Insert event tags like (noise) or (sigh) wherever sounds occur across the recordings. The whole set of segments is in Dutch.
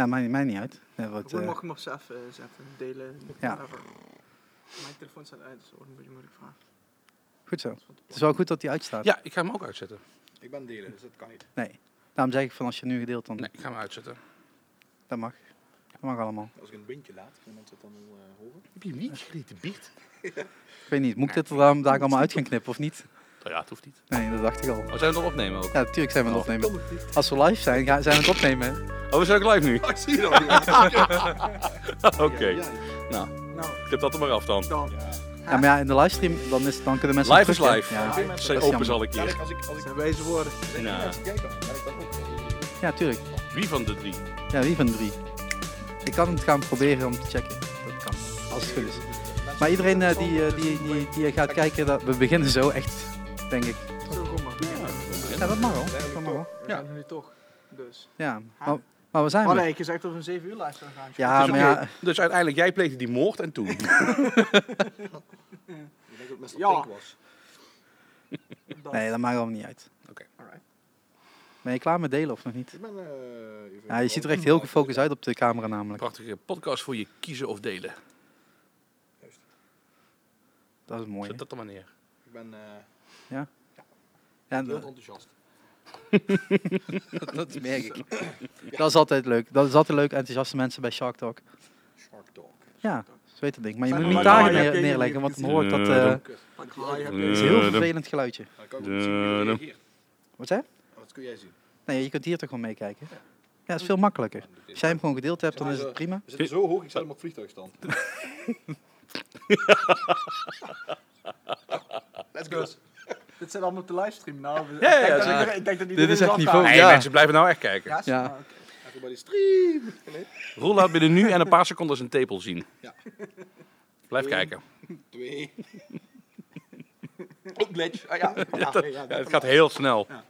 Ja, maakt mij niet uit. Ja, wat, Hoe eh, mag ik hem op z'n zetten? Delen? Ja. whatever. Mijn telefoon staat uit, dus dat wordt een beetje moeilijk vraag. eh, goed zo. Het is wel goed dat die uitstaat. Ja, ik ga hem ook uitzetten. Ik ben delen, dus dat kan niet. Daarom zeg ik van als je nu gedeeld, dan Nee, ik ga hem uitzetten. dat mag. Dat mag allemaal. Als ik een windje laat, kan mensen het dan wel eh, horen. Heb je hem niet gegeten, Biert? Ik weet niet, moet ik dit er dan daar allemaal uit gaan knippen of niet? Nou ja, het hoeft niet. Nee, dat dacht ik al. Oh, zijn we nog opnemen ook? Ja, natuurlijk zijn we aan het Kan opnemen. het niet? Als we live zijn, gaan, zijn we aan het opnemen. Oh, we zijn ook live nu? Ah, ik zie je dat niet. (laughs) Oké. Ja, ja. Nou, Knip dat er maar af dan. dan. Ja, maar ja, in de livestream dan is, dan kunnen mensen Live is terugkijken. live. Ja, Veel mensen- Zij is open jammer. zal ik Ja, hier. Als ik als ik Dat zijn wijze woorden. tegen Nou. mensen kijk, dan kan ik dat ook. ja, tuurlijk. Wie van de drie? Ja, wie van de drie? Ik kan het gaan proberen om te checken. Dat kan, als het goed is. (laughs) Maar iedereen eh, die, eh, die, die, die gaat kijken, dat, we beginnen zo echt, denk ik. Zo kom maar. Ja, dat mag wel. Dat mag wel. We zijn er nu toch. Dus. Ja, maar, maar we zijn Had er. ik gezegd dat we een 7 uur live zou gaan? Ja, Is maar oké. ja, (laughs) Dus uiteindelijk, jij pleegde die moord en (laughs) toen. Ik denk dat het best Ja. wel pink was. Dan. nee, dat maakt allemaal niet uit. Alright. Ben je klaar met delen of nog niet? Ik ben, eh, even- Ja, je ziet er echt heel gefocust uit op de camera namelijk. Prachtige podcast voor je kiezen of delen. Dat is mooi. hè? Zet dat er maar neer. Ik ben eh, Ja, heel dat, enthousiast. (laughs) dat merk ik. (laughs) Dat is altijd leuk. Dat is altijd leuk, enthousiaste mensen bij Shark Talk. Shark Dog. Ja, zo heet dat ding. Maar je Maar moet dan- niet daar Ja, neer, oké, neerleggen, je- want dan hoor ik dat... Ja, eh, dan- Pak haai, heb het is je- een heel Ja, dan- vervelend geluidje. Dan kan ik ook zien hoe Eh, jullie dan- reageren. Wat zei? Wat kun jij zien? Nee, je kunt hier toch wel meekijken. Ja, dat is veel makkelijker. Als jij hem gewoon gedeeld hebt, dan is het prima. We zitten zo hoog, ik zet hem op vliegtuigstand. Let's go. Dit zijn allemaal op de livestream. Nou, we- Ja, ja, ik denk ja, dat zeker. iedereen- Ik denk dat Dit iedereen is echt afhaakt. niveau- Hey, Ja. mensen, blijven nou echt kijken. Ja, Ja. nou, oké. Everybody stream! Nee, Roel laat binnen nu en een paar seconden zijn tepel zien. Ja. Blijf Eén. kijken. (laughs) twee. Oh, glitch. Ah, ja. Ja, nee, ja, (laughs) Ja, het gaat heel snel. Ja.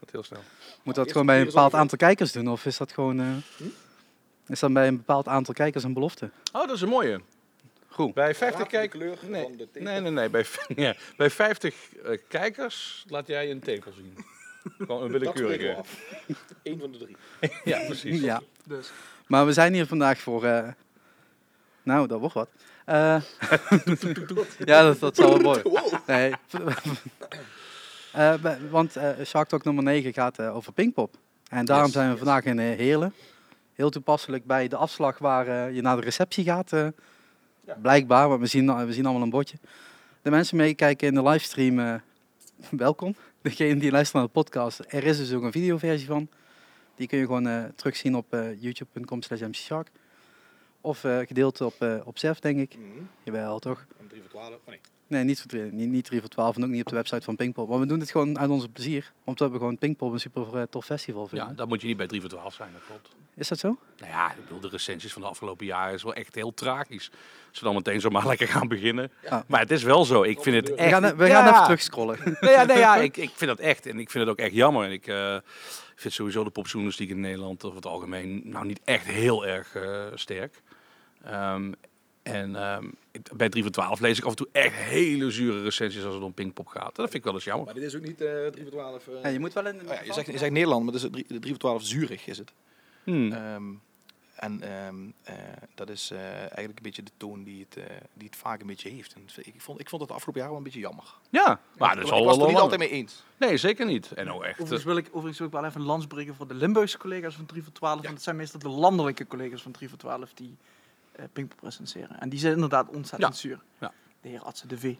Gaat heel snel. Moet dat Eerst gewoon bij een hier is al bepaald aantal kijkers doen? Of is dat gewoon... eh, Hm? Is dat bij een bepaald aantal kijkers een belofte? Oh, dat is een mooie. Goed. Bij Raad 50 de kijkers. kleur Nee, van de tape. nee, nee. nee. Bij, v- (laughs) ja, bij 50 eh, kijkers laat jij een tepel (laughs) zien. Gewoon een Dat spreken we willekeurige. af. (laughs) Eén van de drie. Ja, precies. Ja. Dus. Maar we zijn hier vandaag voor... eh, Nou, dat wordt wat. Eh, (laughs) ja, dat, dat zal wel mooi. Nee. Eh, we- want eh Shark Talk nummer 9 gaat eh, over Pinkpop. En daarom Yes, zijn we yes. vandaag in eh, Heerlen. Heel toepasselijk bij de afslag waar eh, je naar de receptie gaat. eh, Ja. Blijkbaar, want we zien, eh, we zien allemaal een bordje. De mensen meekijken in de livestream, eh, (laughs) welkom. Degene die luistert naar de podcast, er is dus ook een videoversie van. Die kun je gewoon eh, terugzien op eh, youtube.com slash mcshark. Of eh, gedeeld op, eh op zelf, denk ik. Mhm. Jawel, toch? En drie voor twaalf. Oh nee. Nee, niet voor, drie- niet, niet 3 voor 12 en ook niet op de website van Pinkpop. Maar we doen dit gewoon uit onze plezier. Omdat we gewoon Pinkpop een super eh, tof festival Ja, vinden. dan moet je niet bij 3 voor 12 zijn, dat klopt. Is dat zo? Nou ja, ik bedoel, de recensies van de afgelopen jaren is wel echt heel tragisch. Als we dan meteen zomaar (laughs) lekker gaan beginnen. Ja. Maar het is wel zo. Ik vind het We We echt... gaan, e- we gaan Ja. even (laughs) terugscrollen. Nee, ja, nee, (laughs) ja ik, ik vind dat echt. En ik vind het ook echt jammer. En ik eh, vind sowieso de popjournalistiek in Nederland over het algemeen nou niet echt heel erg eh, sterk. Ehm, en ehm, ik- bij 3 voor 12 lees ik af en toe echt hele zure recensies als het om Pinkpop gaat. En dat vind ik wel eens jammer. Maar dit is ook niet eh drie voor twaalf. eh, Ja, je moet wel in... Oh ja, je, zegt, je zegt Nederland, maar dat is eh, drie, drie voor twaalf Zurich is het. Hmm. Ehm, en ehm, eh, dat is eh, eigenlijk een beetje de toon die het, eh, die het vaak een beetje heeft. En ik, vond, ik vond het de afgelopen jaren wel een beetje jammer. ja, maar dat is ik al wel was het er niet lang. altijd mee eens. Nee, zeker niet. En nou echt. Overigens wil, ik, overigens wil ik wel even een lans breken voor de Limburgse collega's van 3 voor 12. Want het zijn meestal de landelijke collega's van 3 voor 12 die eh Pinkpop recenseren. En die zijn inderdaad ontzettend Ja. zuur. Ja. De heer Atse de V.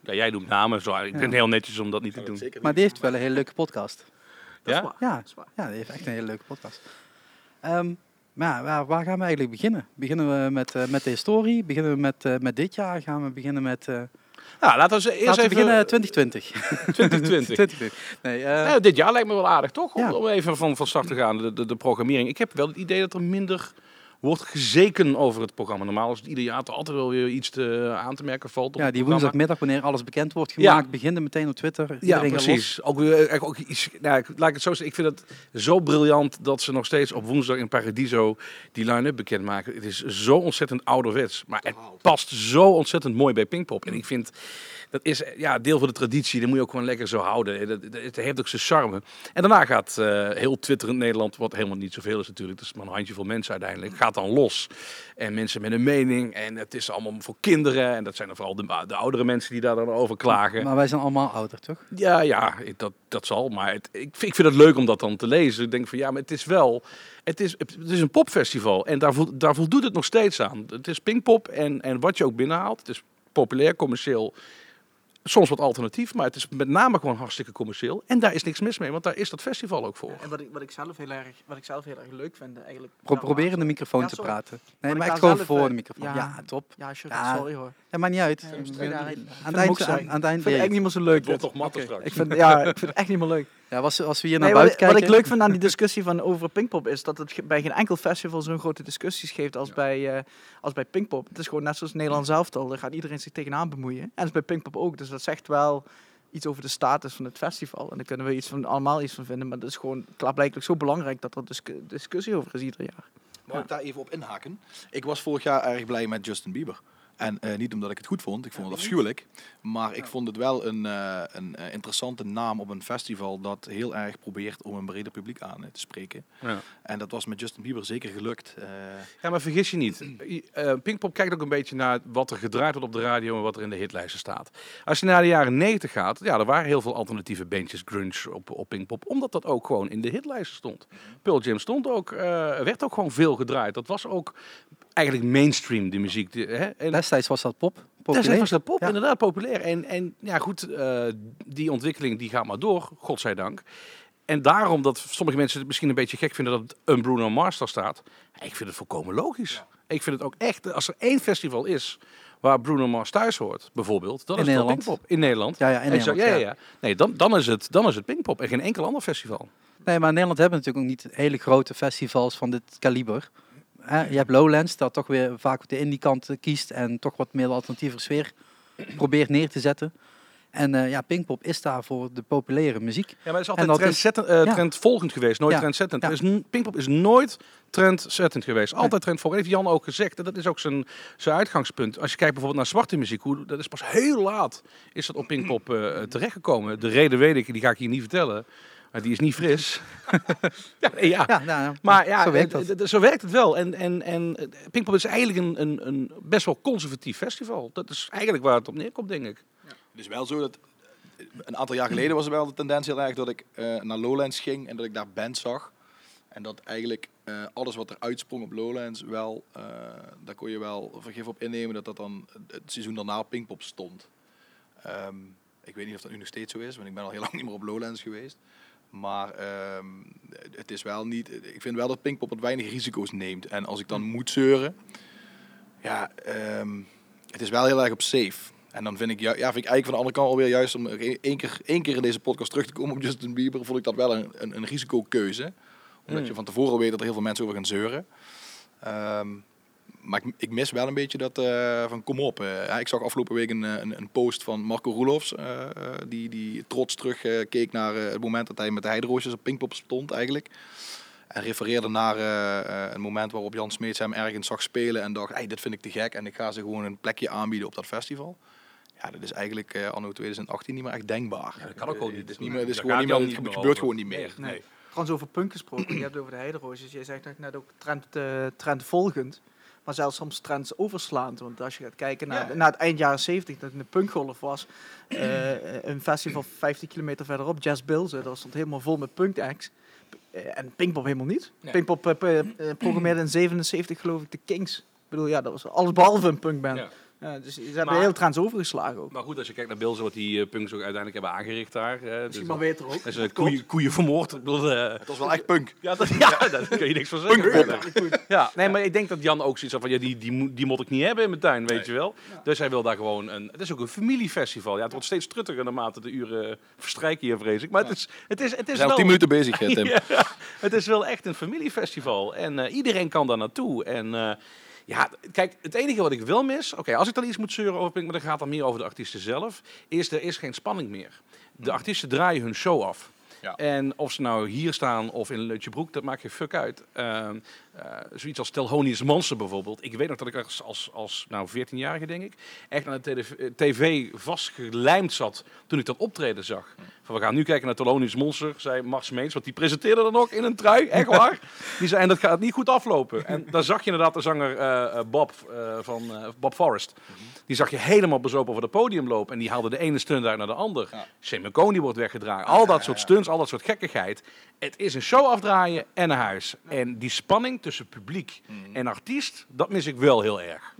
Ja, jij doet namen. Zo. Ik vind het heel netjes om dat niet te doen. Maar die heeft wel een hele leuke podcast. Dat Ja? is waar. Ja. Dat is waar. Ja, die heeft echt een hele leuke podcast. Ehm, maar ja, waar, waar gaan we eigenlijk beginnen? Beginnen we met, eh, met de historie? Beginnen we met, eh, met dit jaar? Gaan we beginnen met... eh Nou, laten we eens eerst laten we even... beginnen eh, 2020. (laughs) 2020. 2020. Nee, eh, Nou, dit jaar lijkt me wel aardig, toch? Om, Ja. om even van, van start te gaan, de, de, de programmering. Ik heb wel het idee dat er minder wordt gezeken over het programma. Normaal is het ieder jaar toch altijd wel weer iets te, aan te merken valt. Op Ja, het die programma. woensdagmiddag, wanneer alles bekend wordt Ja. gemaakt, begint er meteen op Twitter. Ja, Iedereen gaat los. precies. Ook, weer, eigenlijk ook iets, nou, ik- laat ik het zo zeggen. Ik vind het zo briljant dat ze nog steeds op woensdag in Paradiso die line-up bekendmaken. Het is zo ontzettend ouderwets. Maar het past zo ontzettend mooi bij Pinkpop. En ik vind, dat is ja, deel van de traditie. Dat moet je ook gewoon lekker zo houden. Eh, Dat, dat- het heeft ook zijn charme. En daarna gaat eh, heel twitterend Nederland, wat helemaal niet zoveel is natuurlijk. Dat is maar een handjevol mensen uiteindelijk. Gaat dan los. En mensen met een mening. En het is allemaal voor kinderen. En dat zijn dan vooral de, de oudere mensen die daar dan over klagen. Maar wij zijn allemaal ouder, toch? Ja, ja, ik- dat, dat zal. Maar het, ik, vind- ik vind het leuk om dat dan te lezen. Ik denk van ja, maar het is wel. Het is, het is een popfestival. En daar, voel, daar voldoet het nog steeds aan. Het is pingpop en, en wat je ook binnenhaalt. Het is populair, commercieel. Soms wat alternatief, maar het is met name gewoon hartstikke commercieel. En daar is niks mis mee, want daar is dat festival ook voor. En wat ik, wat ik, zelf, heel erg, wat ik zelf heel erg leuk vind eigenlijk... Pro nou, probeer in de laatst- microfoon Ja, te sorry. praten. Maar Nee, ik maar ga ik geloof zelf, voor eh, de microfoon. ja. Ja, top. Ja, sure, Ja. sorry hoor. Ja, maakt niet uit. Ja, Aan we moeten het daarin- eind- hem ook aan- zijn. aan het Ik eind vind het echt weer. niet meer zo leuk. Het wordt dit. toch matter Oké. straks. Ik vind, ja, ik vind het echt niet meer leuk. Ja, als, als we hier naar Nee, wat, buiten ik- wat kijken... ik leuk vind aan die discussie van over Pinkpop is dat het ge- bij geen enkel festival zo'n grote discussies geeft als, Ja. bij, eh, als bij Pinkpop. Het is gewoon net zoals Nederland zelf al, daar gaat iedereen zich tegenaan bemoeien. En dat is bij Pinkpop ook, dus dat zegt wel iets over de status van het festival. En daar kunnen we iets van, allemaal iets van vinden, maar dat is gewoon klaarblijkelijk zo belangrijk dat er discu- discussie over is ieder jaar. Mag ik daar even op inhaken? Ik was vorig jaar erg blij met Justin Bieber. En eh, niet omdat ik het goed vond, ik vond het afschuwelijk. Maar ik vond het wel een, eh, een eh, interessante naam op een festival dat heel erg probeert om een breder publiek aan eh, te spreken. Ja. En dat was met Justin Bieber zeker gelukt. Eh, Ja, maar vergis je niet. I- eh, Pinkpop kijkt ook een beetje naar wat er gedraaid wordt op de radio en wat er in de hitlijsten staat. Als je naar de jaren 90 gaat, ja, er waren heel veel alternatieve bandjes grunge op, op Pinkpop, omdat dat ook gewoon in de hitlijsten stond. Pearl Jam stond ook, eh, werd ook gewoon veel gedraaid. Dat was ook eigenlijk mainstream, die muziek. Die, hè? En Destijds was dat pop. Destijds populair. was dat pop, Ja. inderdaad populair. En, en ja, goed, eh, die ontwikkeling die gaat maar door, godzijdank. En daarom dat sommige mensen het misschien een beetje gek vinden dat een Bruno Mars daar staat. Ik vind het volkomen logisch. Ik vind het ook echt, als er één festival is waar Bruno Mars thuis hoort, bijvoorbeeld, dan In is het wel Nederland. Pinkpop. In Nederland. Ja, ja, in Exact, Nederland, ja, ja, ja. Nee, dan, dan, is het, dan is het Pinkpop en geen enkel ander festival. Nee, maar in Nederland hebben we natuurlijk ook niet hele grote festivals van dit kaliber. Hè, je hebt Lowlands, dat toch weer vaak de indie kant eh, kiest en toch wat meer de alternatieve sfeer probeert neer te zetten. En eh, ja, Pinkpop is daar voor de populaire muziek. Ja, maar het is altijd altijd trendzettend, eh, ja. trendvolgend geweest, nooit Ja, trendzettend. ja. Er is n- Pinkpop is nooit trendzettend geweest. Altijd trendvolgend. Heeft Jan ook gezegd. En dat is ook zijn, zijn uitgangspunt. Als je kijkt bijvoorbeeld naar zwarte muziek, hoe, dat is pas heel laat is dat op Pinkpop eh, eh, terechtgekomen. De reden weet ik, die ga ik hier niet vertellen. Maar die is niet fris. (laughs) ja, nee, ja. Ja, nou, ja, Maar ja, zo werkt eh, dat. d- d- zo werkt het wel. En, en, en eh, Pinkpop is eigenlijk een, een, een best wel conservatief festival. Dat is eigenlijk waar het op neerkomt, denk ik. het is wel zo dat. eh, Een aantal jaar geleden was er wel de tendens heel erg dat ik eh, naar Lowlands ging en dat ik daar bands zag. En dat eigenlijk eh, alles wat er uitsprong op Lowlands wel, eh, daar kon je wel vergif op innemen dat dat dan het seizoen daarna op Pinkpop stond. Ehm, ik weet niet of dat nu nog steeds zo is, want ik ben al heel (laughs) lang niet meer op Lowlands geweest. Maar ehm, het is wel niet. Ik vind wel dat Pinkpop wat weinig risico's neemt. En als ik dan moet zeuren, ja, ehm, het is wel heel erg op safe. En dan vind ik, ju- ja, vind ik eigenlijk van de andere kant alweer juist om er één keer, één keer in deze podcast terug te komen op Justin Bieber, vond ik dat wel een, een, een risicokeuze. Omdat Mm. je van tevoren weet dat er heel veel mensen over gaan zeuren. Ehm, maar ik, ik mis wel een beetje dat eh, van kom op. eh. Ja, ik zag afgelopen week een, eh, een, een post van Marco Roelofs. eh, eh, die, die trots terug eh, keek naar eh, het moment dat hij met de heideroosjes op Pinkpop stond eigenlijk. En refereerde naar eh, eh, een moment waarop Jan Smeets hem ergens zag spelen. En dacht, hey, dit vind ik te gek. En ik ga ze gewoon een plekje aanbieden op dat festival. Ja, dat is eigenlijk eh, anno 2018 niet meer echt denkbaar. Ja, dat kan ook gewoon Eh, niet. dit is niet meer, dit is Daar gewoon gaat niet meer, Jan het niet meer gebeurt over. gewoon niet meer. Nee. Nee. Trouwens, over punk gesproken. Je hebt het over de heideroosjes. Je zegt ook net ook trend, eh, trendvolgend. Maar zelfs soms trends overslaand. Want als je gaat kijken naar, naar het eind jaren 70, dat het een punkgolf was. eh, een festival 15 kilometer verderop, Jazz Bilze. Dat stond helemaal vol met punkacts. Eh, en Pinkpop helemaal niet. Nee. Pinkpop eh, eh, programmeerde in 77 geloof ik de Kings. Ik bedoel, ja, dat was alles behalve een punkband. Ja. Ja, dus ze Maar- hebben heel trends overgeslagen ook. Maar goed, als je kijkt naar Bills, wat die eh, punks ook uiteindelijk hebben aangericht daar. Hè, dus Misschien maar beter ook. dat ze koeien, koeien vermoord. Ik bedoel, eh, Het was wel echt punk. (laughs) ja, dat, ja, daar kun je niks van zeggen. Ja, nee, maar ik denk dat Jan ook zoiets had van, ja, die, die, moet- die moet ik niet hebben in mijn tuin, weet Nee. je wel. Dus hij wil daar gewoon een, het is ook een familiefestival. Ja, het wordt steeds truttiger naarmate de uren eh, verstrijken hier, vrees ik. Maar het is, het is, het We is zijn al wel... tien minuten bezig, eh, Tim. (laughs) Ja, het is wel echt een familiefestival. En eh, iedereen kan daar naartoe. En eh, ja, kijk, het enige wat ik wel mis... Oké, als ik dan iets moet zeuren over Pink, maar dan gaat het meer over de artiesten zelf... is er is geen spanning meer. Mhm. De artiesten draaien hun show af. Ja. En of ze nou hier staan of in Leutjebroek, dat maakt geen fuck uit. Ehm, eh, zoiets als Telhonius Monster bijvoorbeeld. Ik weet nog dat ik als, als, als nou, 14-jarige, denk ik, echt aan de tele- eh, tv vastgelijmd zat toen ik dat optreden zag. Mhm. Van, we gaan nu kijken naar Telhonius Monster, zei Mars Meens, want die presenteerde dan ook in een trui, echt (laughs) waar. Die zei, en dat gaat niet goed aflopen. En daar zag je inderdaad de zanger eh, eh, Bob, eh, van, eh, Bob Forrest. Die zag je helemaal bezopen over het podium lopen. En die haalde de ene stunt uit naar de ander. Ja. Semiconi wordt weggedragen. Al dat soort stunts, al dat soort gekkigheid. Het is een show afdraaien en naar huis. En die spanning tussen publiek en artiest, dat mis ik wel heel erg.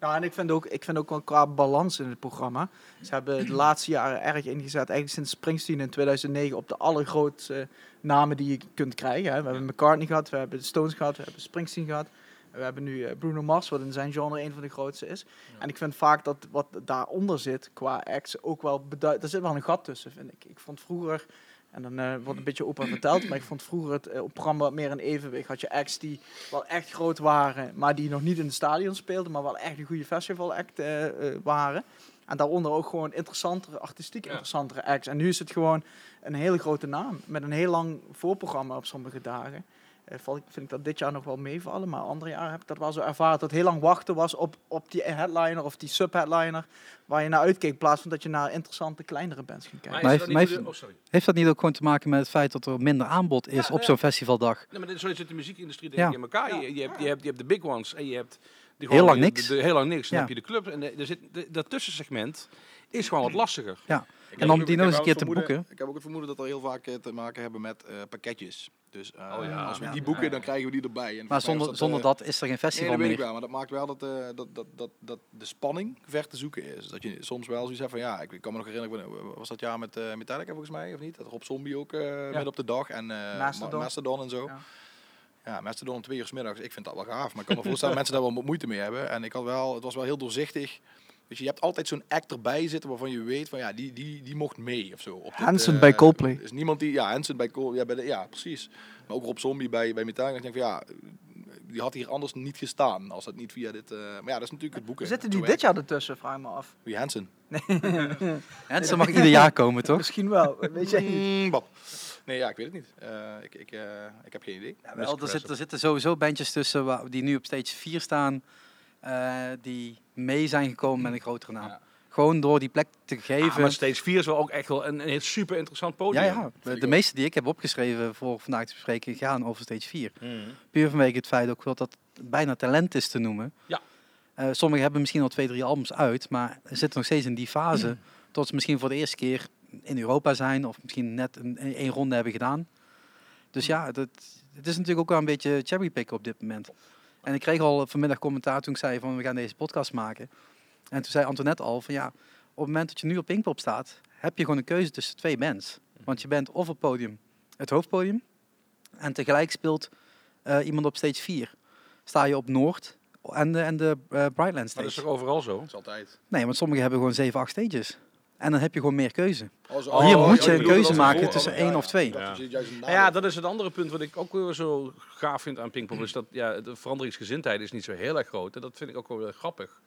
Ja, en ik vind ook, ik vind ook wel qua balans in het programma. Ze hebben de laatste jaren erg ingezet, eigenlijk sinds Springsteen in 2009, op de allergrootste eh, namen die je kunt krijgen. Hè. We hebben McCartney gehad, we hebben de Stones gehad, we hebben Springsteen gehad. en We hebben nu eh, Bruno Mars, wat in zijn genre een van de grootste is. En ik vind vaak dat wat daaronder zit qua acts ook wel beduidt. Er zit wel een gat tussen, vind ik. Ik vond vroeger, en dan eh, wordt een beetje opa verteld, maar ik vond vroeger het eh, programma meer een evenwicht. Had je acts die wel echt groot waren, maar die nog niet in het stadion speelden, maar wel echt een goede festival act eh, eh, waren. En daaronder ook gewoon interessantere, artistiek Ja. interessantere acts. En nu is het gewoon een hele grote naam, met een heel lang voorprogramma op sommige dagen. Eh, val ik- vind ik dat dit jaar nog wel meevallen, maar andere jaren heb ik dat wel zo ervaren. Dat heel lang wachten was op, op die headliner of die subheadliner waar je naar uitkeek, in plaats van dat je naar interessante, kleinere bands ging kijken. Maar heeft- maar oh, heeft- Heeft dat niet ook gewoon te maken met het feit dat er minder aanbod is Ja, op ja. zo'n festivaldag? Nee, maar dit- zo zit de muziekindustrie denk Ja. ik in elkaar. Je, je, hebt, je, hebt, je hebt de big ones en je hebt... Die Heel lang de- niks. de- heel lang niks. Dan Ja. heb je de clubs. En de- er zit, de- dat tussensegment is gewoon wat lastiger. En om die nog eens een keer te boeken. Ik heb ook het vermoeden dat er heel vaak eh, te maken hebben met eh, pakketjes. Dus eh, Oh ja. als we Ja. die boeken, dan krijgen we die erbij. En Maar volgens mij was zonder, zonder eh, dat is er geen Nee, festival dat weet ik meer. wel, maar dat maakt wel dat, eh, dat, dat, dat, dat de spanning ver te zoeken is. Dat je soms wel zoiets hebt van, ja, ik, ik kan me nog herinneren, ik ben- was dat jaar met eh Metallica volgens mij, of niet? Dat Rob Zombie ook eh midden op de dag en eh Mastodon. Ma- Mastodon en zo. Ja. Ja. Mastodon om twee uur 's middags. Ik vind dat wel gaaf, maar ik kan me (laughs) voorstellen dat mensen daar wel wat moeite mee hebben. En ik had wel, het was wel heel doorzichtig. Dus je hebt altijd zo'n act erbij zitten waarvan je weet van, ja, die, die, die mocht mee of zo. Op dit, Hanson eh, bij Coldplay. Is niemand die, ja, Hanson bij Coldplay, ja, bij de- ja, precies. Maar ook Rob Zombie bij, bij Metallica. Ik denk van, ja, die had hier anders niet gestaan als dat niet via dit. eh, maar ja, dat is natuurlijk het boeken. Zitten die Zo dit werkt jaar ertussen, vraag ik me af. het. Wie (laughs) Hansen? En ze dus mag ieder jaar komen, toch? Misschien wel, weet jij niet. Mm, Bob. Nee, ja, ik weet het niet. Eh, ik, ik, eh, ik heb geen idee. Ja, wel, er, zit- er zitten sowieso bandjes tussen waar, die nu op stage 4 staan, eh, die mee zijn gekomen met een grotere naam. Ja. Gewoon door die plek te geven. Ah, maar steeds vier is wel ook echt wel een, een super interessant podium. ja, ja. De, ik de ook. meeste die ik heb opgeschreven voor vandaag te bespreken gaan over stage 4. Mhm. Puur vanwege het feit ook wel dat het bijna talent is te noemen. Ja. Eh, sommigen hebben misschien al twee, drie albums uit, maar zitten nog steeds in die fase. Tot ze misschien voor de eerste keer in Europa zijn of misschien net een, een, één ronde hebben gedaan. Dus ja, dat, het is natuurlijk ook wel een beetje cherrypicken op dit moment. En ik kreeg al vanmiddag commentaar toen ik zei van we gaan deze podcast maken. En toen zei Antoinette al van ja, op het moment dat je nu op Pinkpop staat, heb je gewoon een keuze tussen twee bands. Want je bent of op podium, het hoofdpodium, en tegelijk speelt eh, iemand op stage 4. Sta je op Noord en de, en de eh, Brightland Maar dat is stage. toch overal zo? Dat is altijd. Nee, want sommigen hebben gewoon 7, 8 stages. En dan heb je gewoon meer keuze. Oh, zo- Oh, Hier oh, moet ja, je je een bedoelt keuze dat maken voor- tussen oh, één of twee. Dat is juist een Nou ja, nadeel. dat is het andere punt wat ik ook weer zo gaaf vind aan Pinkpop. Is dat ja, de veranderingsgezindheid is niet zo heel erg groot. En dat vind ik ook wel weer grappig.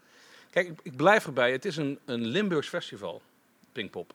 Kijk, ik, ik blijf erbij. Het is een, een Limburgs festival, Pinkpop.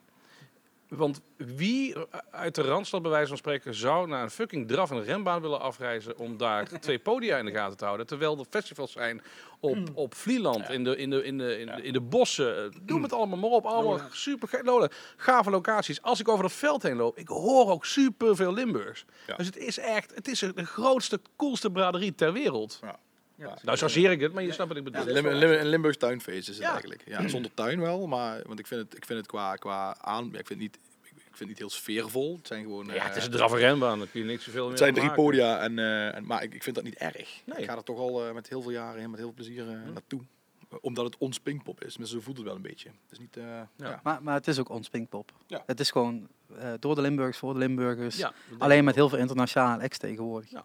Want wie eh, uit de Randstad bij wijze van spreken zou naar een fucking draf en renbaan willen afreizen (laughs) om daar twee podia in de gaten te houden? Terwijl er festivals zijn op, Hmm. op Vlieland, in, de, in, de, in, de, in, de, in de bossen. Noem het allemaal maar op. Allemaal super ge- Lola, gave locaties. Als ik over dat veld heen loop, ik hoor ook super veel Limburgs. Ja. Dus het is echt, het is de grootste, coolste braderie ter wereld. Ja. (laughs) Ja. Nou, chargeer ik het, maar je snapt wat ik bedoel. Ja, Lim- Lim- een Limburgs tuinfeest is het Ja. eigenlijk. Ja, zonder tuin wel, maar want ik vind het, ik vind het qua, qua aan, ja, ik vind het niet, ik ik vind het niet heel sfeervol. Het zijn gewoon. Ja, het eh, is een draf en renbaan, daar kun je niks zoveel meer Het zijn aan drie maken. podia, en, eh, en, maar ik, ik vind dat niet erg. Nee. Ik ga er toch al eh, met heel veel jaren en met heel veel plezier eh, naartoe. Omdat het ons Pinkpop is. Mensen voelt het wel een beetje. Het is niet... eh, ja. Maar, maar het is ook ons Pinkpop. Ja. Het is gewoon eh, door de Limburgers, voor de Limburgers. Ja, dat denk ik Alleen met wel. heel veel internationale acts tegenwoordig. Ja.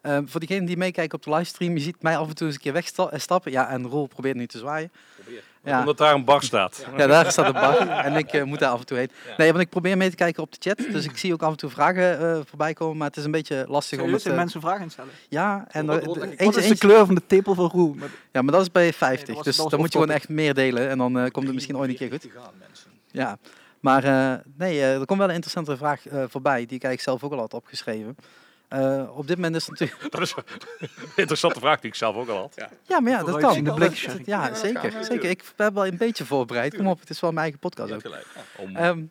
Ehm, voor diegenen die meekijken op de livestream, je ziet mij af en toe eens een keer wegstappen. Ja, en Roel probeert nu te zwaaien. Probeer. Ja. Omdat daar een bar staat. Ja, daar staat een bar en ik eh, moet daar af en toe heen. Ja. Nee, want ik probeer mee te kijken op de chat. Dus ik zie ook af en toe vragen eh, voorbij komen, maar het is een beetje lastig. om Serieus, het, de eh, mensen vragen aan stellen. Ja, en Wat- er- wat- er- wat eentje- Wat is de eentje- kleur van de tepel van Roel? Maar Ja, maar dat is bij Nee, 50. dat was- dus dat was dan moet je gewoon off-topic. echt meer delen en dan eh, komt het misschien ooit een keer goed. Ja, maar eh, nee, eh, er komt wel een interessante vraag eh, voorbij, die ik eigenlijk zelf ook al had opgeschreven. Eh, op dit moment is het natuurlijk... (laughs) Dat is een interessante vraag die ik zelf ook al had. Ja, maar ja, dat kan. Vooruitziende Dat- blik. Ja, Ja, dat gaan zeker. we zeker. Ik ben wel een beetje (laughs) voorbereid. Kom op, het is wel mijn eigen podcast ook. gelijk. Ja. Om, Ehm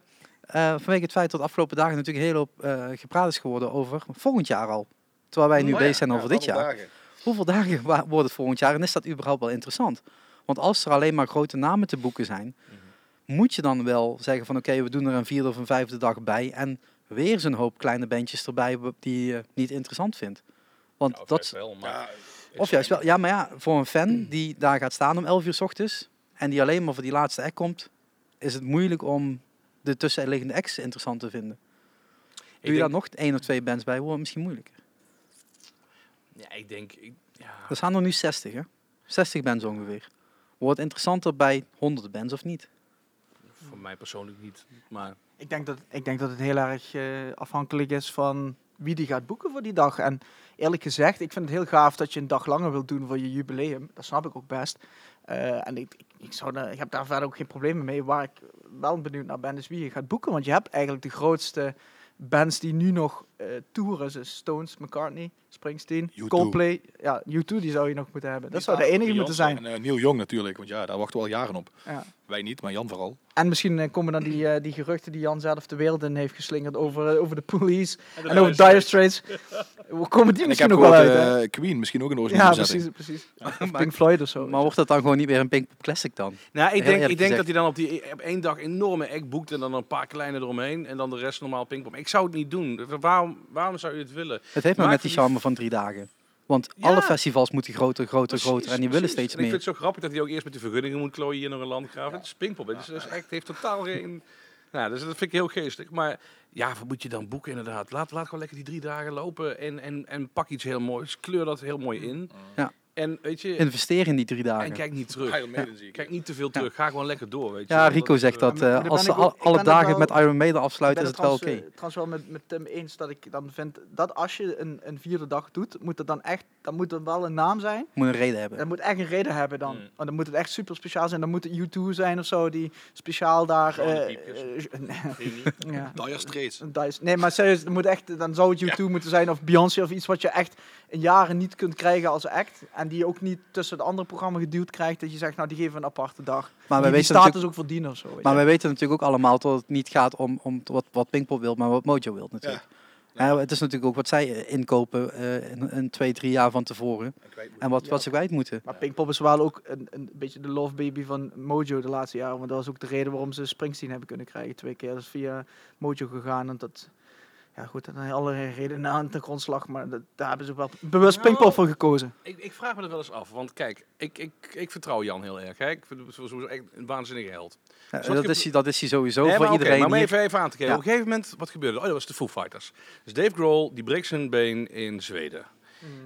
eh, vanwege het feit dat de afgelopen dagen natuurlijk heel hoop eh, gepraat is geworden over volgend jaar al. Terwijl wij nu Oh ja, bezig zijn ja, over dit jaar. allemaal dagen. Hoeveel dagen wa- wordt het volgend jaar en is dat überhaupt wel interessant? Want als er alleen maar grote namen te boeken zijn, Mhm. moet je dan wel zeggen van oké, we doen er een vierde of een vijfde dag bij en weer zo'n hoop kleine bandjes erbij wa- die je niet interessant vindt. Want nou, dat, juist wel, maar Ja, ik of juist wel, ja, maar ja, voor een fan die daar gaat staan om 11 uur 's ochtends en die alleen maar voor die laatste act komt, is het moeilijk om de tussenliggende acts interessant te vinden. denk- Doe je daar nog één of twee bands bij, wordt het misschien moeilijker. Ja, ik denk... Ik, ja. Er staan er nu 60, hè? 60 bands ongeveer. Wordt het interessanter bij 100 bands of niet? Voor mij persoonlijk niet. Maar Ik denk dat, ik denk dat het heel erg eh, afhankelijk is van wie die gaat boeken voor die dag. En eerlijk gezegd, ik vind het heel gaaf dat je een dag langer wilt doen voor je jubileum. Dat snap ik ook best. Eh, en ik, ik, ik zou, daar- ik heb daar verder ook geen problemen mee. Waar ik wel benieuwd naar ben, is wie je gaat boeken. Want je hebt eigenlijk de grootste bands die nu nog eh toeren. Dus Stones, McCartney, Springsteen, U2. Coldplay. Ja, U2 die zou je nog moeten hebben. Dat zou de Ja, enige moeten Beyoncé zijn. En eh, Neil Young natuurlijk, want ja, daar wachten we al jaren op. Ja. Wij niet, maar Jan vooral. En misschien eh, komen dan die, eh, die geruchten die Jan zelf de wereld in heeft geslingerd over, eh, over de police. En over Dire Straits. We komen die En ik misschien heb ook wel gehoord, uit. hè? eh, Queen misschien ook een ja, originele precies, precies. maar, Pink Floyd of zo. maar wordt dat dan gewoon niet weer een Pinkpop Classic dan? Nou, Heel ik denk, eerlijk ik denk gezegd. dat hij dan op, die, op één dag enorme act boekt en dan een paar kleine eromheen en dan de rest normaal pingpong. Ik zou het niet doen. Waarom, waarom zou je het willen? Het heeft maar Maakt met die het niet- charme van drie dagen. Want Ja. alle festivals moeten groter, groter, groter Precies, en die willen precies. steeds En ik meer. vind het zo grappig dat hij ook eerst met de vergunningen moet klooien hier nog een landgraaf. Het is pingpong. Dus dat is echt, heeft totaal geen... Nou, dus dat vind ik heel geestig. Maar ja, wat moet je dan boeken inderdaad? Laat, laat gewoon lekker die drie dagen lopen en, en, en pak iets heel moois. Kleur dat heel mooi in. Ja. En weet je, Investeer in die drie en dagen. kijk niet terug. Iron Maiden zie ik. Kijk niet te veel terug. Ga gewoon lekker door, weet je. Ja, Rico Want, zegt eh, dat maar eh, daar ben als ze ik ook- al- ik alle ben ook dagen wel- met Iron Maiden Ik afsluiten, ben is het het wel trouwens, oké. eh, trouwens wel met, met Tim eens dat ik dan vind dat als je een, een vierde dag doet, moet dat dan echt, dan moet er wel een naam zijn. Moet een reden hebben. Dat moet echt een reden hebben dan. Mm. Want dan moet het echt super speciaal zijn. Dan moet het U2 zijn of zo, die speciaal daar... Gewoon eh, die piepjes. eh, (laughs) nee, ja. Dire Straits. Een Dice. Nee, maar serieus, het moet echt, dan zou het U2 moeten zijn of Beyoncé of iets wat je echt in jaren niet kunt krijgen als act. En die je ook niet tussen het andere programma geduwd krijgt. Dat je zegt, nou die geven we een aparte dag. Maar die, wij die weten natuurlijk status ook verdienen of zo. weet Maar je. wij weten natuurlijk ook allemaal dat het niet gaat om, om t- wat, wat Pinkpop wil, maar wat Mojo wil natuurlijk. Ja, het is natuurlijk ook wat zij eh, inkopen eh, een, een twee, drie jaar van tevoren. En wat, wat ze kwijt moeten. maar Pinkpop is wel ook een, een beetje de love baby van Mojo de laatste jaren. Want dat was ook de reden waarom ze Springsteen hebben kunnen krijgen twee keer. Dat is via Mojo gegaan. En dat, ja goed, dat zijn allerlei redenen aan de grondslag. Maar dat, daar hebben ze ook wel bewust Nou. Pinkpop voor gekozen. Ik, ik vraag me dat wel eens af, want kijk, ik, ik, ik vertrouw Jan heel erg. Hè? Ik vind hem sowieso echt een waanzinnige held. Ja, Snap je? dat, is, hij- dat is hij sowieso Nee, voor maar oké, iedereen. maar om hier. even, even aan te geven. Ja. Op een gegeven moment, wat gebeurde er? Oh, dat was de Foo Fighters. Dus Dave Grohl, die breekt zijn been in Zweden.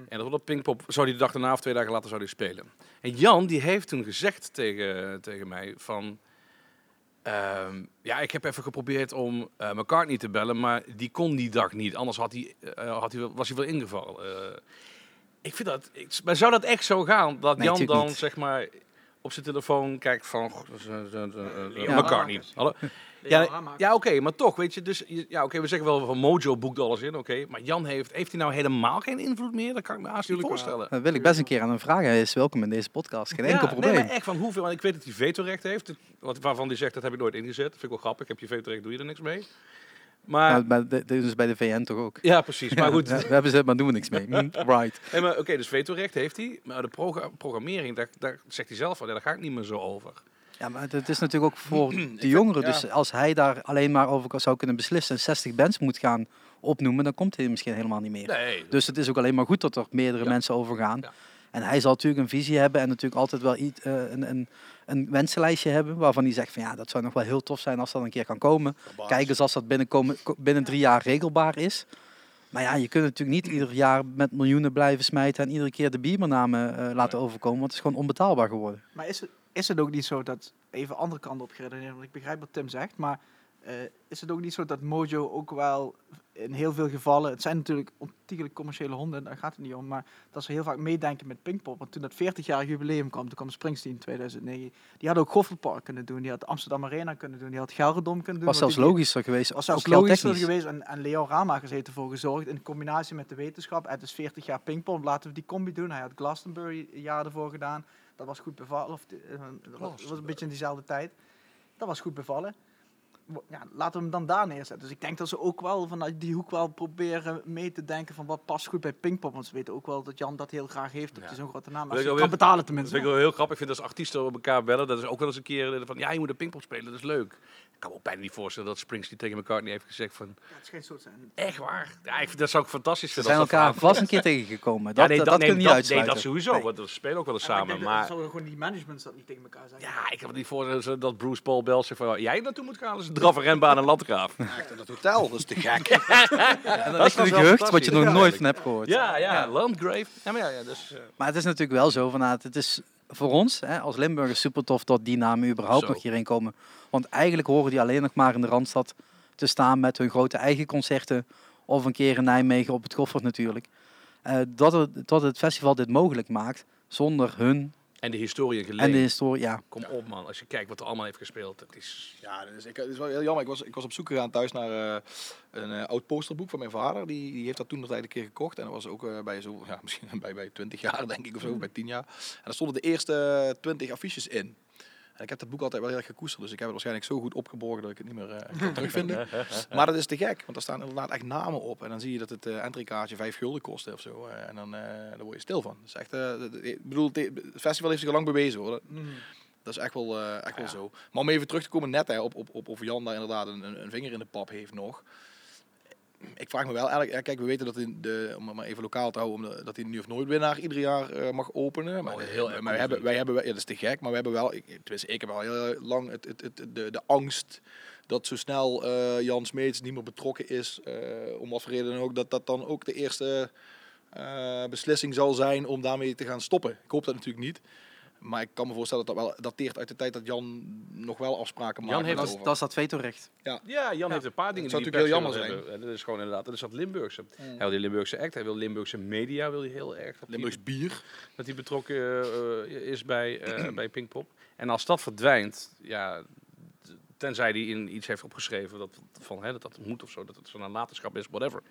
En dat op Pinkpop zou die de dag daarna of twee dagen later zou die spelen. En Jan, die heeft toen gezegd tegen, tegen mij van... ehm, ja, ik heb even geprobeerd om eh, McCartney te bellen, maar die kon die dag niet. Anders had hij, eh, had hij, wel- was hij wel ingevallen. Eh, ik vind dat... Ik, maar zou dat echt zo gaan? Dat Nee, Jan natuurlijk dan, niet. zeg maar, op zijn telefoon kijkt van... goh, eh, eh, eh, eh, Ja. McCartney. Hallo? Ja, ja oké, maar toch, weet je, dus, je- ja, oké, we zeggen wel van Mojo boekt alles in, oké, maar Jan heeft, heeft hij nou helemaal geen invloed meer? Dat kan ik me haast niet Tuurlijk wel. voorstellen. Dat Eh, wil ik best een keer aan hem vragen. Hij is welkom in deze podcast. Geen enkel Ja, probleem. Nee, maar echt van hoeveel, want ik weet dat hij vetorecht heeft, het- wat, waarvan hij zegt, dat heb ik nooit ingezet. Dat vind ik wel grappig, heb je vetorecht, doe je er niks mee. Maar, Nou, maar de- dit is bij de VN toch ook. Ah. ja (laughs) precies, maar goed, Ja, we hebben ze, maar doen we niks (laughs) mee. Hm, Right. Nee, maar oké, dus vetorecht heeft hij, maar de proga- programmering, daar, daar zegt hij zelf van, ja, daar ga ik niet meer zo over. Ja, maar dat is natuurlijk ook (clears throat) voor de jongeren. ja. Dus als hij daar alleen maar over zou kunnen beslissen en 60 bands moet gaan opnoemen, dan komt hij misschien helemaal niet meer. Nee, Dus het is ook alleen maar goed dat er meerdere Ja. mensen over gaan. Ja. En hij zal natuurlijk een visie hebben en natuurlijk altijd wel iets, eh, een, een, een wensenlijstje hebben waarvan hij zegt van ja, dat zou nog wel heel tof zijn als dat een keer kan komen. Kijk eens als dat binnenkomen, ko- binnen drie jaar regelbaar is. Maar ja, je kunt natuurlijk niet ieder jaar met miljoenen blijven smijten en iedere keer de biermanamen eh, laten overkomen, want het is gewoon onbetaalbaar geworden. Maar is het, is het ook niet zo dat, even andere kant op geredeneerd, want ik begrijp wat Tim zegt, maar eh, is het ook niet zo dat Mojo ook wel in heel veel gevallen, het zijn natuurlijk ontiegelijk commerciële honden, daar gaat het niet om, maar dat ze heel vaak meedenken met Pinkpop. Want toen dat 40-jarig jubileum kwam, toen kwam Springsteen in 2009, die had ook Goffertpark kunnen doen, die had Amsterdam Arena kunnen doen, die had Gelredom kunnen doen. was want zelfs die- logischer geweest. was zelfs ook geldtechnisch. logischer geweest en, en Leo Ramakers heeft ervoor gezorgd in combinatie met de wetenschap. Het is 40 jaar pingpong, laten we die combi doen. Hij had Glastonbury een jaar ervoor gedaan. Dat was goed bevallen. Of, eh, dat was een beetje in diezelfde tijd. Dat was goed bevallen. Wo- Ja, laten we hem dan daar neerzetten. Dus ik denk dat ze ook wel vanuit die hoek wel proberen mee te denken van wat past goed bij pingpong. Want ze weten ook wel dat Jan dat heel graag heeft. Dat Ja. hij zo'n grote naam Wil heeft. ik Kan alweer- betalen Dat vind ik tenminste. wel heel grappig. Ik vind als artiesten op elkaar bellen, dat is ook wel eens een keer eh, van, ja, je moet een pingpong spelen, dat is leuk. Ik kan me ook bijna niet voorstellen dat Springsteen tegen McCartney heeft gezegd van, Ja, het is geen soort zijn. echt waar? Ja, ik vind, dat zou ik fantastisch Ze vinden. zijn als dat elkaar verhaal- vast een keer tegengekomen. Ja, Dat, nee, dat, dat, kunnen we nee, niet dat, nee, uitsluiten. dat sowieso, Nee. want we spelen ook wel eens maar ik samen. denk dat- maar dat zouden gewoon die managements dat niet tegen elkaar zeggen. ja, ik heb het niet voor dat Bruce Paul belt zegt van, "Oh, jij naartoe moet gaan, dat is een draf en renbaan en (laughs) landgraaf. Echt in het hotel, dat is te gek. Dat is natuurlijk was wel gerucht wat je nog fantastisch. nooit van hebt gehoord. Ja, ja, Landgrave. Ja, maar ja, ja dus... eh, Maar het is natuurlijk wel zo van, nou, het is voor ons hè, als Limburgers super tof dat die namen überhaupt Zo. nog hierheen komen. Want eigenlijk horen die alleen nog maar in de Randstad te staan met hun grote eigen concerten. Of een keer in Nijmegen op het Koffert natuurlijk. Eh, dat, het, dat het festival dit mogelijk maakt zonder hun En de historie en en geleden. de historie. Ja, Kom op man, als je kijkt wat er allemaal heeft gespeeld. Het is... Ja, dat is, ik, dat is wel heel jammer. Ik was, ik was op zoek gegaan thuis naar eh, een eh, oud posterboek van mijn vader. Die, die heeft dat toen nog een keer gekocht. En dat was ook eh, bij zo, ja, (laughs) misschien bij, bij 20 jaar, denk ik, of zo, bij 10 jaar. En daar stonden de eerste 20 affiches in. En ik heb dat boek altijd wel heel erg gekoesterd. Dus ik heb het waarschijnlijk zo goed opgeborgen dat ik het niet meer eh, kan terugvinden. Maar dat is te gek, want daar staan inderdaad echt namen op. En dan zie je dat het eh entreekaartje 5 gulden kostte of zo. Eh, en dan, eh, daar word je stil van. Dus echt, eh, dat- ik bedoel, het festival heeft zich al lang bewezen hoor. Dat is echt wel, eh, echt Ah, wel zo. Maar om even terug te komen net hè, op, op, op of Jan daar inderdaad een, een, een vinger in de pap heeft nog. Ik vraag me wel eigenlijk, ja, kijk, we weten dat in de, om het maar even lokaal te houden, om de- dat hij nu of nooit winnaar ieder jaar eh, mag openen. Maar, Oh, heel erg maar cool, wij hebben, vind wij hebben, wel- ja, dat is te gek, maar we hebben wel, ik, tenminste, ik heb al heel eh, lang het, het, het, de, de angst dat zo snel eh, Jan Smeets niet meer betrokken is, eh, om wat voor reden dan ook, dat dat dan ook de eerste eh, beslissing zal zijn om daarmee te gaan stoppen. Ik hoop dat natuurlijk niet. Maar ik kan me voorstellen dat dat wel dateert uit de tijd dat Jan nog wel afspraken Jan maakte. heeft dat daarover. is dat, is dat vetorecht. Ja, Jan heeft een paar dingen zou die natuurlijk heel die pers jammer wil zijn. Mm. hebben. En Dat is gewoon inderdaad, dat is dat Limburgse. Hij wil die Limburgse act, hij wil Limburgse media, wil hij heel erg. Dat die- Limburgs bier. dat hij betrokken eh, eh, is (clears throat) bij, eh, bij Pinkpop. En als dat verdwijnt, ja, t- tenzij hij in iets heeft opgeschreven dat, van, hè, dat dat moet of zo, dat het zo'n nalatenschap is, whatever.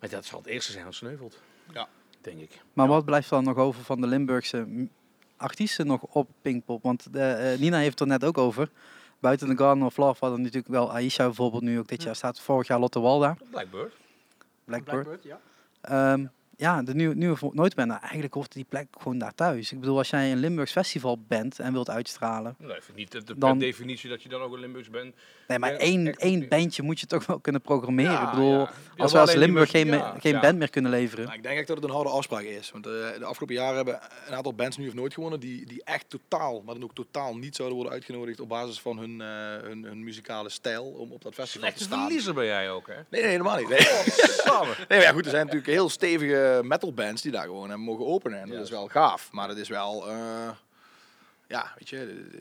Maar dat zal het eerste zijn dat sneuvelt. Ja. Denk ik. Maar wat blijft er dan nog over van de Limburgse m- artiesten nog op Pinkpop? Want eh, eh, Nina heeft het er net ook over. Buiten The Garden of Love hadden natuurlijk wel Aisha bijvoorbeeld nu ook dit jaar staat. Vorig jaar Lotte Walda, Blackbird. Blackbird. ja. Ehm, ja, de nieuwe, nieuwe voor nooit bent. Eigenlijk hoort die plek gewoon daar thuis. Ik bedoel, als jij een Limburgs festival bent en wilt uitstralen. Nee, Nou, ik vind niet de, Dan- definitie dat je dan ook een Limburgs bent. Nee, maar Ja, één, echt één niet. bandje moet je toch wel kunnen programmeren. Ja, ik bedoel, ja. Ja, als wel we als alleen die Limburg geen, muziek, me- ja. geen Ja. band meer kunnen leveren. Nou, ik denk echt dat het een harde afspraak is. Want eh, de afgelopen jaren hebben een aantal bands nu of nooit gewonnen die, die echt totaal, maar dan ook totaal niet zouden worden uitgenodigd op basis van hun, eh, hun, hun muzikale stijl om op dat festival Slechte te staan. verliezer Oh. ben jij ook, hè? Nee, nee, helemaal niet. Nee. Nee, maar ja, goed, er zijn natuurlijk heel stevige metalbands die daar gewoon hebben mogen openen. En dat is wel gaaf. Maar dat is wel, eh, ja, weet je, eh,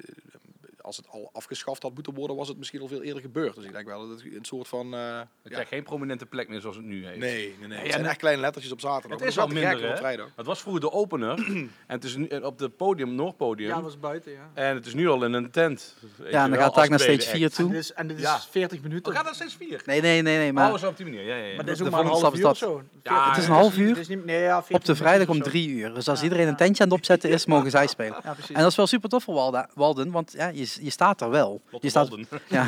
als het al afgeschaft had moeten worden, was het misschien al veel eerder gebeurd. Dus ik denk wel dat het een soort van... eh, Het ja, krijgt geen prominente plek meer zoals het nu heeft. nee, nee, nee. Het ja, zijn nee. echt kleine lettertjes op zaterdag. Het maar is dat al wel te gek minder, op hè? vrijdag. Het was vroeger de opener. en het is nu eh, op het podium, Noordpodium. Ja, dat was buiten, ja. En het is nu al in een tent. ja, en dan gaat het daar eigenlijk naar steeds vier En dit (laughs) toe. is, en dit is Ja. 40 minuten. We gaan naar steeds vier. Nee, nee, nee, nee. Maar oh, zo op die manier. Ja, ja, ja. Maar dit is ook de maar een volgende half uur stap of is dat. zo. Ja, het is een half Het uur. is dus- niet, nee, ja, 40 Op de vrijdag om minuten of zo. drie uur. Dus als Ja, iedereen een ja. tentje aan het opzetten is, mogen zij spelen. Ja, precies. En dat is wel super tof voor Walda- Walden, want ja, je, je staat er wel. Je staat, ja, (laughs)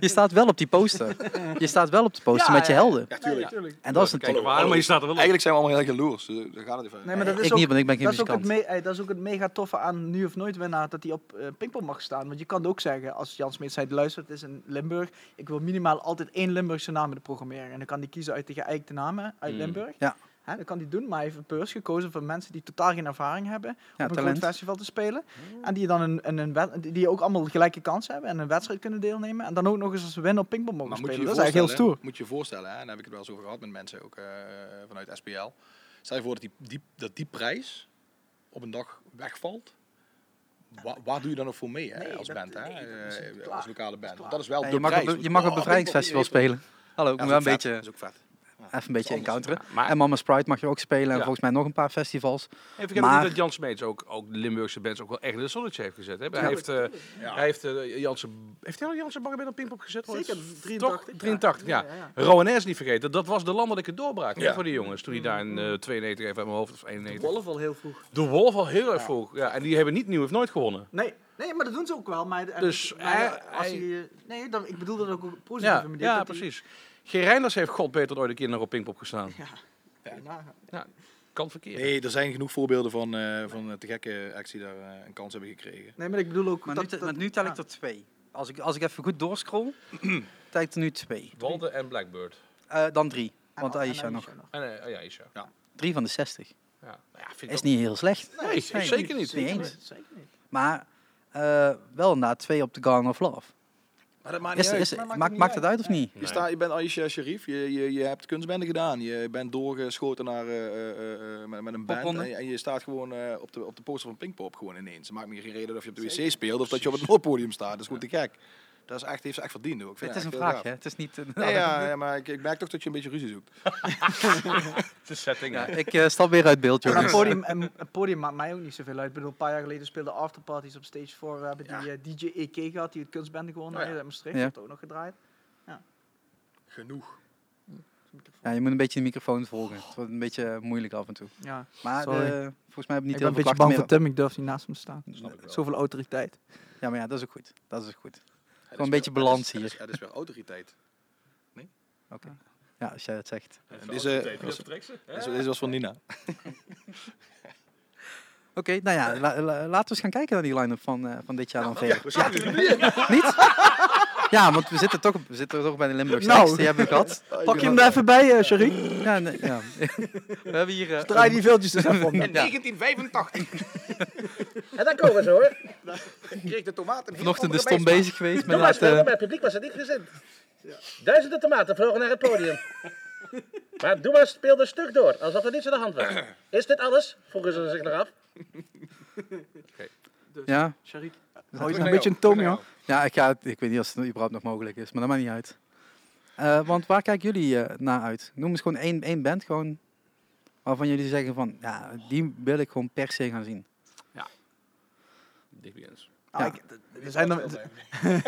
je staat wel op die poster. Je staat wel op de poster Ja, met je ja. helden. Ja, tuurlijk. En dat is natuurlijk... Hallo, waar, Oh, maar je staat er wel op. Eigenlijk zijn we allemaal heel jaloers. Dus daar gaat het even. Nee, maar dat is Ik ook, niet, want ik ben geen dat is ook het muzikant. me- eh, dat is ook het mega toffe aan nu of nooit winnaar dat hij op eh Pinkpop mag staan. Want je kan het ook zeggen, als Jan Smit zei, luister, het is in Limburg. Ik wil minimaal altijd één Limburgse naam in de programmering. En dan kan hij kiezen uit de geëikte namen uit Mm. Limburg. Ja. Hè, dat kan hij doen, maar hij heeft een beurs gekozen voor mensen die totaal geen ervaring hebben Ja, om op een groot talent. festival te spelen. En die dan een, een, een wed- die ook allemaal gelijke kansen hebben en een wedstrijd kunnen deelnemen. En dan ook nog eens als winnen op pingpong mogen Maar moet je spelen. je Dat is eigenlijk heel voorstellen- stoer. Moet je je voorstellen, hè, en daar heb ik het wel eens over gehad met mensen ook eh, vanuit SPL. Stel je voor dat die, die, dat die prijs op een dag wegvalt. Wa- waar doe je dan nog voor mee hè, Nee, als dat- band, hè? nee, dat is eh, klaar. als lokale band. Dat is klaar. dat is wel Ja, de je mag, prijs. op, je mag op Oh, bevrijdingsfestival dat is ook- spelen. Hallo, ik Ja, moet dat wel een is ook vet. beetje, Dat is ook vet. even een beetje anders. encounteren. Maar En Mama Sprite mag je ook spelen. En Ja. volgens mij nog een paar festivals. En vergeet Maar- niet dat Jan Smeets ook, ook de Limburgse bands ook wel echt in de zonnetje heeft gezet. Hè? Hij Ja. heeft, eh Ja. hij heeft eh, Jansen, heeft hij al Jansen Bagger bij een Pinkpop gezet? ooit? Zeker, Toch? 83, ja. 83, ja. Ja, ja, Rowanès niet vergeten, dat was de landelijke doorbraak hè, Ja. voor die jongens. Toen hij daar in eh 92 even uit mijn hoofd, of 91. Wolf al heel vroeg. De Wolf al heel erg vroeg. Ja, en die hebben niet nieuw of nooit gewonnen. Nee, nee, maar dat doen ze ook wel. Maar, Dus maar hij- als hij- je, nee, dan, ik bedoel dat ook op een positieve Ja, manier. ja dat die- precies. Gerijnders heeft god beter dan ooit een keer nog op Pinkpop (laughs) gestaan. Ja, Ja. ja. Kan verkeerd. Nee, er zijn genoeg voorbeelden van, eh, van eh, te gekke actie daar eh, een kans hebben gekregen. Nee, maar ik bedoel ook... Maar, dat, nu, dat- tel ja. ik er twee. Als ik, als ik even goed (clears throat) doorscroll, tel ik er nu twee. Walde en Blackbird. Eh, dan drie. En- Want en Aisha nog. En eh, oh ja, Isha. Drie van de 60. Ja. Nou ja, vind ik Is ook- niet heel slecht. Nee, zeker niet. Niet eens. Zeker niet. Maar eh, wel inderdaad twee op de Garden of Love. Maar dat maakt Is, is, Ah, Maar maakt maakt, het maakt, niet het uit. uit of niet? Je, Nee. staat, je bent Aisha Sharif, je, je, je hebt kunstbende gedaan, je bent doorgeschoten naar, eh, eh, eh, met, met een band Popronde. en, je- en je staat gewoon eh, op, de, op de poster van Pinkpop gewoon ineens. Het maakt me geen reden of je op de wc speelt of dat je op het noordpodium staat, dat is goed te gek. Dat is echt, heeft ze echt verdiend. Hoor. Ik vind het is een echt heel vraag, hè? gaaf. Het is (laughs) niet... een- (laughs) Nee, ja, ja, maar ik, ik merk toch dat je een beetje ruzie zoekt. De setting. Ja, ik eh, stap weer uit beeld, En een jongens. (laughs) podium, en een podium maakt mij ook niet zoveel uit. Ik bedoel, een paar jaar geleden speelden afterparties op stage 4. We hebben die eh, DJ EK gehad, die het kunstbende gewonnen Oh heeft. ja. uit Maastricht Ja. heeft ook nog gedraaid. Dus Genoeg. Ja, je moet een beetje de microfoon volgen. Het wordt een beetje moeilijk af en toe. Ja. Maar Sorry. eh, volgens mij hebben we niet ik ben heel een veel beetje klachten bang meer. voor Tim, ik durf niet naast hem te staan. Snap ik wel. Zoveel autoriteit. Ja, maar ja, dat is ook goed. Dat is ook goed. Het is een weer- beetje het balans is- het hier. is- Het is weer autoriteit. Ja, als jij het zegt. En Deze was- deze- deze was van Nina. Oké, nou ja, la- la- laten we eens gaan kijken naar die line-up van, eh, van dit jaar dan verder. (laughs) Niet? Ja, want we zitten toch, op- we zitten toch bij de Limburgse Nou. acts, die hebben we gehad. (laughs) Pak je hem er even bij, eh Sherry. Ja, nee, (laughs) ja. We hebben hier... eh, Draai die veeltjes er even om. (laughs) Ja. 1985. En dan komen ze hoor. Kreeg de tomaten. Vanochtend is Tom bezig geweest met... eh, Toen was laten- eh, het het publiek was het niet gezind. Duizenden tomaten vlogen naar het (laughs) podium. Maar Doemas speelde stuk door, alsof er niets aan de hand (clears throat) was. Is dit alles? Vroegen ze zich nog af. ja, Sherry. Hou je nog een beetje een toon, Tom joh. ja ik, ga, het- ik weet niet of het überhaupt nog mogelijk is, maar dat maakt niet uit. Eh, want waar kijken jullie eh, naar uit? Noem eens gewoon één, één band gewoon, waarvan jullie zeggen van... Ja, die wil ik gewoon per se gaan zien. Ah, Ja. ik- Er zijn er- (laughs)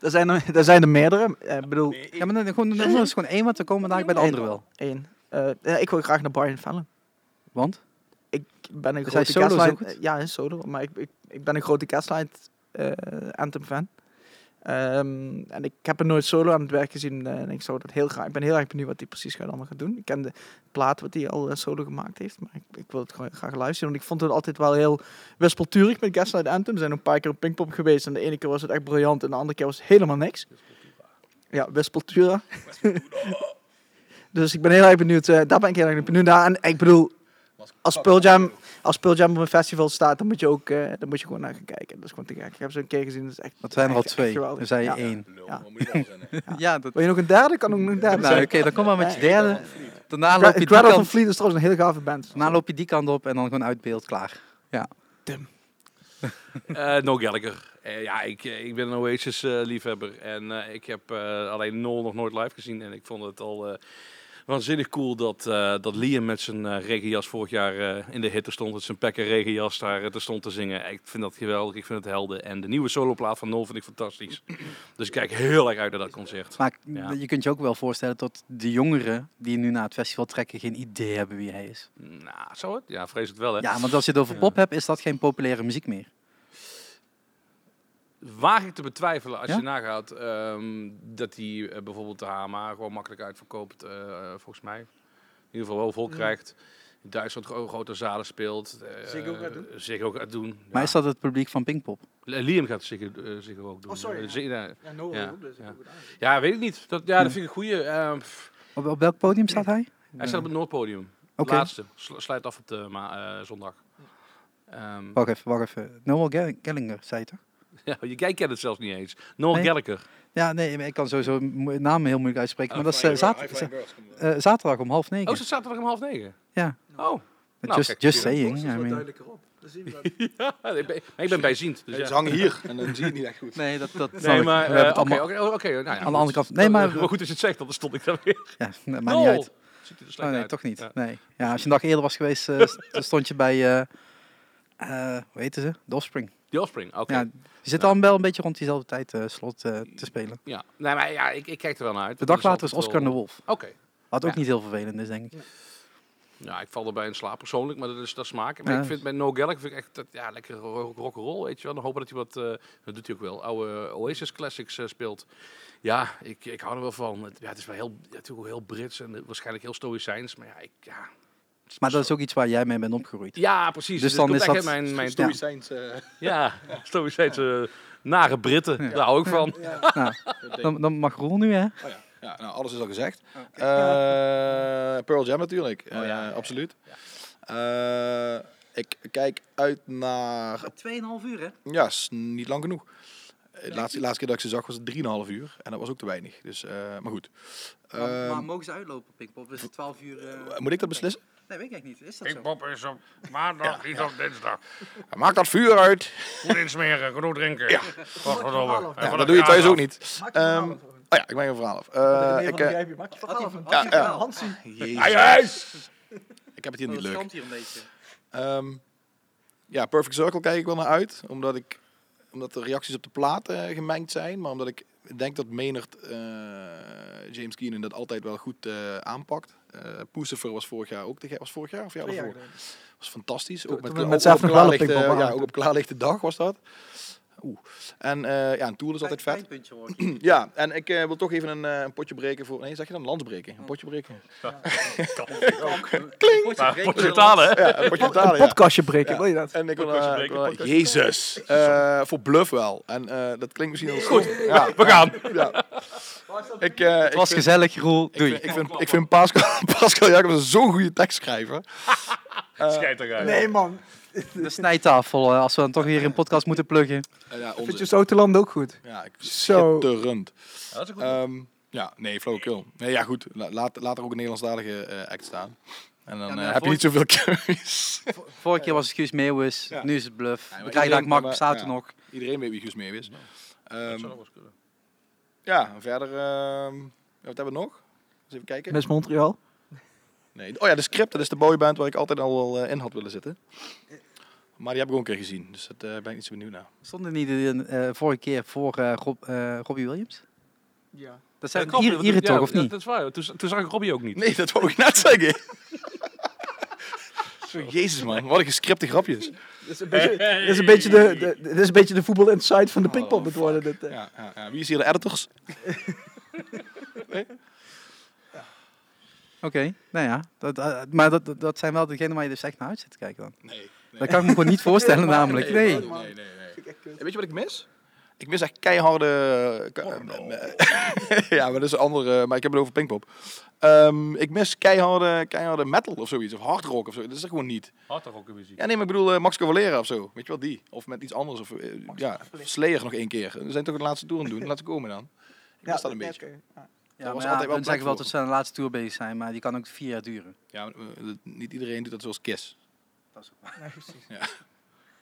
er zijn er- er zijn er meerdere. Eh, Ik bedoel, Ja, maar dan, gewoon, dan is gewoon één, want dan komen we dadelijk bij de andere wel. één. Eh, ja, Ik wil graag naar Brian Fallon. Want? ik ben een Is hij grote solo zo Gaslight... goed? eh, Ja, hij is solo. Maar ik, ik, ik ben een grote Gaslight eh, Anthem fan. Ehm, en ik heb hem nooit solo aan het werk gezien. eh, en ik zou dat heel graag... Ik ben heel erg benieuwd wat hij precies gaat allemaal gaan doen. Ik ken de plaat wat hij al eh, solo gemaakt heeft. Maar ik, ik wil het gewoon graag luisteren. Want ik vond het altijd wel heel wispelturig met Gaslight Anthem. We zijn een paar keer op Pinkpop geweest. En de ene keer was het echt briljant. En de andere keer was het helemaal niks. Ja, wispeltura. (laughs) dus ik ben heel erg benieuwd. eh, daar ben ik heel erg benieuwd naar. En ik bedoel, als Pearl Jam, als Pearl Jam op een festival staat, dan moet je ook eh, dan moet je gewoon naar gaan kijken. Dat is gewoon te gek. Ik heb ze een keer gezien, dat is echt. Dat zijn er al echt- echt twee. geweldig. Dan zei je Ja. één. Ja. Oh, moet je wel (laughs) zijn, hè? Ja, dat... Wil je nog een derde? Kan ook nog een derde. Nou, oké, zijn. dan kom maar met je derde. Daarna Gra- loop je die Cradle van kant, Fleet is trouwens een heel gave band. daarna loop je die kant op en dan gewoon uit beeld, klaar. Eh, no Gallagher. Eh, ja, ik, eh, ik ben een Oasis-liefhebber. en eh, ik heb eh, alleen Nol nog nooit live gezien. En ik vond het al eh, waanzinnig cool dat, eh, dat Liam met zijn eh, regenjas vorig jaar eh, in de hitte stond. Met zijn pekken regenjas daar eh, te stond te zingen. Ik vind dat geweldig. Ik vind het helden. En de nieuwe soloplaat van Nol vind ik fantastisch. Dus ik kijk heel erg uit naar dat Dus concert. Maar Ja. je kunt je ook wel voorstellen dat de jongeren die nu naar het festival trekken geen idee hebben wie hij is. Nou, zou het? Ja, vrees het wel, hè? Ja, want als je het over Ja. pop hebt, is dat geen populaire muziek meer. Waag ik te betwijfelen als Ja? je nagaat ehm, dat die eh, bijvoorbeeld de HMA gewoon makkelijk uitverkoopt, eh, volgens mij. In ieder geval wel vol krijgt. In Duitsland gewoon grote zalen speelt. eh, Ziggo gaat doen? Ziggo gaat doen. Ja. Maar is dat het publiek van Pinkpop? Eh, Liam gaat Ziggo, eh, Ziggo ook doen. Oh, sorry, Eh, ja. Zig- ja. Ja, dus no, Ja, dat is ook ja. weet ik niet. Dat, ja, dat vind ik een goeie. eh, pff. Op, op welk podium staat hij? Hij staat op het Noordpodium. Oké. Laatste. Sl- sluit af op de ma- eh, zondag. Ehm, (laughs) Wacht even, wacht even. Noel Gell- Gellinger, zei je toch? ja, jij kent het zelfs niet eens. Noel Nee. Gallagher. Ja, nee, maar ik kan sowieso mo- namen heel moeilijk uitspreken. Oh, maar dat is eh, zater- za- eh, zaterdag om half negen. Oh, ze zaterdag om half negen. (laughs) Ja. Oh. Nou, just kijk, just zie saying. I mean. duidelijker op. Dan zien we dat. Ja, ik ben, ik ben bijziend. Dus Ze ja. hangen hier en dan zie je het niet echt goed. Nee, dat, (laughs) dat snap Nee, ik. maar We eh, hebben het oké, allemaal... oké, oké. nou ja, Aan de goed. andere kant- nee, maar- Maar goed, als je het zegt, dan stond ik daar weer. Ja, (laughs) nee, maakt niet Noel! uit. Ziet er Oh, slecht nee, uit. toch niet. Ja. Nee. Ja, als je een dag eerder was geweest, eh, st- dan stond je bij... eh, eh, hoe heette ze? De Offspring. The Offspring, oké. Ja, Ja. die zitten al wel een beetje rond diezelfde tijd eh, slot eh, te spelen. Nee, maar ja, ik, ik kijk er wel naar De uit. Dat dag later is altijd Oscar wel- de Wolf. Oké. Wat ook Ja. niet heel vervelend is, denk ik. Ja, ik val erbij in slaap persoonlijk, maar dat is dat smaak. Maar Ja. ik vind bij No Gallagher vind ik echt dat, ja, lekker ro- rock'n'roll, weet je wel. Dan hopen dat hij wat, eh, dat doet hij ook wel, oude Oasis Classics eh, speelt. Ja, ik, ik hou er wel van. Het, ja, het is wel heel, ja, natuurlijk ook heel Brits en eh, waarschijnlijk heel stoïcijns, maar ja, ik, ja. Het Maar dat is ook iets waar jij mee bent opgeroeid. Ja, precies. Dus Dus, dan dan is is dat- mijn, mijn Ja. Stoïcijns, eh, Ja, stoïcijns eh nare Britten, daar hou ik van. Nou, ding. dan, dan mag Roel nu, hè? Oh ja. ja, nou, alles is al gezegd. Eh, Pearl Jam natuurlijk, Eh, absoluut. Eh, ik kijk uit naar... 2,5 uur, hè? Ja, is niet lang genoeg. De laatste, laatste keer dat ik ze zag was het 3,5 uur. En dat was ook te weinig. Dus, eh, maar goed. Eh, mogen ze uitlopen, Pinkpop? Is het 12 uur? eh, moet ik dat beslissen? Nee, weet ik niet. Is dat Pinkpop is op maandag, niet op dinsdag. Maak dat vuur uit! Goed insmeren, genoeg drinken. Ja. Godverdomme. Ja, dat doe je thuis ook niet. Maak je verhaal Ehm, af, hoor. oh ja, ik maak een verhaal af. Eh, ik, eh, heb je makkelijk verhaal van. Ah, had Hansie, hij- ja, Hansie. Jezus, ik heb het hier niet leuk. hier een beetje. Ehm, ja, Perfect Circle kijk ik wel naar uit. Omdat, ik, omdat de reacties op de plaat eh, gemengd zijn. Maar omdat ik denk dat Maynard eh, James Keenan dat altijd wel goed eh, aanpakt. Eh Poesifer was vorig jaar ook. te gek- Was vorig jaar of jaar Twee jaar daarvoor? geleden. was fantastisch. Ook toen met, we ook met op Zaterdag Live klaarlichte- Pinkpop ja, hadden. ook op klaarlichte dag was dat. Oeh. En eh, ja, een tour is altijd vet. puntje Ja, en ik eh, wil toch even een, eh, een potje breken voor... Nee, zeg je dan lans breken? Een potje breken? Potje betalen, hè? Ja, een potje betalen, ja. Podcastje breken, wil je dat? En ik wil, Podcastje eh, breken, ik wil- podcastje Jezus. Eh, voor bluff wel. En eh, dat klinkt misschien heel goed. Ja, We gaan. (laughs) ja. Ik, eh, Het was ik vind, gezellig, Roel. ik Doei. vind, ik vind, ik vind Pascal, (laughs) Pascal Jacobs zo'n goede tekstschrijver. Eh, Schijt eruit. Nee, man. De snijtafel, eh, als we dan toch hier een podcast moeten pluggen. Eh, ja, Vind onzin. je Zoteland ook goed? Ja, ik Zo. schitterend. dat is een goed. Ehm, ja, nee, flauwekul. Nee, ja, goed. La- laat, laat er ook een Nederlandstalige eh, act staan. En dan maar ja, eh, heb je voor- niet zoveel (laughs) keus. Vorige keer was het Guus Meeuwis, Ja. nu is het Bluff. maar we krijgen daar iedereen- Mark maar- Passato ja. nog. Iedereen weet wie Guus mee is. Dat Ehm, zou nog wel eens kunnen. ja, en verder... ehm, wat hebben we nog? Eens even kijken. Miss Montreal. Nee. Oh ja, de script. Dat is de boyband waar ik altijd al wel eh, in had willen zitten. Maar die heb ik ook een keer gezien. Dus daar ben ik niet zo benieuwd naar. Stonden die de eh, vorige keer voor eh, Rob, eh, Robbie Williams? Ja. Dat zijn klopt, hier, dat- hier ja, toch, of dat- niet? Dat is waar. Toen, toen zag ik Robbie ook niet. Nee, dat wou ik net zeggen. (laughs) Zo, Jezus man, wat een gescripte grapjes. Dit is een beetje, dit is een beetje, de, de, dit is een beetje de voetbal inside van de Oh, Pinkpop het worden. Dit, eh. Ja, ja, ja. Wie is hier de editors? Oké, nou ja. Dat, eh, maar dat, dat- dat zijn wel degenen waar je dus echt naar uit zit te kijken dan. Nee. nee. Dat kan ik me gewoon niet voorstellen namelijk. Nee. Nee, nee, nee. En weet je wat ik mis? Ik mis echt keiharde... eh, ke- (laughs) ja, maar dat is een andere... eh, Maar ik heb het over Pinkpop. Ehm, ik mis keiharde, keiharde metal of zoiets. Of hard rock of zo. Dat is er gewoon niet. Had toch ook een muziek. Ja, nee, maar ik bedoel eh, Max Cavalera of zo. Weet je wel, die. Of met iets anders. Of, eh, ja, Slayer nog één keer. We zijn toch de laatste tour aan het doen. Laten we komen dan. Ik mis dat een ja, beetje. oké. Ja. Ja, was maar ja, altijd wel dan zeggen we wel plek dat ze aan de laatste tour bezig zijn, maar die kan ook vier jaar duren. Ja, maar, eh, dat- niet iedereen doet dat zoals Kiss. Nee, precies. Ja,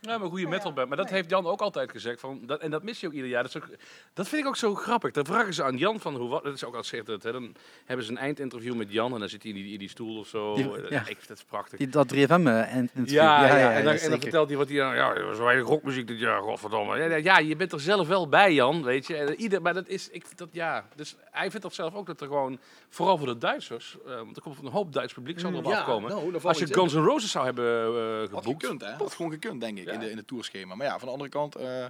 Nou, maar een goede metalband. Maar dat heeft Jan ook altijd gezegd. Van, dat, en dat mis je ook ieder jaar. Dat, is ook- dat vind ik ook zo grappig. Dan vragen ze aan Jan van hoe... wa- Dat is ook al zegt het. Hè, dan hebben ze een eindinterview met Jan. En dan zit hij in die, in die stoel of zo. Die- Eh, ja. Ik vind dat prachtig. Die, dat 3FM eh, en interview. Ja, ja, en, dan, en dan zeker. vertelt hij wat hij dan. Ja, er was weinig rockmuziek dit jaar, godverdomme. Ja, ja, ja, je bent er zelf wel bij, Jan, weet je. En Ieder, maar dat is, ik, vind dat, ja. Dus hij vindt dat zelf ook dat er gewoon, vooral voor de Duitsers, eh, want er komt een hoop Duits publiek zal erop afkomen. nou, Als je Guns N' Roses zou hebben eh, Had geboekt. gekund, hè? Had gewoon gekund, denk ik, Ja. in, de, in het tourschema. Maar ja, van de andere kant eh,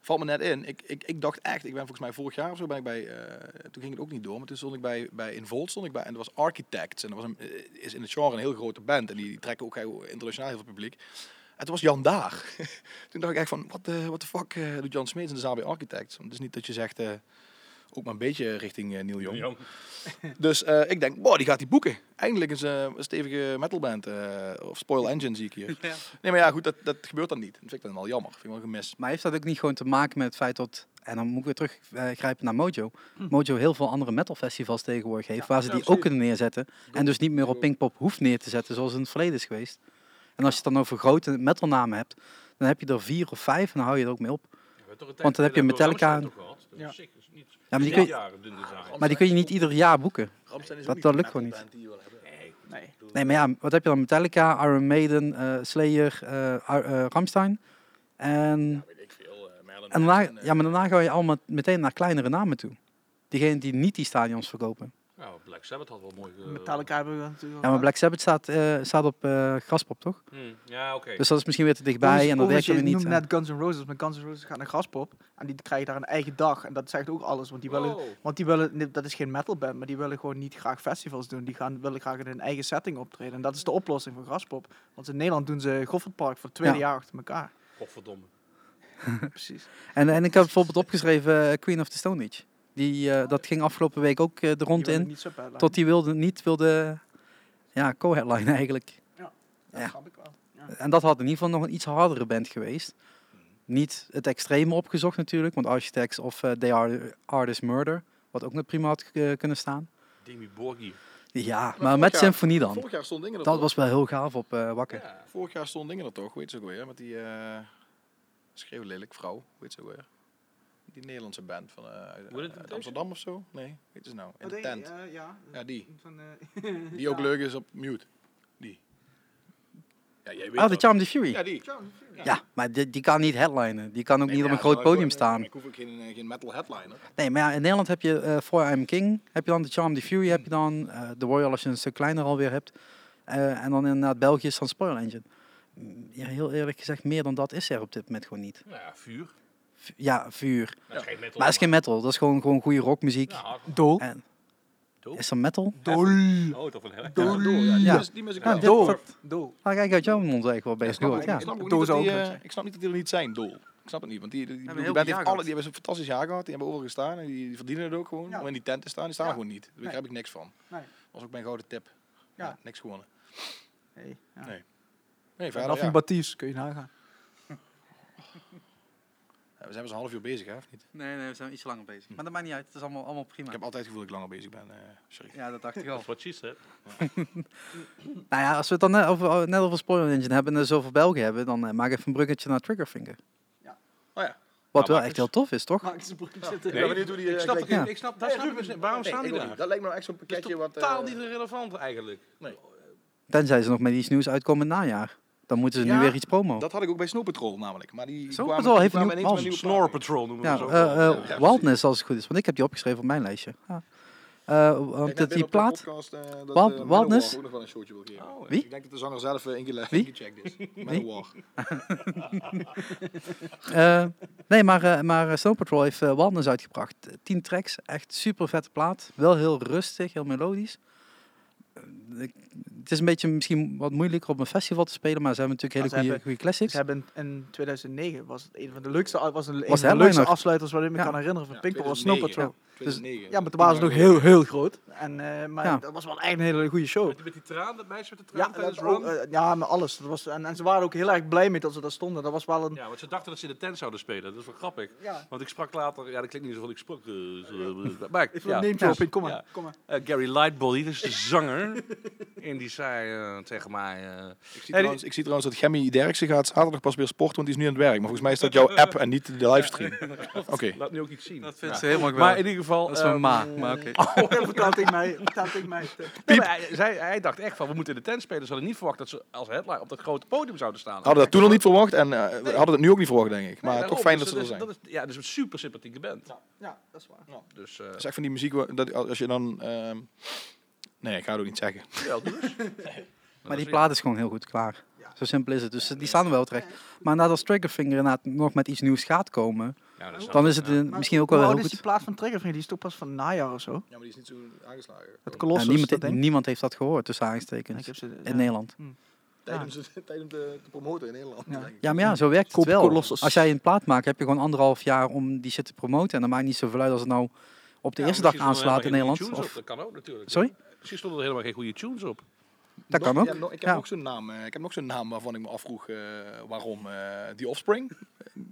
valt me net in. Ik, ik, ik dacht echt, ik ben volgens mij vorig jaar of zo ben ik bij, eh, toen ging het ook niet door, maar toen stond ik bij, bij in Volt stond ik bij en dat was Architects en dat was een, eh, is in het genre een heel grote band en die trekken ook heel internationaal heel veel publiek. En toen was Jan daar. (laughs) toen dacht ik echt van, wat de what the fuck eh, doet Jan Smeets in de zaal bij Architects? Want het is niet dat je zegt, eh, Ook maar een beetje richting eh, Neil Young. Jong. Dus eh, ik denk, wow, die gaat die boeken. Eindelijk is eh, een stevige metalband. eh, of Spoil Engine zie ik hier. Nee, maar ja, goed, dat, dat gebeurt dan niet. Dat vind ik dan wel jammer. vind ik wel gemist. Dus, Maar heeft dat ook niet gewoon te maken met het feit dat... En dan moet ik weer teruggrijpen naar Mojo. Mojo heel veel andere metalfestivals tegenwoordig heeft... waar ze die ook kunnen neerzetten. En dus niet meer op Pinkpop hoeft neer te zetten zoals het in het verleden is geweest. En als je het dan over grote metalnamen hebt... dan heb je er vier of vijf en dan hou je er ook mee op. Want dan heb je Metallica en- Ja. Ja, maar, die kun kun je, maar die kun je niet ieder jaar boeken. Dat- dat lukt gewoon niet. Nee. Nee, maar ja, wat heb je dan? Metallica, Iron Maiden, eh, Slayer, eh, Ar- eh, Ramstein. En, eh, en daarna, ja, maar daarna ga je allemaal meteen naar kleinere namen toe. Diegenen die niet die stadions verkopen. Nou, Black Sabbath had wel mooi... ge- Metallica hebben we natuurlijk Ja, maar Black Sabbath staat, eh, staat op eh, Graspop, toch? Hmm, Ja, oké. Dus dat is misschien weer te dichtbij en dat werkt weer je niet. noemt En- net Guns N' Roses, maar Guns N' Roses gaat naar Graspop. En die krijgen daar een eigen dag. En dat zegt ook alles, want die willen... Wow. Want die willen, nee, dat is geen metalband, maar die willen gewoon niet graag festivals doen. Die gaan, willen graag in hun eigen setting optreden. En dat is de oplossing voor Graspop. Want in Nederland doen ze Goffertpark voor het tweede Ja. jaar (laughs) achter elkaar. Godverdomme. Precies. En, en ik heb bijvoorbeeld opgeschreven eh, Queen of the Stone Age. Die, eh, dat ging afgelopen week ook eh, de Die rond willen in. niet zo bad Tot die wilde, niet wilde... Ja, co-headline (laughs) eigenlijk. lijken. ja. Dat snap ik wel. En dat had in ieder geval nog een iets hardere band geweest. Niet het extreme opgezocht natuurlijk, want Architects of eh, They Are The Artist Murder, wat ook nog prima had eh, kunnen staan. Demi Borgir. Ja, maar, vorig met jaar- symfonie dan. Vorig jaar stond dingen er Dat toch? was wel heel gaaf op eh, Wakker. Ja. Vorig jaar stond dingen er toch? Weet ze ook weer? Met die eh schreeuwlelijk vrouw. Weet ze ook weer? Die Nederlandse band van eh, uit- Hoe heet het uit deze? Amsterdam of zo? Nee, weet ze nou? In de tent. Ja, Eh, ja. Ja, (laughs) die. Van, eh, Die ook leuk is op mute. Die. Ja, jij weet Ah, The dat. Charm The Fury. Ja, Ja, die. maar die, die kan niet headlinen. Die kan ook Nee, niet maar op een ja, groot zou podium ik ook- staan. Ik hoef ook geen, eh, geen metal headliner. Nee, maar ja, in Nederland heb je eh For I'm King, heb je dan The Charm The Fury, heb je dan eh The Royal als je een stuk kleiner alweer hebt. Eh, en dan inderdaad België is dan Spoil Engine. Mm, Ja, heel eerlijk gezegd, meer dan dat is er op dit moment gewoon niet. Nou ja, vuur. V- Ja, vuur. Dat is geen metal. Maar het is geen metal, dat is gewoon, gewoon goede rockmuziek. Ja, hard. Dol. En, Doe. is dat metal? Oh, toch van heel erg. Ja, door, ja. Die, Ja. Mis, die mis ik Ja, wel. dit- Dol. dat- Dol. Nou, kijk uit jouw mond eigenlijk wel best goed. Ja. Ik snap, ook Doe niet ze dat die, ook, eh, mensen. ik snap niet dat die er niet zijn, dol. Ik snap het niet, want die, die, die, hebben die een band heel heeft goed jaar alle, die hebben een fantastisch jaar gehad. Die hebben overal gestaan en die, die verdienen het ook gewoon. Ja. Om in die tent te staan, die staan Ja. gewoon niet. Daar begrijp ik niks van. Nee. was ook mijn gouden tip. Ja. Ja. niks gewonnen. Hey, ja. Nee. Nee, verder, Nothing ja. but thieves, kun je (laughs) nagaan. Ja, We zijn pas een half uur bezig, hè? Of niet? Nee, nee, we zijn iets langer bezig. Maar dat maakt niet uit, het is allemaal, allemaal prima. Ik heb altijd het gevoel dat ik langer bezig ben. eh, sorry. Ja, dat dacht ik (laughs) wel. That's what she said. nou ja, als we het dan net over, net over Spoiler Engine hebben en er zoveel Belgen hebben, dan eh, maak even een bruggetje naar Triggerfinger. Oh ja. Wat Ja, wel maar echt heel tof is, toch? Maak eens een broek zitten. Nee, benieuwd hoe die, ik snap eh, het kijkt. niet. Ik snap, dat snap ik dus niet. Waarom staan die daar? Dat lijkt me nou echt zo'n Dat is pakketje wat... totaal niet relevant eigenlijk. Tenzij ze nog met iets nieuws uitkomen in het najaar. Dan moeten ze Ja, nu weer iets promo. Dat had ik ook bij Snow Patrol namelijk. Maar die Snow kwamen- Patrol die heeft een kwamen nieuw ineens met album. Snor nieuwe platen. Patrol noemen we ja, ze ook. eh, wel. eh, Ja. precies. Wildness als het goed is, want ik heb die opgeschreven op mijn lijstje. Ja. Eh, want Ik dat denk die binnen op de plaat... podcast, eh, dat, Wild- eh, Wildness? Manowar ook nog wel een showtje wil geven. Oh, Wie? Ik denk dat de zanger zelf uh, inge Wie? ingecheckt is. Manowar. Eh, nee, maar, eh, maar eh, Snow Patrol heeft eh, Wildness uitgebracht. Tien tracks, echt super vette plaat. Wel heel rustig, heel melodisch. Eh, ik- het is een beetje misschien wat moeilijker op een festival te spelen, maar ze hebben natuurlijk Maar hele ze goede- goede classics. Ze hebben in 2009 was het een van de leukste, was het een Was van de headliner. leukste afsluiters wat ik me Ja. kan herinneren van Ja, Pinkpop was Snow 2009, Patrol. Dus- 2009. Ja, maar toen waren ze nog heel, heel groot. En, eh, maar Ja. dat was wel echt een hele goede show. Met die- met die traan, dat meisje met de Ja, traan tijdens dat ook, Run. eh, ja, maar alles. Dat was, en, en ze waren ook heel erg blij mee dat ze daar stonden. Dat was wel een... Ja, want ze dachten dat ze in de tent zouden spelen. Dat is wel grappig. Ja. Want ik sprak later, ja, dat klinkt niet zo van ik sprak. eh, zo, eh, maar ik, Ik wil een ja. neemt op in, kom maar. Ja. Kom maar. Eh, Gary Lightbody, dat is de zanger. (laughs) en die zei eh, tegen mij. eh, Ik zie, trouwens, ik zie trouwens dat Gemmy Derksen gaat zaterdag pas weer sporten, want die is nu aan het werk. Maar volgens mij is dat jouw app en niet de livestream. Oké. Laat nu ook iets zien. vindt ze helemaal Maar in ieder geval. Dat is van ehm, ma, maar oké. Oh, vertel tegen mij. Vertel tegen mij. nee, maar hij, zij, hij dacht echt van we moeten in de tent spelen. Ze hadden niet verwacht dat ze als headline op dat grote podium zouden staan. Hadden dat toen al niet verwacht en eh, we hadden het nu ook niet verwacht, denk ik. Nee, Maar daarom. toch fijn Dus dat ze er is- zijn. is, ja, dus een super sympathieke band. Ja, dat is waar. Dus eh Dat is echt van die muziek, wa- dat, als je dan... ehm, nee, ik ga het ook niet zeggen. wel dus. Oh, Maar die plaat is gewoon heel goed klaar. Ja. Zo simpel is het. Dus die staan er wel terecht. Maar nadat als Triggerfinger inderdaad nog met iets nieuws gaat komen, Ja, dat dan is het eh, Maar misschien ook hoe wel heel oud is goed. die plaats van Triggerfinger? Die is toch pas van najaar of zo? Ja, maar die is niet zo aangeslagen. Het Ja, Colossus, niemand, dat denk ik. niemand heeft dat gehoord, tussen aanstekens, Ik heb ze- ja. in Nederland. Tijdens, tijdens de, promoten in Nederland. Ja. denk ik. Ja, maar ja, zo werkt het Koop wel. Colossus. Als jij een plaat maakt, heb je gewoon anderhalf jaar om die shit te promoten. En dat maakt niet zoveel uit als het nou op de eerste dag aanslaat in Nederland. Of... Of, Dat kan ook natuurlijk. sorry? Misschien stonden er helemaal geen goede tunes op. Dat Nog- kan ook. ja, nog- ik heb Ja. nog zo'n naam. eh, Ik heb nog zo'n naam waarvan ik me afvroeg eh, waarom. eh die Offspring.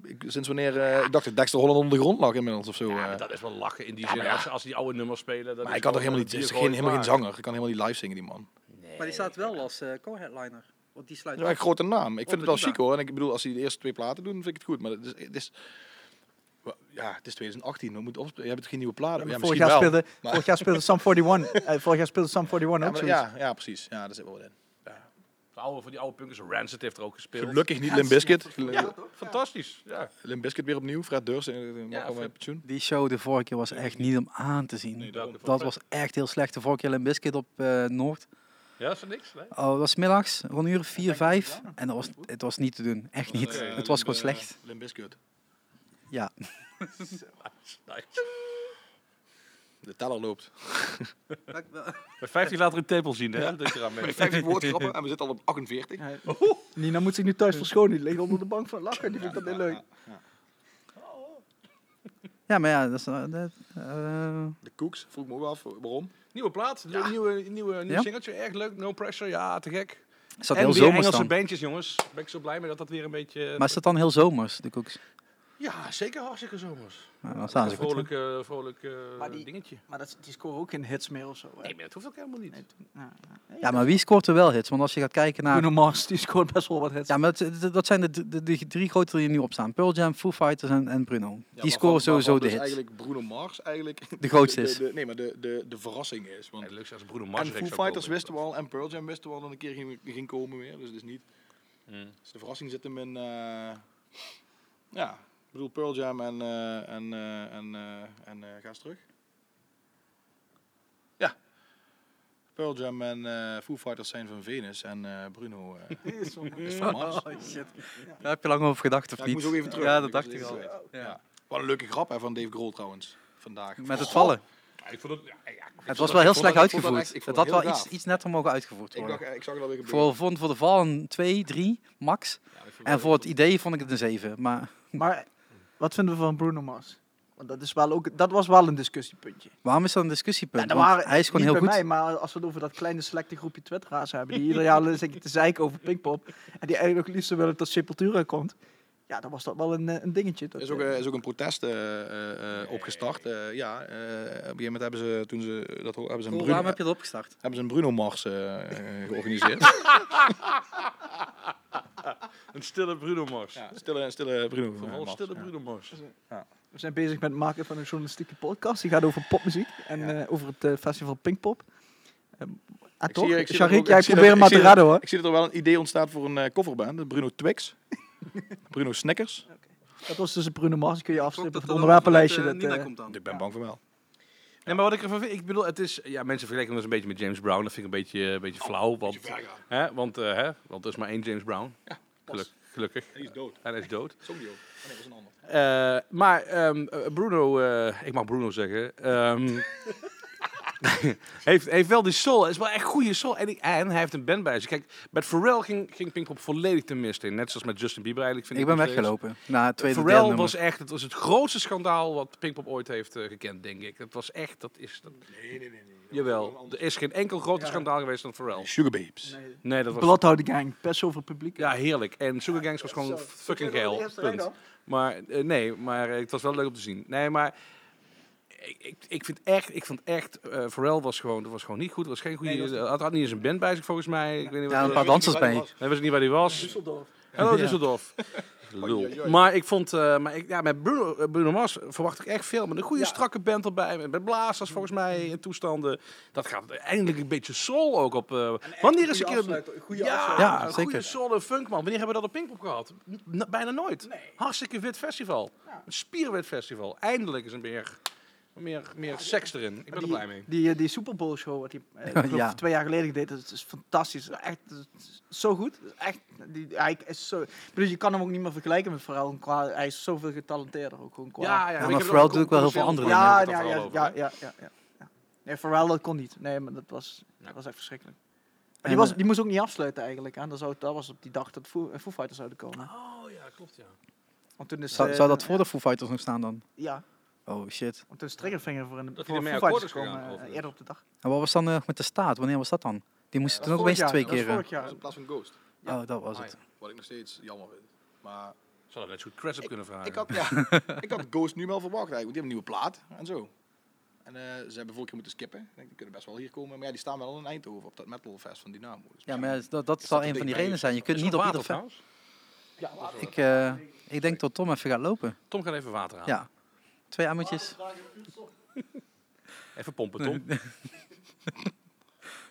Ik, sinds wanneer? eh, ik dacht dat Dexter Holland onder de grond lag inmiddels of zo. eh. Ja, maar dat is wel lachen in die zin. Als, ze- als die oude nummers spelen. Dat maar is hij kan toch gewoon helemaal een niet. Is biergooi geen, helemaal geen maar. zanger. Hij kan helemaal niet live zingen die man. Maar die staat wel als eh, co-headliner. Want die Dat sluit is wel een grote naam. Ik Op vind de het wel Duda. chic hoor. En ik bedoel, als hij de eerste twee platen doen, vind ik het goed. Maar het is, het is, wel, ja, het is 2018. We moeten opspelen. Je hebt geen nieuwe platen. Ja, vorig, misschien jaar wel. speelde, maar- vorig jaar speelde Sam 41. eh, vorig jaar speelde Sam 41 ja, ook maar- zoiets. ja, ja, precies. Ja, daar zit wel wat in. De oude, van die oude punkers, Rancid heeft er ook gespeeld. Gelukkig niet Limp Bizkit. Ja, fantastisch. Ja. Limp Bizkit weer opnieuw. Fred Durst. eh, mag alweer Fred- pensioen. Die show de vorige keer was echt niet om aan te zien. daarom. dat was echt heel slecht. De vorige keer Limp Bizkit op eh, Noord. Ja, is er niks? Nee? Oh, dat was middags, rond een uur, vier, vijf. En dat was, het was niet te doen. Echt niet. Eh, het was Limp, gewoon eh, slecht. Limp Bizkit. (laughs) Ja. Nice. De teller (laughs) loopt. Bij 15 later een tepel zien, hè? Dat je eraan (laughs) mee. 15 woordgrappen en we zitten al op 48. Nina moet zich nu thuis verschonen. Die ligt onder de bank van lachen. Die vindt dat niet leuk. ja, maar ja, dat is... eh, dat, eh, De Cooks, vroeg me ook af waarom. Nieuwe plaat, nieuwe, nieuwe, nieuwe nieuw Ja? singeltje. Erg leuk, no pressure. Ja, te gek. het zat en heel weer zomers Engelse dan. bandjes, jongens. Daar ben ik zo blij mee dat dat weer een beetje... Maar is dat dan heel zomers, de koeks? Ja, zeker hartstikke zomers. Nou, dan staan ze een goed. vrolijk, eh, vrolijk eh, Maar die- dingetje. Maar dat, die scoren ook geen hits meer of zo. hè? Nee, maar dat hoeft ook helemaal niet. Ja, ja. Ja, maar wie scoort er wel hits? Want als je gaat kijken naar... Bruno Mars, die scoort best wel wat hits. Ja, maar dat, dat- dat zijn de, de, de drie grote die nu opstaan. Pearl Jam, Foo Fighters en, en Bruno. die scoren sowieso de dus hits. eigenlijk Bruno Mars eigenlijk... De grootste is. (laughs) De, de- nee, maar de, de, de verrassing is. Want Het leukste als Bruno Mars. en Foo Fighters wisten we al en Pearl Jam wisten we al dat een keer ging, ging komen weer. Dus het is niet... Dus de verrassing zit hem in... eh, ja, ik bedoel Pearl Jam en... eh, en, eh, en, eh, en eh, ga eens terug. Ja. Pearl Jam en eh, Foo Fighters zijn van Venus en eh, Bruno eh, is (laughs) van Mars. Daar heb je lang over gedacht, of Ja, ik niet? moest ook even terug. Ja, dat was dacht ik even al. kwijt. Ja. Wat een leuke grap hè, van Dave Grohl trouwens. Vandaag. Met het vallen. ik vond het... Ja, ja, Het was wel heel ik vond slecht dat- ik vond dat echt- uitgevoerd. ik Het vond had dat wel heel iets, gaaf. iets netter mogen uitgevoerd Ik, worden. dacht, ik zag het alweer gebeuren. Voor, vond voor de val een 2, 3, max. En voor het idee vond ik het een 7. Maar Maar wat vinden we van Bruno Mars? Want dat, is wel ook, dat was wel een discussiepuntje. waarom is dat een discussiepunt? Ja, er Want waren- hij is gewoon niet heel bij goed. mij, maar als we het over dat kleine selecte groepje twitteraars hebben... die ieder jaar zitten te zeiken over Pinkpop... en die eigenlijk het liefst willen dat Sepultura komt... ja, dan was dat wel een, eh, een dingetje. Er Dat, is ook, eh, eh, is ook een protest eh, eh, eh, opgestart. Eh, ja, eh, op een gegeven moment hebben ze, toen ze, dat, ho- hebben ze een Bruno, Waarom heb je dat opgestart? hebben ze een Bruno Mars eh, eh, georganiseerd. Een stille Bruno Mars. ja, stille, stille Bruno Vooral een Mars. stille ja. Bruno Mars. We zijn bezig met het maken van een journalistieke podcast. Die gaat over popmuziek en eh, over het eh, festival Pinkpop. Ehm, ah, Ik toch? zie- ik zie dat Sharik, ook- jij ik zie probeert dat- hem maar ik zie te dat- raden hoor. Ik zie dat er wel een idee ontstaat voor een eh, coverband. eh, Bruno Twix. (laughs) Bruno Snickers. Dat was dus een Bruno Mars. Kun je afstippen dat van het dat onderwerpenlijstje. vanuit, eh, Dat, Nina eh, komt dan. Ik ben bang voor wel. Nee, maar wat ik ervan vind, ik bedoel, het is, ja, mensen vergelijken ons een beetje met James Brown. Dat vind ik een beetje, Oh, een beetje flauw, want, hè, want, eh, hè, want er is maar één James Brown. Geluk- gelukkig. Die is dood. En hij is dood. Song die ook. Oh nee, dat is een ander. Eh, maar ehm, eh, Bruno, eh, ik mag Bruno (laughs) zeggen, ehm, heeft, heeft wel die soul. Het is wel echt goede soul. En, ik- en hij heeft een band bij zich. Kijk, met Pharrell ging, ging Pinkpop volledig de mist in. Net zoals met Justin Bieber eigenlijk. Vind Ik ik, ben nog steeds. weggelopen. Na het tweede derde Pharrell nummer. was echt, het was het grootste schandaal wat Pinkpop ooit heeft eh, gekend, denk ik. Dat was echt, dat is... Dat, Nee, nee, nee. nee. Jawel, er is geen enkel groter schandaal geweest dan Pharrell. Sugar Babes. Nee, dat was... Bloodhound Gang, pers over publiek. Ja, heerlijk. En Sugar Gangs was gewoon fucking geil. Punt. Maar eh, nee, maar eh, het was wel leuk om te zien. Nee, maar ik, ik, ik vind echt, ik vond echt, eh Pharrell was gewoon, dat was gewoon niet goed. Er was geen goede, had, had niet eens een band bij zich volgens mij. Ik weet niet Ja, wat, een paar dansers bij. Hij wist niet waar hij was. Hallo Düsseldorf. (laughs) Lul. Maar ik vond, eh, maar ik, ja, met Bruno, eh, Bruno Mars verwacht ik echt veel. Met een goede strakke band erbij, met, met blazers volgens mij in toestanden. Dat gaat eindelijk een beetje soul ook op. eh, wanneer is een keer een goede ja, Ja, een zeker. goede soul en funk man. Wanneer hebben we dat op Pinkpop gehad? N- bijna nooit. Hartstikke wit festival, een spierwit festival. Eindelijk is een meer, meer, meer seks erin. Ik ben er Die, blij mee. die, eh, die Super Bowl show, wat hij eh, (laughs) ik geloof Ja. twee jaar geleden deed, dat is fantastisch. Echt dat is zo goed. Echt, die, hij is zo, ik bedoel, je kan hem ook niet meer vergelijken met Pharrell. Qua, hij is zoveel getalenteerder ook gewoon qua. maar Pharrell doet ook wel heel veel andere dingen. Ja, ja, Ja, ja, ja, ja, ja, ja. Nee, Pharrell dat kon niet. Nee, maar dat was, dat was echt verschrikkelijk. Maar die, En, eh, was, die moest ook niet afsluiten eigenlijk. Hè. Dat, zou, dat was op die dag dat Foo, eh, Foo Fighters zouden komen. Oh ja, klopt ja. Want toen is, Ah. Zou, eh, zou dat voor de Foo Fighters nog staan dan? Ja. Oh shit. Om een triggervinger voor een Dat dat hij voor ermee Foo Fighters te komen akkoord is gegaan, eh, overigens. eerder op de dag. En wat was dan eh, met de staat? Wanneer was dat dan? Die moesten dat toen ook Vorig opeens twee jaar, dat was keer... eh, vorig Dat jaar. is in plaats van Ghost. ja. Oh, dat was het. Ah, ja. Wat ik nog steeds jammer vind. Maar Zou dat net zo goed Chris op kunnen vragen. ik, had, ja, (laughs) ik had Ghost nu wel verwacht eigenlijk, want die hebben een nieuwe plaat en zo. En eh, ze hebben vorige keer moeten skippen. Ik denk, die kunnen best wel hier komen. Maar ja, die staan wel in Eindhoven op dat metalfest van Dynamo. Dus Ja, maar misschien- ja, dat, dat Is zal dat een een van die ding redenen zijn. Je kunt Is niet er op nog ieder... water fe- trouwens? Ik, eh, ik denk dat Tom even gaat lopen. Tom gaat even water aan. Ja. Twee emmertjes. Even pompen, Tom.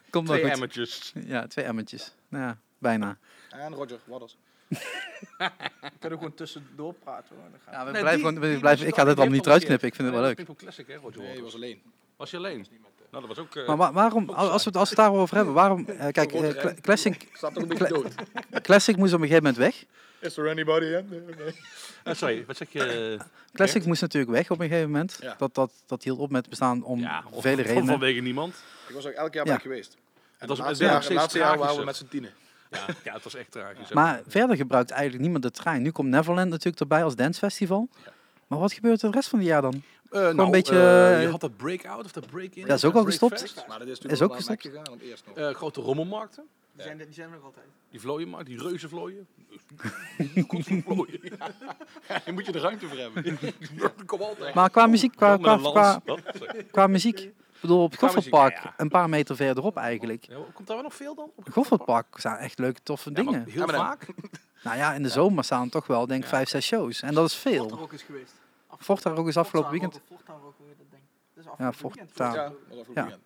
Komt wel Twee goed. emmertjes. Ja, twee emmertjes. Nou ja, bijna. En Roger Waters. (laughs) We kunnen gewoon tussendoor praten. Hoor. Dan gaan we. Ja, we Nee, blijven, die- gewoon- we die blijven, was ik toch- ga dit die allemaal niet heeft al eruit een keer- knippen. Ik vind het Nee, wel dat is leuk. Pinkpop Classic, hè, Roger Nee, die Waters. was alleen. Was je alleen? Nou, dat was ook... eh, Maar wa- waarom, als we, het- (laughs) als we het daarover hebben, waarom... eh, kijk, eh, Rotterdam. Cla- Classic, Staat (laughs) toch een beetje dood. Classic moest op een gegeven moment weg. Is there anybody in? Nee, nee. eh, sorry, wat zeg je? Classic moest natuurlijk weg op een gegeven moment. Ja. Dat, dat, dat hield op met bestaan om Ja, of- vele of redenen. Vanwege niemand. Ik was ook elk jaar Ja. ben ik geweest. En was- het de laatste werd jaar, nog steeds laatste jaar waren we tragischer. met z'n tienen. Ja, ja, het was echt tragisch. Maar verder gebruikt eigenlijk niemand de trein. Nu komt Neverland natuurlijk erbij als dancefestival. Maar wat gebeurt er de rest van het jaar dan? Gewoon een beetje, eh, nou, je had dat breakout of dat break-in. Ja, is ook al gestopt. Maar dat is Is natuurlijk ook wel naar gestopt. Mac gegaan, want eerst nog. Eh, grote rommelmarkten. Die, zijn, die zijn er nog altijd. Die vlooienmarkt, die reuzenvlooien. Die komt van vlooien. Daar moet je de ruimte voor hebben. Dat komt altijd. Maar qua muziek, qua, Kom met qua, een qua, lans. Wat? Sorry. qua muziek. Ik bedoel, op het Qua muziek, Goffertpark, ja, ja. een paar meter verderop eigenlijk. Ja, komt daar wel nog veel dan? Op Goffertpark zijn echt leuke, toffe Ja, maar dingen. Heel vaak. Nou ja, in de zomer staan toch wel, denk ik, vijf, zes shows. En dat is Forta veel. Rock is geweest. Forta Rock is afgelopen Forta Rock, weekend. Forta Rock, hoe heet dat ding? Dat is Ja, afgelopen Forta. weekend. Ja, dat was afgelopen Ja. weekend.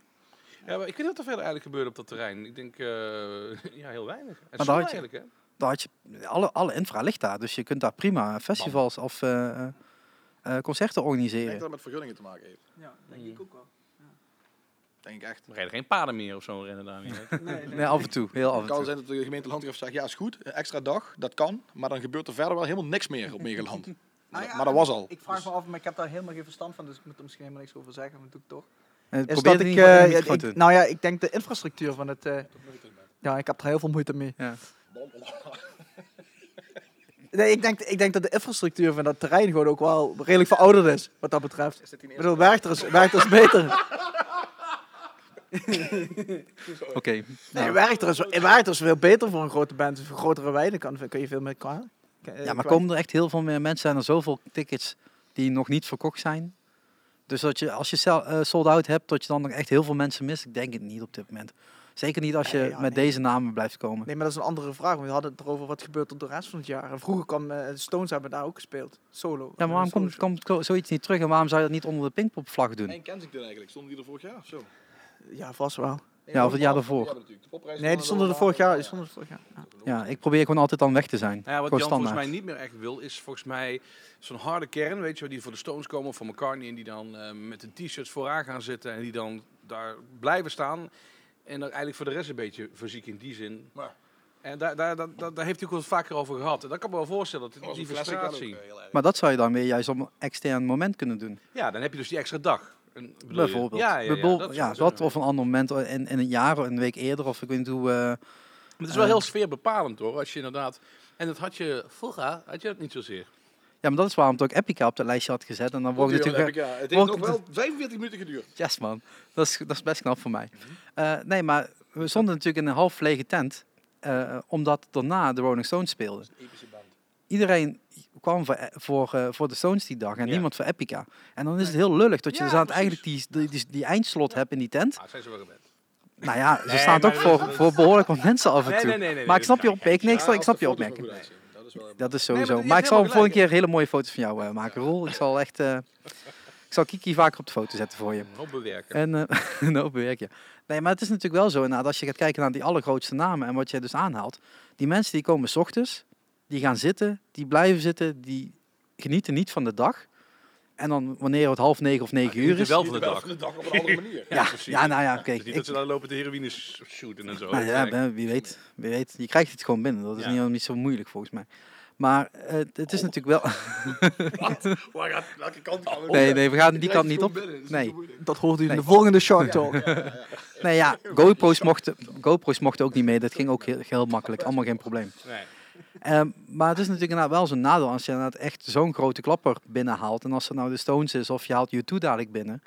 Ja, maar ik weet niet wat er verder eigenlijk gebeurde op dat terrein. Ik denk, eh, (laughs) ja, heel weinig. En daar zo had je- eigenlijk, hè? Daar had je, alle, alle infra ligt daar, dus je kunt daar prima festivals of eh, eh, eh, concerten Ik organiseren. denk dat het met vergunningen te maken heeft. Ja, denk ik ook wel. Denk ik echt. Er rijden geen paarden meer of zo rennen daar meer. Nee, nee. Nee, af en toe. Heel af en Het kan toe. zijn dat de gemeente Landgraaf zegt, ja is goed, een extra dag, dat kan. Maar dan gebeurt er verder wel helemaal niks meer op (laughs) Megeland. Nou ja, maar dat was al. Dus- Ik vraag me af, maar ik heb daar helemaal geen verstand van, dus ik moet er misschien helemaal niks over zeggen, maar dat doe ik toch. En Is probeer dat het ik, niet gewoon in eh, de ik- microfoon te doen. nou ja, ik denk de infrastructuur van het. eh, ja, ik heb er heel veel moeite mee. Ja. Nee, ik denk, ik denk dat de infrastructuur van dat terrein gewoon ook wel redelijk verouderd is, wat dat betreft. Is dit die Ik eerste bedoel, werkt er eens, werkt er eens (laughs) beter. Oké. Nee, nou. werkt er eens, werkt er eens veel beter voor een grote band. Dus voor grotere weiden kan, kun je veel meer eh, kwaad. Ja, maar komen er echt heel veel meer mensen? Zijn er zoveel tickets die nog niet verkocht zijn? Dus dat je, als je sel- eh, sold out hebt, dat je dan nog echt heel veel mensen mist? Ik denk het niet op dit moment. Zeker niet als je Nee, ja, met nee. deze namen blijft komen. Nee, maar dat is een andere vraag. want We hadden het erover wat gebeurt er de rest van het jaar. En vroeger kwam eh, de Stones hebben daar ook gespeeld. Solo. Ja, maar waarom komt, komt ko- zoiets niet terug en waarom zou je dat niet onder de Pinkpopvlag doen? En Kensington eigenlijk, stonden die er vorig jaar of zo? Ja, vast wel. Ja, of het jaar daarvoor. Nee, die stonden er vorig jaar. Die stonden er vorig jaar. Ja. Ja, ik probeer gewoon altijd dan weg te zijn. Nou ja, wat Gewoon Jan volgens mij standaard. niet meer echt wil, is volgens mij zo'n harde kern, weet je wel, die voor de Stones komen of voor McCartney en die dan eh, met hun t-shirts vooraan gaan zitten en die dan daar blijven staan en dan eigenlijk voor de rest een beetje fysiek in die zin. Maar- En daar, daar, daar, daar, daar heeft hij ook wel vaker over gehad. En dat kan ik me wel voorstellen, dat die frustratie. eh, Maar dat zou je dan weer juist op een extern moment kunnen doen. Ja, dan heb je dus die extra dag. En, bedoel je- Bijvoorbeeld. Ja, ja, ja, Bijvoorbeeld- dat, ja, is- dat of een ander moment eh, in, in een jaar, een week eerder, of ik weet niet hoe. eh, Maar het is wel heel sfeerbepalend hoor, als je inderdaad... En dat had je vroeger, had je dat niet zozeer. Ja, maar dat is waarom ik ook Epica op dat lijstje had gezet. En dan word ik natuurlijk. natuurlijk... Het heeft wordt nog het- wel 45 minuten geduurd. Yes, man. Dat is, dat is best knap voor mij. Mhm. Eh, nee, maar we stonden natuurlijk in een half lege tent. eh, omdat daarna de Rolling Stones speelden. Iedereen kwam voor, voor, eh, voor de Stones die dag en Ja. niemand voor Epica. En dan is het heel lullig dat je Ja, dus aan het precies. eigenlijk die, die, die, die eindslot hebt in die tent. Ah, zijn ze wel gewend. Nou ja, ze Nee, staan maar toch dat- voor, dat- voor behoorlijk wat mensen af en Nee, toe. nee, nee, nee, maar ik nee, snap je dat op. kan Ik, nee, ik, Ja, snap- ik als snap de je foto's opmerking. maar goed uitzien. Dat is (laughs) wel... Dat is Nee, maar sowieso. je maar ik hebt zal een helemaal volgende keer een hele mooie foto van jou eh, maken, Roel. Ik zal echt. eh, ik zal Kiki vaker op de foto zetten voor je. Op bewerken. En eh (laughs) een hoop werk, ja. Nee, maar het is natuurlijk wel zo. inderdaad, als je gaat kijken naar die allergrootste namen en wat jij dus aanhaalt. Die mensen die komen 's ochtends, die gaan zitten, die blijven zitten, die genieten niet van de dag. En dan wanneer het half negen of negen uur Niet is. wel van de Wel dag. van de dag op (laughs) een andere manier. ja, ja, nou ja, Dus kijk. niet ik- dat ze daar lopen de heroïne sh- shooten en zo. nou ja, Nee. ben- wie, weet, wie weet. Je krijgt het gewoon binnen. Dat is Oh, Ja. niet, niet zo moeilijk volgens mij. Maar eh, het is natuurlijk wel. Waar gaat, (laughs) welke kant gaan we? (laughs) Nee, nee, we gaan die Krijg kant je niet gewoon op. binnen, dat is Nee. niet zo moeilijk. Dat hoort u in Nee. de volgende Shark Talk. Nee, (laughs) ja, GoPro's mochten, GoPro's mochten ook niet mee. Dat ging ook heel, heel makkelijk. Allemaal geen probleem. Nee. Ehm, maar het is natuurlijk inderdaad wel zo'n nadeel als je inderdaad echt zo'n grote klapper binnenhaalt. En als er nou de Stones is of je haalt U2 dadelijk binnen.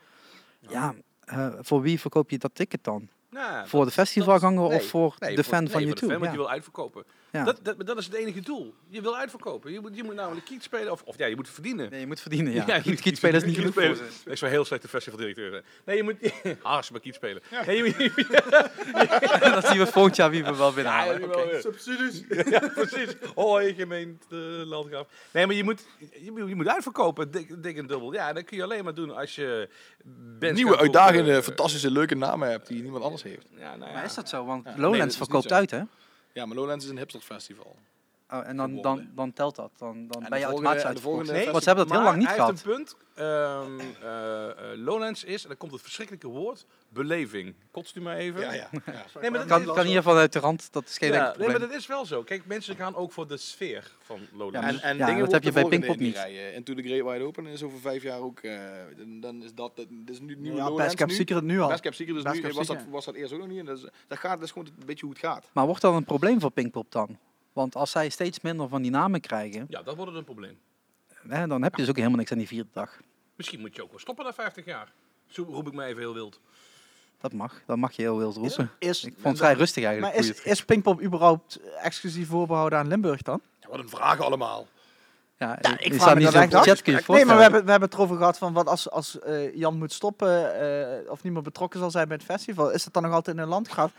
Ja, eh, voor wie verkoop je dat ticket dan? Nou, voor de festivalganger nee, of voor nee, de voor- fan nee, van voor de YouTube? fan, want ja. je wil uitverkopen. Ja. Dat, dat, maar dat is het enige doel. Je wil uitverkopen. Je moet, je moet namelijk kiet spelen. Of, of ja, je moet verdienen. Nee, je moet verdienen, ja. (laughs) Ja, Kiet- kietspelen is niet genoeg voor ze. Ik zou heel slechte festivaldirecteur zijn. Nee, je moet... (laughs) Haas, maar kiet spelen. Nee, je moet... (laughs) (laughs) Dat zien we volgend jaar wie we wel Ja, binnenhalen. wel weer. Subsidies. ja, precies. Hoi, gemeente eh, Landgraaf. Nee, maar je moet, je, moet- je moet uitverkopen, dik, dik en dubbel. Ja, dat kun je alleen maar doen als je... bands Nieuwe gaat uitdagende, toeren. fantastische, leuke namen hebt die niemand anders heeft. Ja, nou ja. Maar is dat zo? Want Ja. Lowlands Nee, dat is niet verkoopt zo. uit, hè? Ja, maar Lowlands is een hipsterfestival. Oh, en dan, dan, Verbonden. dan telt dat. Dan, dan de ben je volgende- automatisch en de uitverkocht. volgende Want ze hebben dat heel maar lang niet hij gehad. heeft een punt. Ehm eh, eh, Lowlands is, en dan komt het verschrikkelijke woord, beleving. Kotst u maar even. Nee, maar dat Kan, is kan hier vanuit de rand, dat is geen Ja, enkel nee, probleem. maar dat is wel zo. Kijk, mensen gaan ook voor de sfeer van Lowlands. Ja, En, en Ja, dingen dat wordt heb je de bij volgende Pinkpop niet. rijden. En toen de Great Wide Open is over vijf jaar ook. eh, dan- dan is dat. Dit is nu nieuwe Ja, Lowlands Best Cap nu. Secret nu al. Best Cap Secret, dus Best nu Cap was dat, Secret. was dat eerst ook nog niet. En dat, is, dat, gaat, dat is gewoon een beetje hoe het gaat. Maar wordt dat een probleem voor Pinkpop dan? Want als zij steeds minder van die namen krijgen, ja, dat wordt het een probleem. hè, dan heb je dus ook helemaal niks aan die vierde dag. Misschien moet je ook wel stoppen na 50 jaar. Zo roep ik me even heel wild. Dat mag, dat mag je heel wild roepen. Is, Ik vond het vrij rustig eigenlijk. Dus maar hoe je het- is, is Pinkpop überhaupt exclusief voorbehouden aan Limburg dan? Ja, wat een vraag allemaal. ja, ik je vraag staat me niet dat zo'n echt af. budget, kun je je Nee, maar we voorstellen. hebben, we hebben het erover gehad van wat als, als eh, Jan moet stoppen eh, of niet meer betrokken zal zijn bij het festival, is dat dan nog altijd in een landgraaf?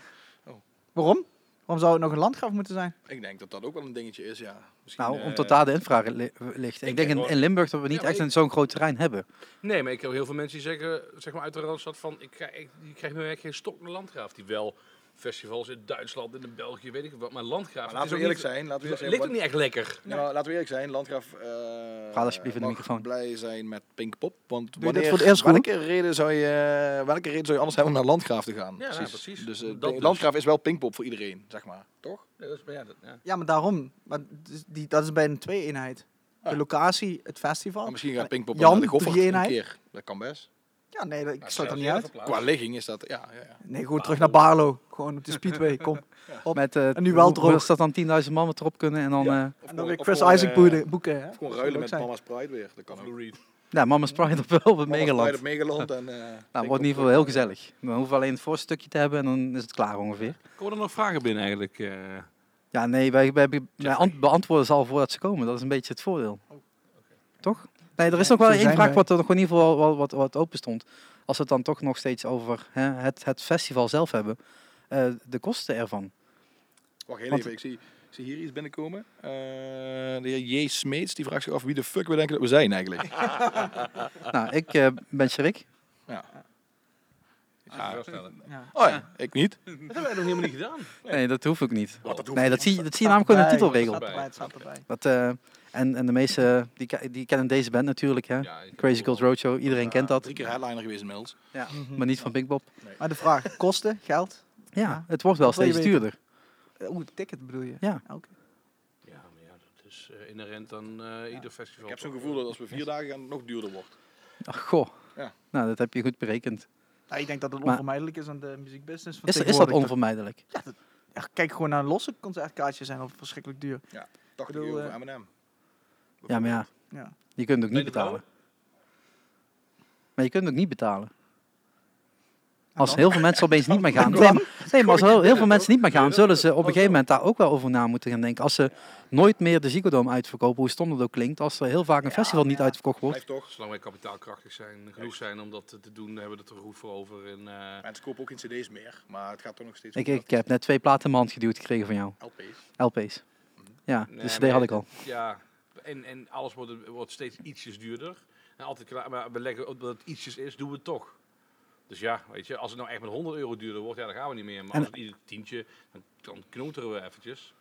Oh. Waarom? Waarom zou het nog een landgraaf moeten zijn? Ik denk dat dat ook wel een dingetje is, ja. Misschien, Nou, eh, omdat daar de infra li- ligt. Ik, denk denk in, wel- in Limburg dat we niet maar echt ik- een zo'n groot terrein hebben. Nee, maar ik heb heel veel mensen die zeggen, zeg maar uit de randstad van, ik krijg, ik, je krijgt nu echt geen stok naar Landgraaf. Die wel festivals in Duitsland en in België, weet ik wat, maar Landgraaf... maar het is laten we ook eerlijk niet- zijn. Laten we Het eerlijk ligt ook zijn. wat- niet echt lekker. Nou, laten we eerlijk zijn. Landgraaf. eh, Praat alsjeblieft in de mag microfoon. blij zijn met Pinkpop. Want je dit wanneer, voor het eerst goed? welke, reden zou je, welke reden zou je anders hebben om naar Landgraaf te gaan? Ja, ja, precies. Dus eh, Dat de- dus. Landgraaf is wel Pinkpop voor iedereen, zeg maar. Toch? Ja, dat is, maar ja, dat, ja. Ja, maar daarom. Maar dus die, dat is bij een twee-eenheid. De Ja. locatie, het festival. Maar Ah. misschien gaat Pinkpop Jan, wel naar de Goffert drie een eenheid? keer. Dat kan best. Ja, nee, dat- ik Ah, Nou, sluit er zelfs niet in uit. ieder geval Qua plaats. ligging is dat, ja. ja, ja. Nee, gewoon Ah, terug naar Barlo. Gewoon (laughs) op de Speedway, kom. Op. Met, eh En nu wel hoe- hoe droog. is dat dan 10.000 man wat erop kunnen en dan... eh Of En dan gewoon- weer of Chris gewoon, Isaac eh, boeken, boeken. Hè? Of gewoon Dat ruilen zou met leuk zijn. Mama's Pride weer. Dat kan ook. Lou Reed. ja, Mama's Pride op, wel op Megaland. Pride op Megaland. En, eh, Nou, Pinkpop wordt in ieder terug. geval heel gezellig. We hoeven alleen het voorstukje te hebben en dan is het klaar ongeveer. Komen er nog vragen binnen eigenlijk? eh? Ja, nee, wij, wij, wij ant- beantwoorden ze al voordat ze komen. Dat is een beetje het voordeel. Toch? Nee, er is nog wel Oh, zo één zijn vraag wij. wat er nog in ieder geval wel wat, wat open stond. Als we het dan toch nog steeds over hè, het, het festival zelf hebben. eh, de kosten ervan. Wacht heel Want- even, ik zie, ik zie hier iets binnenkomen. Eh, de heer J. Smeets die vraagt zich af wie de fuck we denken dat we zijn eigenlijk. Ah. Nou, ik eh, ben Sherik. Is het voorstellen? Ja. Oh ja, ik niet. Dat hebben wij nog helemaal niet gedaan. Nee, dat hoef ik niet. Wat, dat hoeft Nee, dat zie, je- dat zie je namelijk gewoon in de Erbij, titelregel. staat erbij, het staat erbij. Dat, eh, en, en de meeste, die, ke- die kennen deze band natuurlijk. Hè? Ja, ik heb Crazy ook Girls wel- Roadshow, iedereen kent dat. Drie keer headliner geweest inmiddels. Ja. Maar niet van Big Bob. Maar de vraag, kosten, geld? Ja, het wordt wel Dat wil je steeds weten. duurder. Eh, Oeh, ticket bedoel je? Ja. Oké. Ja, maar ja, dat is eh, inherent aan eh, ieder festival. Ik heb zo'n gevoel dat als we vier dagen gaan het nog duurder wordt. Ach, goh. Ja. Nou, dat heb je goed berekend. Nou, ik denk dat het Maar- onvermijdelijk is aan de muziekbusiness. van Is, er- is dat tegenwoordig. onvermijdelijk? Ja, kijk gewoon naar losse concertkaartjes zijn al verschrikkelijk duur. 80 bedoel, euro eh, voor M&M. Ja, maar ja. Ja. Je kunt het ook Nee, niet dat betalen. Maar je kunt het ook niet betalen. Als dan? heel veel mensen opeens niet meer gaan. Nee, maar, nee, maar als heel, heel veel mensen niet meer gaan, zullen ze op een gegeven moment daar ook wel over na moeten gaan denken. Als ze nooit meer de Ziggo Dome uitverkopen, hoe stom dat ook klinkt, als er heel vaak een festival niet uitverkocht wordt. Blijft toch. Zolang wij kapitaalkrachtig zijn, genoeg zijn om dat te doen, hebben we het er goed voor over. En, eh, Mensen kopen ook geen cd's meer, maar het gaat toch nog steeds Ik, om ik heb net twee platen in mijn hand geduwd gekregen van jou. dat LP's. LP's. Ja, Nee, dus maar die had ik al. Ja, en, en alles wordt, wordt steeds ietsjes duurder. En altijd klaar, maar we leggen ook dat het ietsjes is, doen we het toch. Dus ja, weet je, als het nou echt met 100 euro duurder wordt, ja, dan gaan we niet meer. Maar En- als het ieder tientje, dan, dan knoteren we eventjes.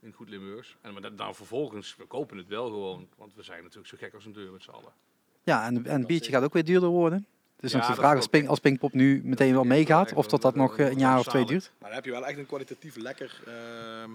In goed Limburgs. En maar dan, dan vervolgens, we kopen het wel gewoon. Want we zijn natuurlijk zo gek als een deur met z'n allen. Ja, en, en het biertje gaat ook weer duurder worden. Dus Ja, nog de dat vraag klopt. als, Pink, als Pinkpop nu meteen wel meegaat, echt of wel- dat dat dat- nog eh, een jaar of twee zalig. duurt. Maar dan heb je wel echt een kwalitatief lekker ehm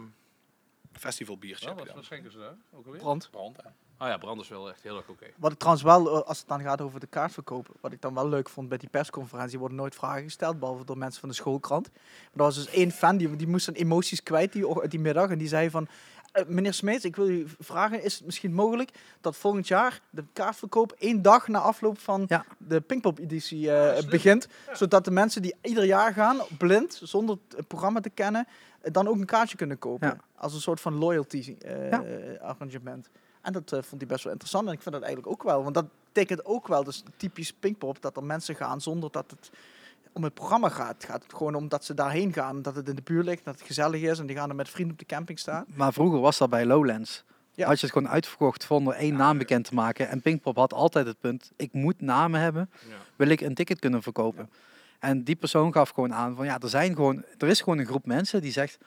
festivalbiertje. Nou, heb je wat, wat dan. schenken ze daar? Ook alweer? Brand. Brand, hè. Ah ja, brand is wel echt heel erg oké. Wat ik trouwens wel, eh, als het dan gaat over de kaartverkoop, wat ik dan wel leuk vond bij die persconferentie, worden nooit vragen gesteld, behalve door mensen van de schoolkrant. Maar er was dus één fan, die, die moest zijn emoties kwijt die, och- die middag, en die zei van, eh, meneer Smeets, ik wil u vragen, is het misschien mogelijk dat volgend jaar de kaartverkoop één dag na afloop van Ja. de Pinkpop-editie eh, begint? Zodat de mensen die ieder jaar gaan, blind, zonder het programma te kennen, eh, dan ook een kaartje kunnen kopen. Ja. Als een soort van eh, loyalty-arrangement. En dat eh, vond hij best wel interessant en ik vind dat eigenlijk ook wel. Want dat betekent ook wel, dus typisch Pinkpop, dat er mensen gaan zonder dat het om het programma gaat. Het gaat het gewoon om dat ze daarheen gaan, dat het in de buurt ligt, dat het gezellig is en die gaan er met vrienden op de camping staan. Maar vroeger was dat bij Lowlands. Ja. Had je het gewoon uitverkocht zonder één naam bekend te maken. En Pinkpop had altijd het punt, ik moet namen hebben, Ja. wil ik een ticket kunnen verkopen. En die persoon gaf gewoon aan van ja, er, zijn gewoon, er is gewoon een groep mensen die zegt,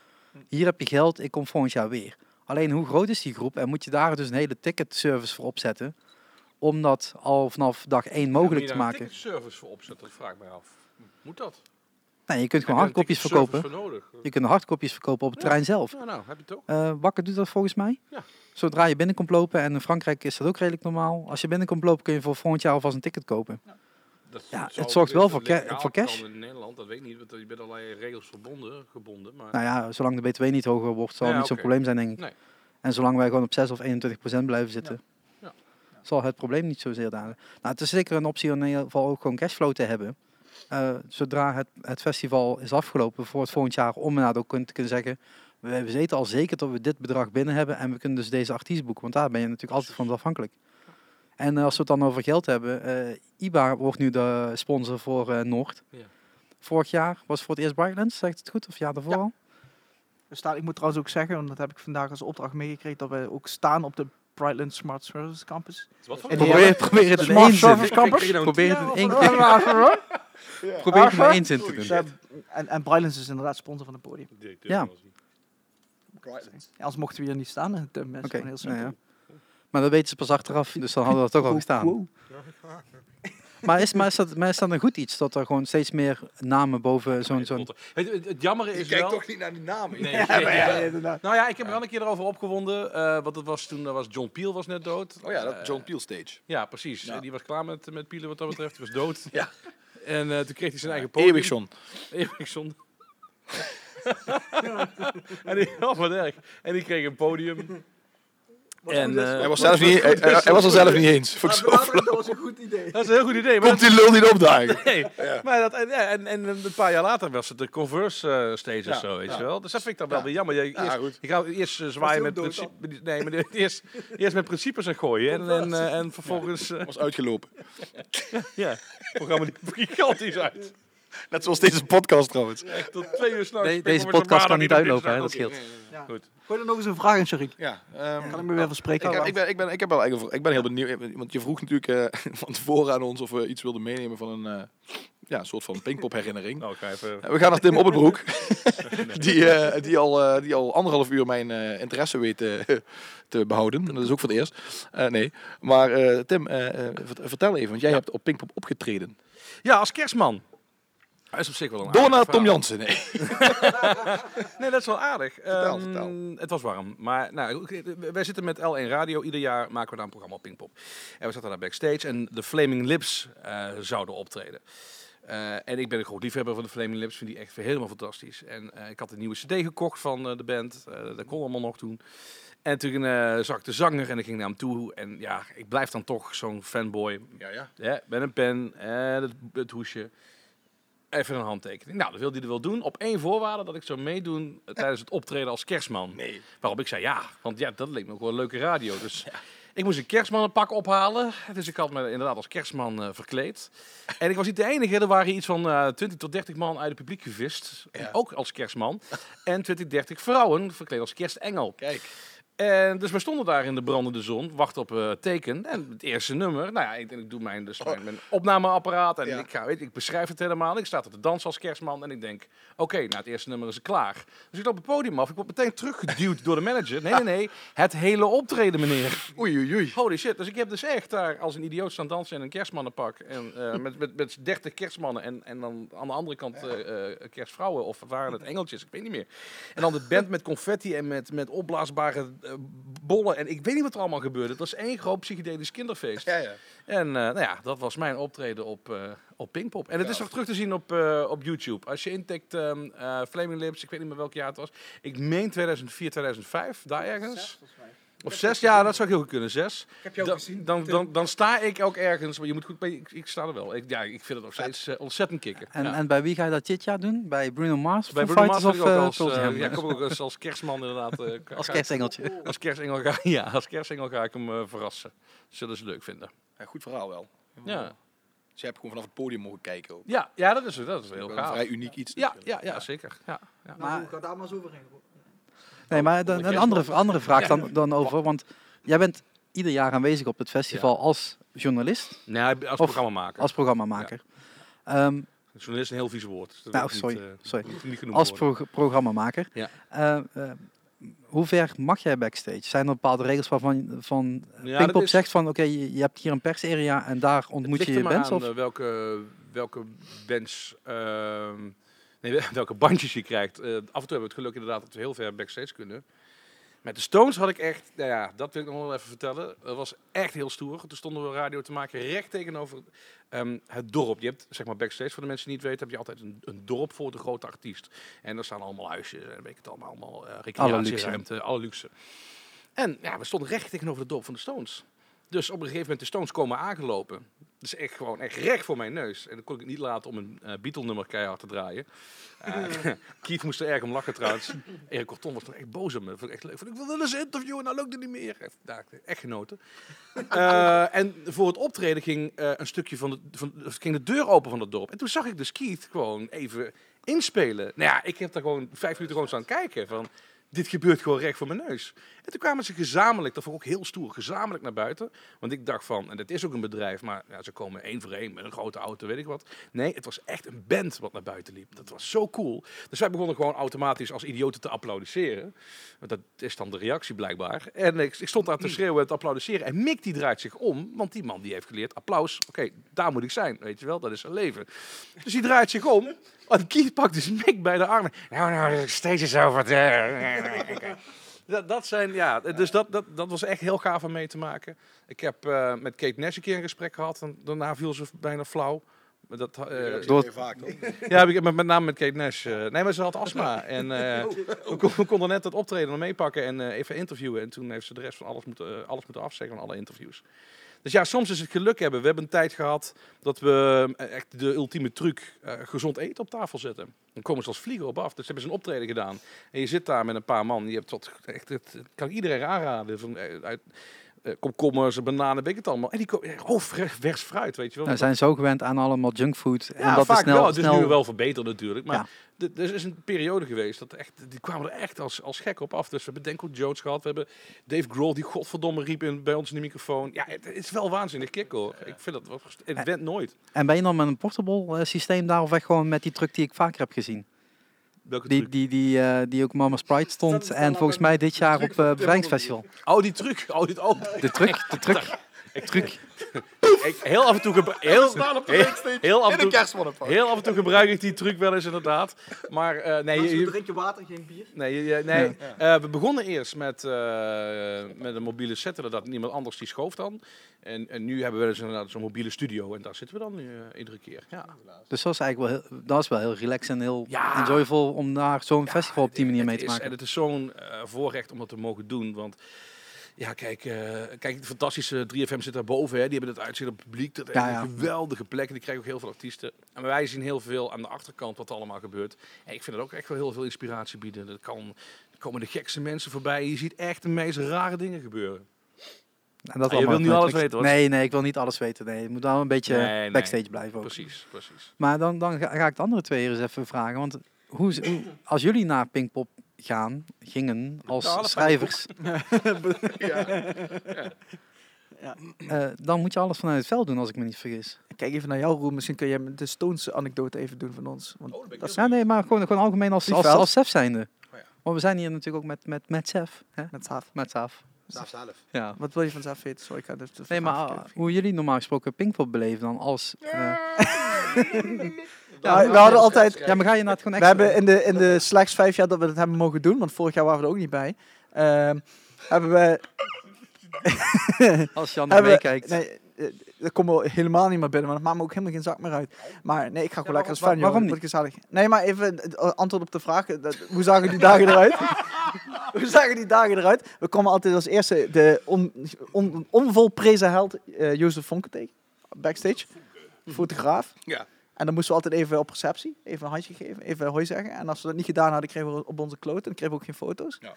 hier heb je geld, ik kom volgend jaar weer. Alleen hoe groot is die groep en moet je daar dus een hele ticketservice voor opzetten om dat al vanaf dag één mogelijk te maken. service voor opzetten, dat vraag ik mij af. Moet dat? Nee, je kunt gewoon Heb je daar een hardkopjes verkopen. ticketservice voor nodig? Je kunt hardkopjes verkopen op het Ja. terrein zelf. Nou, nou, heb je het ook? Eh, Wakker doet dat volgens mij. Ja. Zodra je binnen komt lopen, en in Frankrijk is dat ook redelijk normaal. Als je binnen komt lopen, kun je voor volgend jaar alvast een ticket kopen. Dat Ja, het zou- zorgt wel dat voor legaal ca- voor cash. kan In Nederland, dat weet ik niet, want je bent allerlei regels verbonden, gebonden. Maar Nou ja, zolang de BTW niet hoger wordt, zal Ja, het niet zo'n oké. probleem zijn, denk ik. Nee. En zolang wij gewoon op 6 of 21 procent blijven zitten, Ja. zal het probleem niet zozeer dalen. Nou, het is zeker een optie om in ieder geval ook gewoon cashflow te hebben. Eh, zodra het, het festival is afgelopen voor het volgend jaar, om inderdaad ook kun- te kunnen zeggen... We we weten al zeker dat we dit bedrag binnen hebben en we kunnen dus deze artiest boeken. Want daar ben je natuurlijk altijd van afhankelijk. En eh, als we het dan over geld hebben, eh, IBA wordt nu de sponsor voor eh, Noord. Ja. Vorig jaar was voor het eerst Brightlands, zegt het goed? Of ja, daarvoor Ja. al? We staan, Dus ik moet trouwens ook zeggen, want dat heb ik vandaag als opdracht meegekregen, dat we ook staan op de Brightland Smart Services Campus. wat voor En die Probeer, probeer het in Smart één zin. service campus? Probeer het in één keer. Probeer het in één zin te doen. (laughs) hebben- En, en Brightlands is inderdaad sponsor van het podium. Ja. Ja, Anders mochten we hier niet staan. Het eh, is Oké, gewoon heel nou simpel. ja. Maar dat weten ze pas achteraf, dus dan hadden we dat toch al gestaan. Wow. Maar is, maar, is dat, maar is dat een goed iets, dat er gewoon steeds meer namen boven zo'n... zo'n Het, het, het jammere is Ik kijk wel... toch niet naar die naam. Nee, Ja, (laughs) inderdaad. Nou ja, ik heb er wel een keer over opgewonden, eh, want dat was toen dat was John Peel was net dood. Oh ja, Eh, dat John Peel stage. Ja, precies. Ja. Eh, Die was klaar met, met Pielen wat dat betreft. Die was dood. (laughs) Ja. En eh, toen kreeg hij zijn eigen podium. Eeuwig John. (laughs) Eriksson. en die, (laughs) oh, wat erg. En die kreeg een podium. En, eh, Hij was, zelf niet, hij, hij- hij was er zelf niet eens. Vond ik zo flauw. dat was een goed idee. (laughs) dat is een heel goed idee. Maar Komt die lul niet opdagen. dat- (laughs) nee. maar dat, en, ja, en, en een paar jaar later was het de Converse eh, stage of Ja, zo, weet ja. je wel. Dus dat vind ik dan wel weer jammer. Je, Ja, eerst, goed. je gaat eerst eh, zwaaien hij met ook dood dan? principes. Nee, maar (laughs) de- eerst, eerst met principes en gooien. En, en, eh, en vervolgens, eh, (laughs) was uitgelopen. ja, het programma liep gigantisch uit. Net zoals deze podcast trouwens. Echt tot twee uur s'nachts. De- deze podcast kan niet uitlopen, hè, dat scheelt. Gooi er nog eens een vraag in, Sharik. Ja, ehm, Kan ik me weer verspreken? Ik, heb- ik, ben, ik, ben, ik, heb wel eigenlijk, een vra- ik ben heel benieuwd, want je vroeg natuurlijk eh, (laughs) van tevoren aan ons of we iets wilden meenemen van een eh, ja, soort van Pinkpop herinnering. Nou, ik ga even... (laughs) We gaan naar Tim Opperbroek, (laughs) die, eh, die, al, eh, die al anderhalf uur mijn eh, interesse weet eh, te (laughs) behouden. Dat is ook voor het eerst. Eh, nee, maar eh, Tim, eh, eh, vert- vertel even, want jij hebt op Pinkpop opgetreden. Ja, als kerstman. Dat is op zich wel een Door aardig naar Tom verhaal. Jansen. Nee. Nee, dat is wel aardig. Vertel, Ehm, vertel. Het was warm. Maar nou, oké, wij zitten met L1 Radio. Ieder jaar maken we daar een programma op Pinkpop. En we zaten daar backstage en de Flaming Lips eh, zouden optreden. Eh, en ik ben een groot liefhebber van de Flaming Lips. Vind die echt helemaal fantastisch. En eh, ik had een nieuwe cd gekocht van eh, de band. Eh, dat kon allemaal nog toen. En toen eh, zag ik de zanger en ik ging naar hem toe. En ja, ik blijf dan toch zo'n fanboy. Ja, ja. Ja, met een pen en het, het hoesje. Even een handtekening. Nou, dat wilde hij er wel doen. Op één voorwaarde dat ik zou meedoen eh, tijdens het optreden als kerstman. (laughs) Nee. Waarop ik zei ja, want ja, dat leek me ook wel een leuke radio. Dus ik moest een kerstmannenpak ophalen. Dus ik had me inderdaad als kerstman eh, verkleed. En ik was niet de enige. Er waren iets van eh 20 tot 30 man uit het publiek gevist. Ja. Ook als kerstman. En 20, 30 vrouwen verkleed als kerstengel. Kijk, En dus we stonden daar in de brandende zon, wachten op eh, teken. En het eerste nummer, nou ja, ik, ik doe mijn, dus mijn, mijn opnameapparaat en Oh. Ja. ik, ga, weet, je, ik beschrijf het helemaal. Ik sta te dansen als kerstman en ik denk, oké, nou het eerste nummer is klaar. Dus ik loop het podium af, ik word meteen teruggeduwd door de manager. Nee, nee, nee, het hele optreden, meneer. oei oei oei. Holy shit, dus ik heb dus echt daar als een idioot staan dansen in een kerstmannenpak. En, eh, (laughs) met, met, met 30 kerstmannen en, en dan aan de andere kant eh, eh, kerstvrouwen of waren het engeltjes, ik weet niet meer. En dan de band met confetti en met, met opblaasbare eh, eh, bollen en ik weet niet wat er allemaal gebeurde. Het was één groot psychedelisch kinderfeest. Ja, ja. En eh, nou ja, dat was mijn optreden op, eh op Pinkpop. En het is Ja. nog terug te zien op, eh, op YouTube. Als je intikt ehm, eh, Flaming Lips, ik weet niet meer welk jaar het was. Ik meen 2004, 2005, daar ergens. Of zes, ja, dat zou ik heel goed kunnen, zes. Ik heb jou Dan, gezien. dan, dan, dan sta ik ook ergens, maar je moet goed, ik, ik sta er wel. Ik, ja, ik vind het nog steeds eh, ontzettend kicken. En, ja. en bij wie ga je dat dit jaar doen? Bij Bruno Mars? Bij Foo Bruno Mars Fighters vind ik ook eh, als, Pearl Jam? eh, ja, ik kom ook als, als kerstman inderdaad. eh, ga- als ga- kerstengeltje. Als kerstengel ga, ja, als kerstengel ga ik hem eh, verrassen. Zullen ze leuk vinden. Ja, goed verhaal wel. Ja, Dus je hebt gewoon vanaf het podium mogen kijken. Ook. ja, ja dat, is, dat is heel Wel gaaf. Een vrij uniek iets. Ja, natuurlijk. ja, ja, zeker. Ja, ja. Nou, ik had daar maar eens overheen. Nee, maar dan, een andere, andere vraag dan, dan over. Want jij bent ieder jaar aanwezig op het festival als journalist, Nee, als Of- programmamaker. als programmamaker. Ehm Journalist is een heel vies woord. dus dat Nou, moet niet, sorry, eh, sorry. moet Niet genoemd als worden. pro programmamaker. Ja. Eh, eh, hoe ver mag jij backstage? Zijn er bepaalde regels waarvan van eh, Ja, dat Pinkpop is- zegt van oké, je, je hebt hier een persarea en daar ontmoet Het je ligt je er maar bands? aan Of? eh, welke, welke bands, ehm, nee, welke bandjes je krijgt. Eh, af en toe hebben we het geluk inderdaad dat we heel ver backstage kunnen. Met de Stones had ik echt, nou ja, dat wil ik nog wel even vertellen. Dat was echt heel stoer. Toen stonden we radio te maken recht tegenover ehm, het dorp. Je hebt, zeg maar, backstage, voor de mensen die het niet weten, heb je altijd een, een dorp voor de grote artiest. En daar staan allemaal huisjes en weet ik het allemaal, allemaal eh recreatieruimte, alle luxe. En ja, we stonden recht tegenover het dorp van de Stones. Dus op een gegeven moment de Stones komen aangelopen. Dus echt gewoon echt recht voor mijn neus. En dan kon ik het niet laten om een eh Beatle-nummer keihard te draaien. Eh, (laughs) Keith moest er erg om lachen trouwens. Erik Corton was nog echt boos op me. Vond ik, echt leuk. Vond ik wil wel eens interviewen, nou lukt het niet meer. Echt, nou, echt genoten. Eh, en voor het optreden ging eh, een stukje van de, van, of ging de deur open van het dorp. En toen zag ik dus Keith gewoon even inspelen. Nou ja, ik heb daar gewoon vijf minuten gewoon staan kijken van... Dit gebeurt gewoon recht voor mijn neus. En toen kwamen ze gezamenlijk, dat vond ik ook heel stoer, gezamenlijk naar buiten. Want ik dacht van, en dat is ook een bedrijf, maar ja, ze komen één voor één met een grote auto, weet ik wat. Nee, het was echt een band wat naar buiten liep. Dat was zo cool. Dus wij begonnen gewoon automatisch als idioten te applaudisseren. Want dat is dan de reactie blijkbaar. En ik, ik stond daar te schreeuwen en te applaudisseren. En Mick die draait zich om, want die man die heeft geleerd, applaus, oké, daar moet ik zijn, weet je wel, dat is zijn leven. Dus die draait zich om. En Keith pakt dus Mick bij de armen. Nou, nou, steeds is over het... eh, (laughs) Dat, dat zijn, ja, dus dat, dat, dat was echt heel gaaf om mee te maken. Ik heb eh, met Kate Nash een keer een gesprek gehad. En daarna viel ze bijna flauw. Maar Dat, eh, Dat Door- Door... vaak, toch? ja, heb ik- met, met name met Kate Nash. eh, nee, maar ze had astma. En eh, we, kon- we konden net het optreden nog meepakken en eh, even interviewen. En toen heeft ze de rest van alles moeten, eh, alles moeten afzeggen van alle interviews. Dus ja, soms is het geluk hebben. We hebben een tijd gehad dat we eh, echt de ultieme truc eh, gezond eten op tafel zetten. Dan komen ze als vliegen op af. Dus hebben ze een optreden gedaan. En je zit daar met een paar man. Je hebt wat, echt, het het kan iedereen aanraden. Van, eh, uit, eh, komkommers, bananen, weet ik het allemaal. En die komen, oh, vers vers fruit, weet je wel. Nou, we zijn zo gewend aan allemaal junkfood. en Ja, dat vaak is snel, wel. Het is snel nu wel verbeterd natuurlijk. Ja. Maar dit er is een periode geweest dat echt, die kwamen er echt als, als gek op af. Dus we hebben Denko Jones gehad. We hebben Dave Grohl die godverdomme riep in, bij ons in de microfoon. Ja, het, is wel waanzinnig kick hoor. Ik vind dat, wel gest- het went nooit. En ben je dan met een portable eh, systeem daar of echt gewoon met die truck die ik vaker heb gezien? Welke Die, truc? die, die, eh, die ook Mama Sprite dat stond is dan en wel volgens een mij dit jaar op eh Bevrijdingsfestival. Oh, die truc. Oh, dit ook. De truck, de truck. truc. Ik, heel af en toe... (laughs) gebru- (laughs) Heel, op de heel, backstage heel af en In een toe... kerstmannenpak. Heel af en toe gebruik ik die truc wel eens inderdaad. Maar eh, nee, je- Als je je, drink je water, geen bier. Nee, je- je- nee. Eh, we begonnen eerst met, eh, met een mobiele setter, dat niemand anders die schoof dan. En, en nu hebben we dus inderdaad zo'n mobiele studio en daar zitten we dan nu eh, iedere keer. Ja. Dus dat is eigenlijk wel heel, dat is wel heel relaxed en heel Ja. enjoyable om naar zo'n festival op die manier mee Het te is- En maken. het is zo'n eh, voorrecht om dat te mogen doen, want... Ja, kijk, eh, kijk, de fantastische 3FM zit daarboven. Hè. Die hebben het uitzicht op het publiek. Dat is Ja, ja. een geweldige plek. En die krijgen ook heel veel artiesten. En wij zien heel veel aan de achterkant wat er allemaal gebeurt. En ik vind het ook echt wel heel veel inspiratie bieden. Er, kan, er komen de gekste mensen voorbij. Je ziet echt de meest rare dingen gebeuren. En Nou, dat Ah, je allemaal wil op niet alles Netflix. weten, hoor. Nee, nee, ik wil niet alles weten. Nee, je moet wel een beetje Nee, nee. backstage blijven ook. Precies, precies. Maar dan, dan ga, ga ik de andere twee hier eens even vragen. Want hoe, ze- hoe- als jullie naar Pinkpop gaan, gingen als Ja, dat zijn schrijvers, Ja. eh, dan moet je alles vanuit het veld doen, als ik me niet vergis. Kijk even naar jou, Roel. Misschien kun jij de Stones anekdote even doen van ons. Want Oh, dat is Ja, nee, maar gewoon, gewoon algemeen als, als, Vliegveld. als Sef zijnde. Oh ja. Want we zijn hier natuurlijk ook met, met, met Sef. Hè? met Saaf. Met Saaf. Saaf zelf. Ja. Wat wil je van Saaf weten? Sorry, ik had het de Nee, vraag maar verkeerd. ah, hoe jullie normaal gesproken Pinkpop beleven dan als... eh, (laughs) Ja, Nou, we hadden altijd... ja, maar ga je naar het gewoon We extra... hebben in de, in de slechts vijf jaar dat we dat hebben mogen doen, want vorig jaar waren we er ook niet bij, ehm, hebben wij... Als Jan Hebben- meekijkt. Nee, eh, dat komt wel helemaal niet meer binnen, want dat maakt me ook helemaal geen zak meer uit. Maar nee, ik ga gewoon lekker als fan, waarom- joh. waarom Dat wordt gezellig. Nee, maar even het antwoord op de vraag. Eh, Dat, hoe zagen die dagen eruit? hoe zagen die dagen eruit? We komen altijd als eerste de on, on, onvolprezen held eh, Jozef Vonken tegen. Backstage. Fotograaf. Ja. En dan moesten we altijd even op receptie, even een handje geven, even hoi zeggen. En als we dat niet gedaan hadden, kregen we op onze kloot en kregen we ook geen foto's. Ja.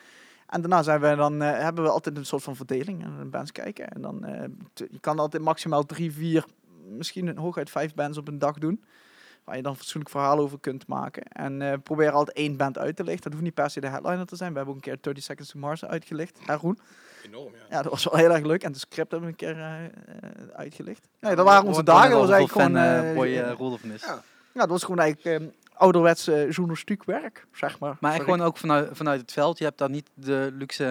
En daarna zijn we dan, eh, hebben we altijd een soort van verdeling en bands kijken. En dan, eh, t- je kan altijd maximaal drie, vier, misschien een hooguit vijf bands op een dag doen. Waar je dan fatsoenlijk verhaal over kunt maken. En eh probeer altijd één band uit te lichten. Dat hoeft niet per se de headliner te zijn. We hebben ook een keer 30 Seconds to Mars uitgelicht. Haroon. Enorm, ja. Ja, dat was wel heel erg leuk. En de script hebben we een keer eh, eh, uitgelicht. Nee, dat waren onze dagen. Dat was eigenlijk gewoon... eh, Boy eh, eh, Roelof is. ja. ja, dat was gewoon eigenlijk ehm ouderwets eh, journalistiek werk, zeg maar. Maar Sorry. echt gewoon ook vanuit, vanuit het veld. Je hebt daar niet de luxe...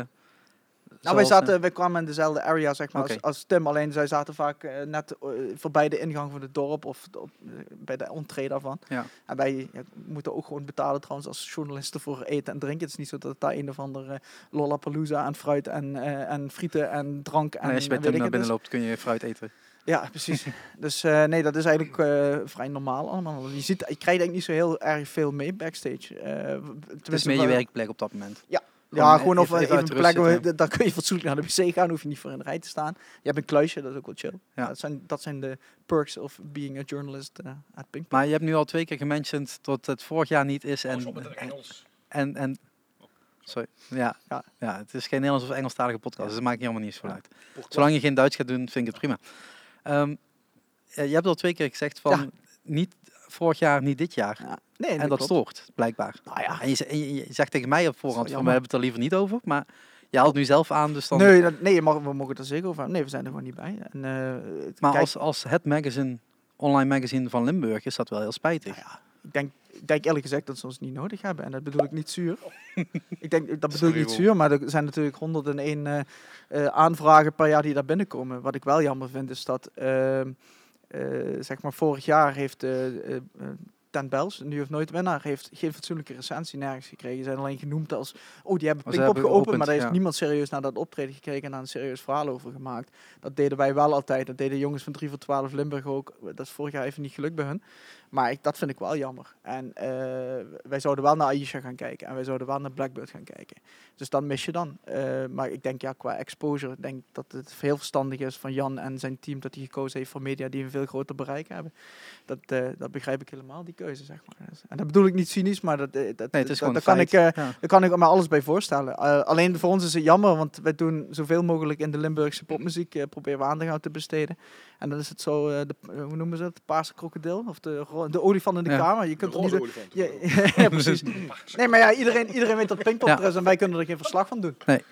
Nou, wij, zoals, zaten, eh, wij kwamen in dezelfde area zeg maar, als, Oké. als Tim. Alleen zij zaten vaak eh, net eh, voorbij de ingang van het dorp of de- op, eh, bij de entree daarvan. Ja. En wij ja, moeten ook gewoon betalen trouwens als journalisten voor eten en drinken. Het is niet zo dat daar een of andere eh, Lollapalooza aan fruit en, eh, en frieten en drank en nee, Nou, als je bij Tim en weet ik naar het binnen is. loopt, kun je fruit eten. Ja, (laughs) precies. dus eh, nee, dat is eigenlijk eh, vrij normaal allemaal. Je, ziet, je krijgt eigenlijk niet zo heel erg veel mee backstage. Eh, tenminste, Het is meer je waar- werkplek op dat moment. ja, Gewoon gewoon even- of eh, even, even een uit plek rust waar, zitten. (laughs) daar kun je fatsoenlijk naar de wc gaan, hoef je niet voor in de rij te staan. Je hebt een kluisje, dat is ook wel chill. Ja. Dat, zijn, dat zijn de perks of being a journalist eh at Pink. Maar je hebt nu al twee keer gementioned dat het vorig jaar niet is. Oh, Oh, En, en, en, sorry. Ja, Ja. ja. het is geen Nederlands of Engelstalige podcast. Dus dat maakt niet helemaal niets voor uit. Zolang je geen Duits gaat doen, vind ik het prima. Ehm, eh, je hebt al twee keer gezegd van Ja. niet vorig jaar, niet dit jaar. Ja. Nee, en dat klopt. stoort, blijkbaar. Nou ja. En je, ze- en je- je zegt tegen mij op wel voorhand van, we jammer. hebben het er liever niet over. Maar je haalt nu zelf aan, dus dan... Nee, dat, nee je mag, we mogen het er zeker over hebben. Nee, we zijn er gewoon niet bij. En, eh, het- maar kijk, als, als het magazine, online magazine van Limburg, is dat wel heel spijtig. Nou ja, ik, denk, ik denk eerlijk gezegd dat ze ons niet nodig hebben. En dat bedoel ik niet zuur. ik denk, dat bedoel Sorry, ik niet Roel. zuur, maar er zijn natuurlijk 101 eh eh, aanvragen per jaar die daar binnenkomen. Wat ik wel jammer vind is dat, ehm, eh, zeg maar, vorig jaar heeft eh eh, eh, Ten Bels, nu of nooit winnaar, heeft geen fatsoenlijke recensie nergens gekregen. Ze zijn alleen genoemd als, oh die hebben ze Pinkpop hebben geopend, geopend, maar daar heeft ja. niemand serieus naar dat optreden gekeken en daar een serieus verhaal over gemaakt. Dat deden wij wel altijd. Dat deden jongens van 3 voor 12 Limburg ook. Dat is vorig jaar even niet gelukt bij hun. Maar ik, dat vind ik wel jammer. En eh, wij zouden wel naar Aisha gaan kijken. En wij zouden wel naar Blackbird gaan kijken. Dus dan mis je dan. Eh, maar ik denk ja, qua exposure, ik denk dat het heel verstandig is van Jan en zijn team dat hij gekozen heeft voor media die een veel groter bereik hebben. Dat, eh, dat begrijp ik helemaal, die keuze, zeg maar. En dat bedoel ik niet cynisch, maar dat, eh, dat, Nee, het is dat, gewoon daar een kan feit. ik eh, Ja. daar kan ik me alles bij voorstellen. Eh, alleen voor ons is het jammer, want wij doen zoveel mogelijk in de Limburgse popmuziek. eh, proberen we aandacht aan te besteden. En dan is het zo, eh, de, eh, hoe noemen ze dat? De paarse krokodil? Of de, ro- de olifant in de Ja. kamer? Je kunt De er niet... roze de- olifant. Ja, ja, (laughs) precies. Nee, maar ja, iedereen, iedereen weet dat Pinkpop Ja. er is en wij kunnen er geen verslag van doen. Maar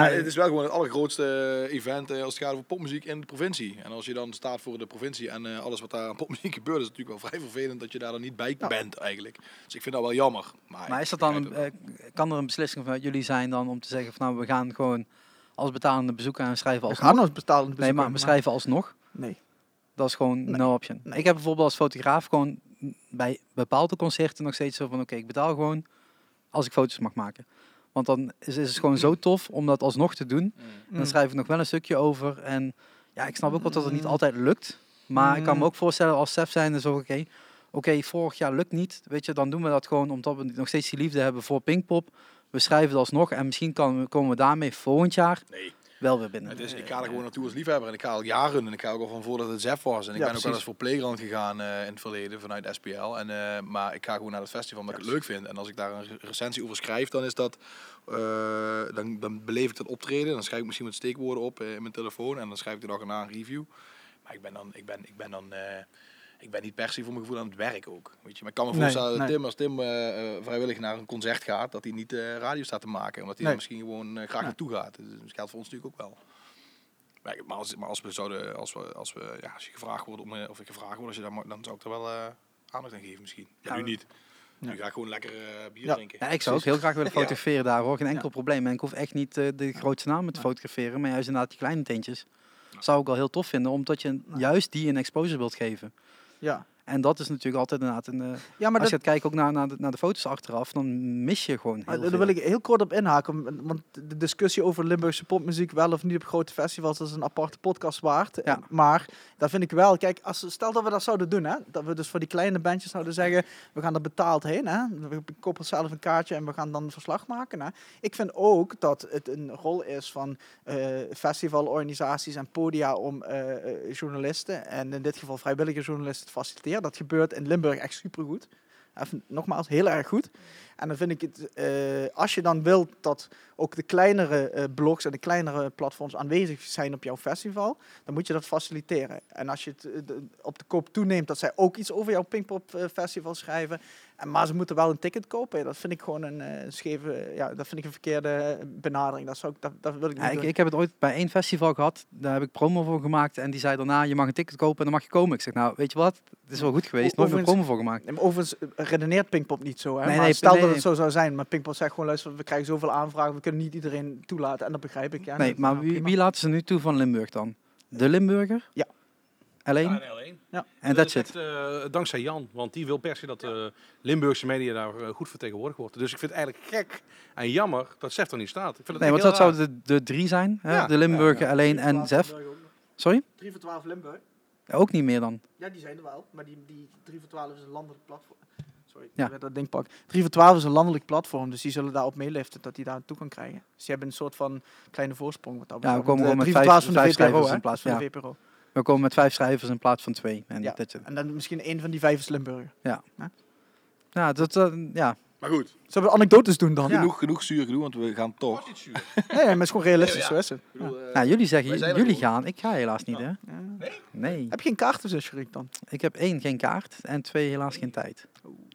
Maar het is wel gewoon het allergrootste event eh, als het gaat over popmuziek in de provincie. En als je dan staat voor de provincie en eh, alles wat daar aan (laughs) popmuziek gebeurt, is het natuurlijk wel vrij vervelend dat je daar dan niet bij bent eigenlijk. Dus ik vind dat wel jammer. Maar, Maar is dat ik dan, begrijp een- het eh, kan er een beslissing vanuit jullie zijn dan om te zeggen van nou we gaan gewoon als betalende bezoeker en schrijven We alsnog? gaan ons betalen. nee, maar we schrijven alsnog. Nee. Dat is gewoon Nee. no option. Ik heb bijvoorbeeld als fotograaf gewoon bij bepaalde concerten nog steeds zo van oké, ik betaal gewoon als ik foto's mag maken. Want dan is, is het gewoon zo tof om dat alsnog te doen. En Mm. Dan schrijf ik nog wel een stukje over. En ja, ik snap ook wel dat het niet altijd lukt. Maar ik kan me ook voorstellen als Stef zijn, zo oké, oké, vorig jaar lukt niet. Weet je, dan doen we dat gewoon omdat we nog steeds die liefde hebben voor Pinkpop. We schrijven het alsnog en misschien kan, komen we daarmee volgend jaar Nee. wel weer binnen. Het is, ik ga er gewoon naartoe als liefhebber en ik ga al jaren en ik ga ook al van voordat het ZEF was. En ik Ja, ben ook wel precies. eens voor Playground gegaan eh, in het verleden vanuit SPL. En, eh, maar ik ga gewoon naar het festival omdat ik het leuk vind. En als ik daar een re- recensie over schrijf, dan is dat, eh, dan, dan beleef ik dat optreden. Dan schrijf ik misschien wat steekwoorden op eh, in mijn telefoon en dan schrijf ik de dag erna een review. Maar ik ben dan, ik ben, ik ben dan, eh, ik ben niet per se voor mijn gevoel aan het werk ook. Weet je, maar ik kan me Nee, voorstellen dat nee. Tim, als Tim eh, eh, vrijwillig naar een concert gaat, dat hij niet eh, radio staat te maken. Omdat hij Nee. er misschien gewoon eh, graag naartoe gaat. Dus dat geldt voor ons natuurlijk ook wel. Maar ik- Maar als, maar als we zouden, als we, als we, ja, als je gevraagd wordt om, eh, of ik gevraagd word, als je dan, mag- dan zou ik er wel eh, aandacht aan geven misschien. Ja, nu niet. Nu ga ik gewoon lekker eh, bier Ja. drinken. Ja, ik zou ook heel graag willen fotograferen daar hoor, geen enkel probleem. En ik hoef echt niet eh, de grootste namen te fotograferen, maar juist inderdaad die kleine tentjes. Zou ik wel heel tof vinden, omdat je juist die een exposure wilt geven. Ja. En dat is natuurlijk altijd inderdaad een... eh, Ja, maar als dat, je gaat kijken ook naar, naar, de, naar de foto's achteraf, dan mis je gewoon Maar heel daar veel. wil ik heel kort op inhaken. om- Want de discussie over Limburgse popmuziek wel of niet op grote festivals, dat is een aparte podcast waard. Ja. Maar dat vind ik wel. Kijk, als, stel dat we dat zouden doen, hè, dat we dus voor die kleine bandjes zouden zeggen, we gaan er betaald heen. Hè, we koppelen zelf een kaartje en we gaan dan verslag maken. Hè. Ik vind ook dat het een rol is van eh, festivalorganisaties en podia om eh, eh, journalisten, en in dit geval vrijwillige journalisten, te faciliteren. Dat gebeurt in Limburg echt supergoed. Even, nogmaals, heel erg goed. En dan vind ik het, eh, als je dan wilt dat ook de kleinere eh, blogs en de kleinere platforms aanwezig zijn op jouw festival, dan moet je dat faciliteren. En als je het eh, de- op de koop toeneemt dat zij ook iets over jouw Pinkpop eh, festival schrijven, en, maar ze moeten wel een ticket kopen, dat vind ik gewoon een eh, scheve, ja, dat vind ik een verkeerde eh, benadering. Dat, zou ik, dat, dat wil ik niet Ja, ik, doen. ik heb het ooit bij één festival gehad. Daar heb ik promo voor gemaakt. En die zei daarna, je mag een ticket kopen en dan mag je komen. Ik zeg, nou, weet je wat? Het is wel goed geweest. Nooit meer promo Overigens- voor gemaakt. Nee, maar Overigens eh, redeneert Pinkpop niet zo. Hè? Nee, maar nee, stel nee, dat nee. het zo zou zijn. Maar Pinkpop zegt gewoon, luister, we krijgen zoveel aanvragen. We kunnen niet iedereen toelaten. En dat begrijp ik. Ja, Nee, Dat- maar nou, wie, prima. wie laten ze nu toe van Limburg dan? De Limburger? Ja. Alleen? Ja, nee, alleen. en Dat dat is zit. echt, eh, dankzij Jan, want die wil per se dat de Limburgse media daar eh, goed vertegenwoordigd wordt. Dus ik vind het eigenlijk gek en jammer dat Zef er niet staat. Ik vind het Nee, want dat eigenlijk heel zouden de, de drie zijn. Hè? Ja. De Limburger, alleen en Zef. Sorry? 3 voor 12 Limburg. Ook niet meer dan. Ja, die zijn er wel. Maar die, die 3 voor 12 is een landelijk platform. Sorry, ik Ja. werd dat ding pak. 3 voor 12 is een landelijk platform. Dus die zullen daarop meeliften dat die daar toe kan krijgen. Dus die hebben een soort van kleine voorsprong. Wat dat Ja, we betreft. komen Want, wel met eh, 3 voor 12 vijf- van de vijf VPRO, schrijvers hè? in plaats van. van- de VPRO. We komen met vijf schrijvers in plaats van twee. En Ja. dat, zit. En dan misschien één van die vijf is Limburg. ja, dat, eh, ja. Maar goed, Zullen we anekdotes doen dan? (laughs) genoeg, genoeg zuur gedoe, want we gaan toch. raar. Iets zuur. Nee, maar het is gewoon realistisch. Ja, ja. Zo is het. Ik bedoel, eh, Nou, jullie zeggen, wij zijn er jullie gewoon. gaan. Ik ga helaas niet, hè? Ja. Nee. Heb je geen kaartenzus, Rick, dan? Ik heb één, geen kaart. En twee, helaas geen tijd.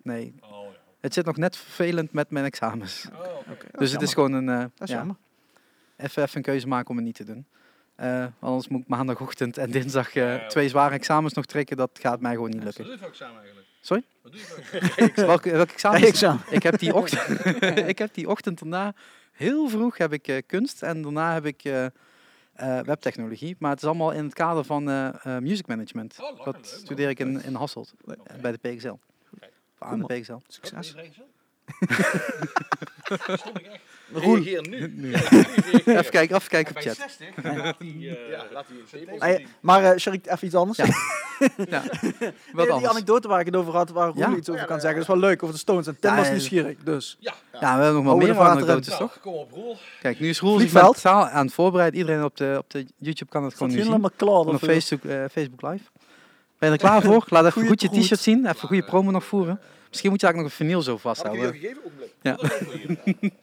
Nee. Oh, ja. Het zit nog net vervelend met mijn examens. Oh, Oké, dat Dus het is gewoon een... eh, Dat is ja, jammer. even, even een keuze maken om het niet te doen. Eh, anders moet ik maandagochtend en dinsdag eh, ja. twee zware examens nog trekken. Dat gaat mij gewoon niet Wat lukken. doe je voor examen eigenlijk? Sorry? Wat doe je voor Welke, welk examen? Nee, ik zou- Ik heb die (laughs) ochtend, (laughs) ik heb die ochtend daarna heel vroeg heb ik eh, kunst en daarna heb ik eh, eh, webtechnologie. Maar het is allemaal in het kader van eh, eh, music management. Oh, lekker, dat leuk, studeer ik in, in Hasselt eh, bij de PXL. Of Aan de Kom PXL. Succes. (laughs) Roel. Reageer nu. Even kijken, even kijken op Bij chat. 60 laat die... eh, ja, laat die in zeep. Ah, ja, maar eh Sharik, even iets anders. (laughs) Ja, Wat Nee, die anders? anekdote waar ik het over had, waar Roel Ja. iets over kan zeggen, is wel leuk. Over de Stones. En Tim Ja, was ja, ja. nieuwsgierig, dus. Ja, we hebben nog wel Houden meer de vaten erin. anekdotes, Nou, toch? kom op, Roel. Kijk, nu is Roel zich Vliegveld. mentaal aan het voorbereiden. Iedereen op de, op de YouTube kan het Staat gewoon nu zien. helemaal klaar. Van op dat Facebook, eh, Facebook Live. Ben je er klaar voor? Laat even Goeie goed je proef. t-shirt zien. Even een goede promo nog voeren. Misschien moet je eigenlijk nog een vinyl zo Had ik jullie al vasthouden. gegeven? Ogenblik.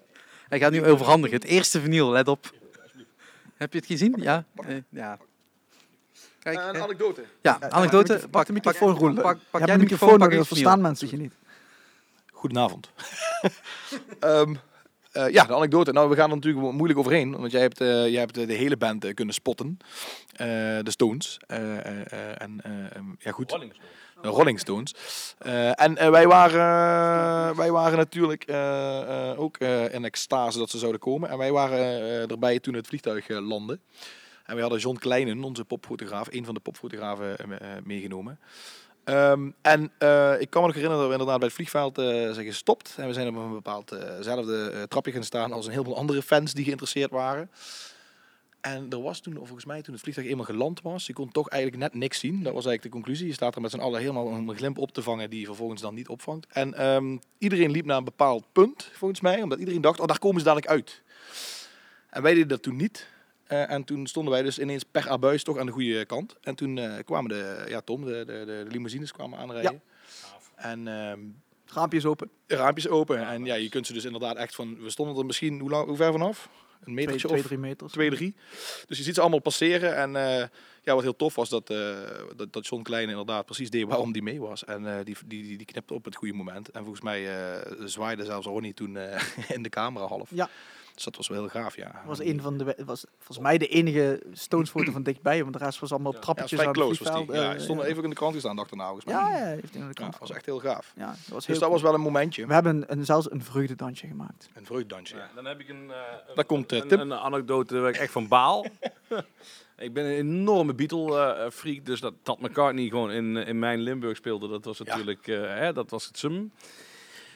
Hij gaat nu overhandigen. Het eerste vinyl, let op. Heb je het gezien? Ja? Eh, ja. Kijk, Eh, eh, Een anekdote. ja, anekdote. Pak, de microfoon, Roel. Pak, pak Je jij hebt de microfoon, pak ik het dat vinyl. verstaan mensen je niet. (laughs) Goedenavond. Ehm, eh, ja, de anekdote. Nou, we gaan er natuurlijk wel moeilijk overheen. Want jij hebt, eh, jij hebt eh, de hele band eh, kunnen spotten. Eh, de Stones. Eh, eh, eh, en, eh, ehm, ja, goed. Rolling Stone. De Rolling Stones. Eh, en eh, wij, waren, eh, wij waren natuurlijk eh, eh, ook eh, in extase dat ze zouden komen. En wij waren eh, erbij toen het vliegtuig eh, landde. En we hadden John Kleinen, onze popfotograaf, een van de popfotografen, eh, me- eh, meegenomen. Ehm, en eh, ik kan me nog herinneren dat we inderdaad bij het vliegveld eh, zijn gestopt. En we zijn op een bepaald eh, zelfde eh, trapje gaan staan als een heleboel andere fans die geïnteresseerd waren. En er was toen, of volgens mij, toen het vliegtuig eenmaal geland was, je kon toch eigenlijk net niks zien. Dat was eigenlijk de conclusie. Je staat er met z'n allen helemaal om een glimp op te vangen die je vervolgens dan niet opvangt. En ehm, iedereen liep naar een bepaald punt, volgens mij, omdat iedereen dacht, oh, daar komen ze dadelijk uit. En wij deden dat toen niet. Eh, en toen stonden wij dus ineens per abuis toch aan de goede kant. En toen eh, kwamen de, ja, Tom, de, de, de, de limousines kwamen aanrijden. En ehm, Het raampje is open. de raampjes open. En ja, je kunt ze dus inderdaad echt van, we stonden er misschien, hoe, lang, hoe ver vanaf? Een Twee, metertje twee, of drie meters. twee, drie. Dus je ziet ze allemaal passeren. En eh, ja, wat heel tof was, dat, eh, dat, dat John Klein inderdaad precies deed waarom die mee was. En eh, die, die, die, die knipte op het goede moment. En volgens mij eh, zwaaide zelfs Ronnie toen eh, (laughs) in de camera half. Ja. Dus dat was wel heel gaaf, ja. was een van de we- was volgens mij de enige Stones-foto van dichtbij, want de rest was allemaal op ja, trappetjes vrij aan het close was die. vliegveld, Ja, eh, stond even ook in de krant gestaan, dacht daarna volgens mij. Ja, ja, heeft hij aan de Ja, kant. dat was echt heel gaaf. Ja, dat was heel Dus dat cool. was wel een momentje. We hebben een, zelfs een vreugdedansje gemaakt. Een vreugddansje. Ja, dan heb ik een, eh, Daar komt, eh, een, Tim. een anekdote waar ik echt van baal. Ik ben een enorme Beatle-freak, dus dat, dat McCartney gewoon in, eh, in mijn Limburg speelde, dat was natuurlijk eh, hè, dat was het sum.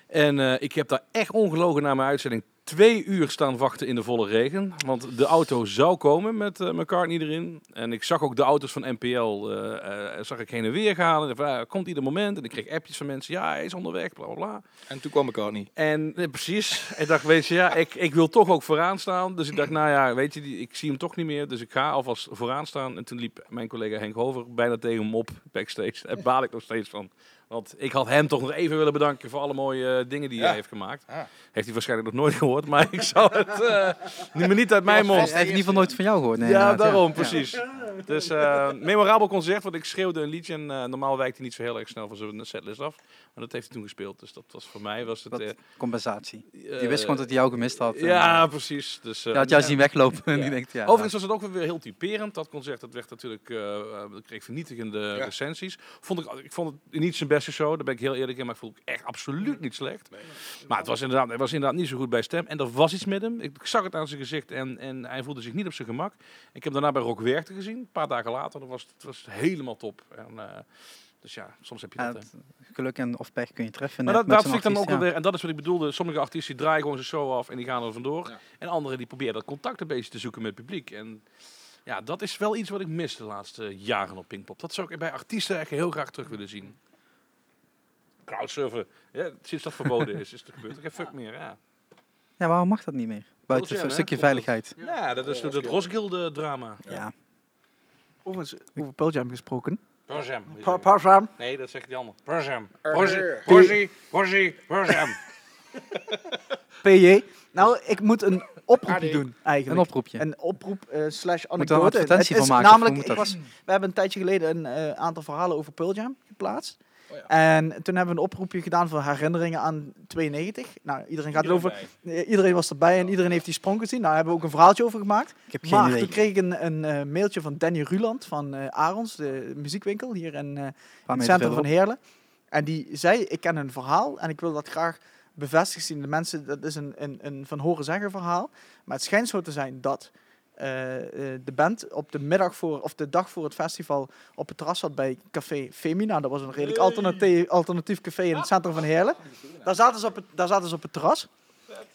En eh, ik heb daar echt ongelogen na mijn uitzending twee uur staan wachten in de volle regen. Want de auto zou komen met eh, McCartney erin. En ik zag ook de auto's van NPL, eh, eh, zag ik heen en weer gaan. En ik dacht, ah, komt ieder moment. En ik kreeg appjes van mensen, ja, hij is onderweg, bla bla bla. En toen kwam McCartney. En eh, precies. Ik dacht, weet je, ja, ik, ik wil toch ook vooraan staan. Dus ik dacht, nou ja, weet je, die- ik zie hem toch niet meer. Dus ik ga alvast vooraan staan. En toen liep mijn collega Henk Hover bijna tegen hem op backstage. Daar baal ik nog steeds van. Want ik had hem toch nog even willen bedanken voor alle mooie eh, dingen die hij heeft gemaakt. Ja. Heeft hij waarschijnlijk nog nooit gehoord, maar ik zou het eh, niet- maar niet uit mijn mond. Hij heeft in ieder geval nooit van jou gehoord. Nee, ja, inderdaad, daarom, Ja. precies. Dus eh, memorabel concert, want ik schreeuwde een liedje. En eh, normaal wijkt hij niet zo heel erg snel van zijn setlist af. Maar dat heeft hij toen gespeeld. Dus dat was voor mij was het... Wat eh, compensatie. eh, Die wist gewoon dat hij jou gemist had. en, ja, precies. Dus, eh, Je had jou ja. zien weglopen. (laughs) En Ja. die denkt, ja, Overigens was het ook weer heel typerend. Dat concert dat werd natuurlijk, eh, eh, dat kreeg vernietigende eh, recensies. Vond ik, ik vond het niet zijn beste show, daar ben ik heel eerlijk in. Maar ik vond het echt absoluut niet slecht. Maar het was, inderdaad, het was inderdaad niet zo goed bij Stem. En er was iets met hem. Ik zag het aan zijn gezicht en, en hij voelde zich niet op zijn gemak. Ik heb daarna bij Rock Werchter gezien, een paar dagen later. Dat was, het was helemaal top. En, eh, dus ja, soms heb je ja, dat. hè. het- geluk en of pech kun je treffen. Maar net dat, met dat zo'n vind ik dan ook artiest, wel ja. weer, en dat is wat ik bedoelde. Sommige artiesten draaien gewoon zijn show af en die gaan er vandoor. En anderen die proberen dat contact een beetje te zoeken met het publiek. En ja, dat is wel iets wat ik mis de laatste jaren op Pinkpop. Dat zou ik bij artiesten echt heel graag terug willen zien. Crowdsurfen, ja, sinds dat verboden is, is het gebeurd. Ik heb fuck meer, ja. Ja, waarom mag dat niet meer? Buiten Wil een zeggen, stukje hè? veiligheid. Ja, dat is dat Rosgilde drama. Ja. Overigens, over Pearl Jam gesproken. Projem. Pa- Pearl Jam. Nee, dat zegt die ander. Projem. Rosie, Rosie, Projem. PJ. Nou, ik moet een oproepje doen Ah, Een eigenlijk. oproepje. Een oproep eh, slash Moet er een anekdote. Het advertentie van is maken? of namelijk, hoe ik moet dat? was, we hebben een tijdje geleden een eh, aantal verhalen over Pearl Jam geplaatst. Oh En toen hebben we een oproepje gedaan voor herinneringen aan 92. Nou, iedereen gaat Iedereen erover. Eh, Iedereen was erbij en iedereen heeft die sprong gezien. Nou, daar hebben we ook een verhaaltje over gemaakt. Ik heb geen Maar idee. toen kreeg ik een, een eh, mailtje van Danny Ruland van eh Arons, de muziekwinkel hier in eh, Een paar het meter centrum verderop. van Heerlen. En die zei, ik ken een verhaal en ik wil dat graag bevestigd zien. De mensen, dat is een, een, een van horen zeggen verhaal. Maar het schijnt zo te zijn dat eh, eh, de band op de middag voor, of de dag voor het festival op het terras zat bij Café Femina. Dat was een redelijk alternatief, alternatief café in het centrum van Heerlen. Daar zaten ze op het, daar zaten ze op het terras.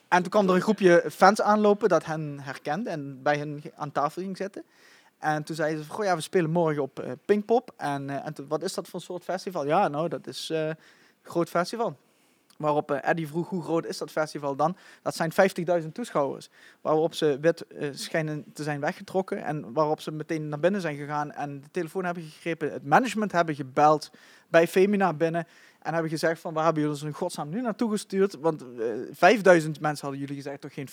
En toen kwam er een groepje fans aanlopen dat hen herkende en bij hen aan tafel ging zitten. En toen zeiden ze van, goh ja, we spelen morgen op eh, Pinkpop. En, eh, en toen, wat is dat voor een soort festival? Ja, nou, dat is eh, een groot festival. Waarop eh Eddie vroeg, hoe groot is dat festival dan? Dat zijn 50.000 toeschouwers. Waarop ze wit eh, schijnen te zijn weggetrokken. En waarop ze meteen naar binnen zijn gegaan en de telefoon hebben gegrepen. Het management hebben gebeld bij Femina binnen. En hebben gezegd van, waar hebben jullie ons in godsnaam nu naartoe gestuurd? Want eh, 5.000 mensen hadden jullie gezegd, toch geen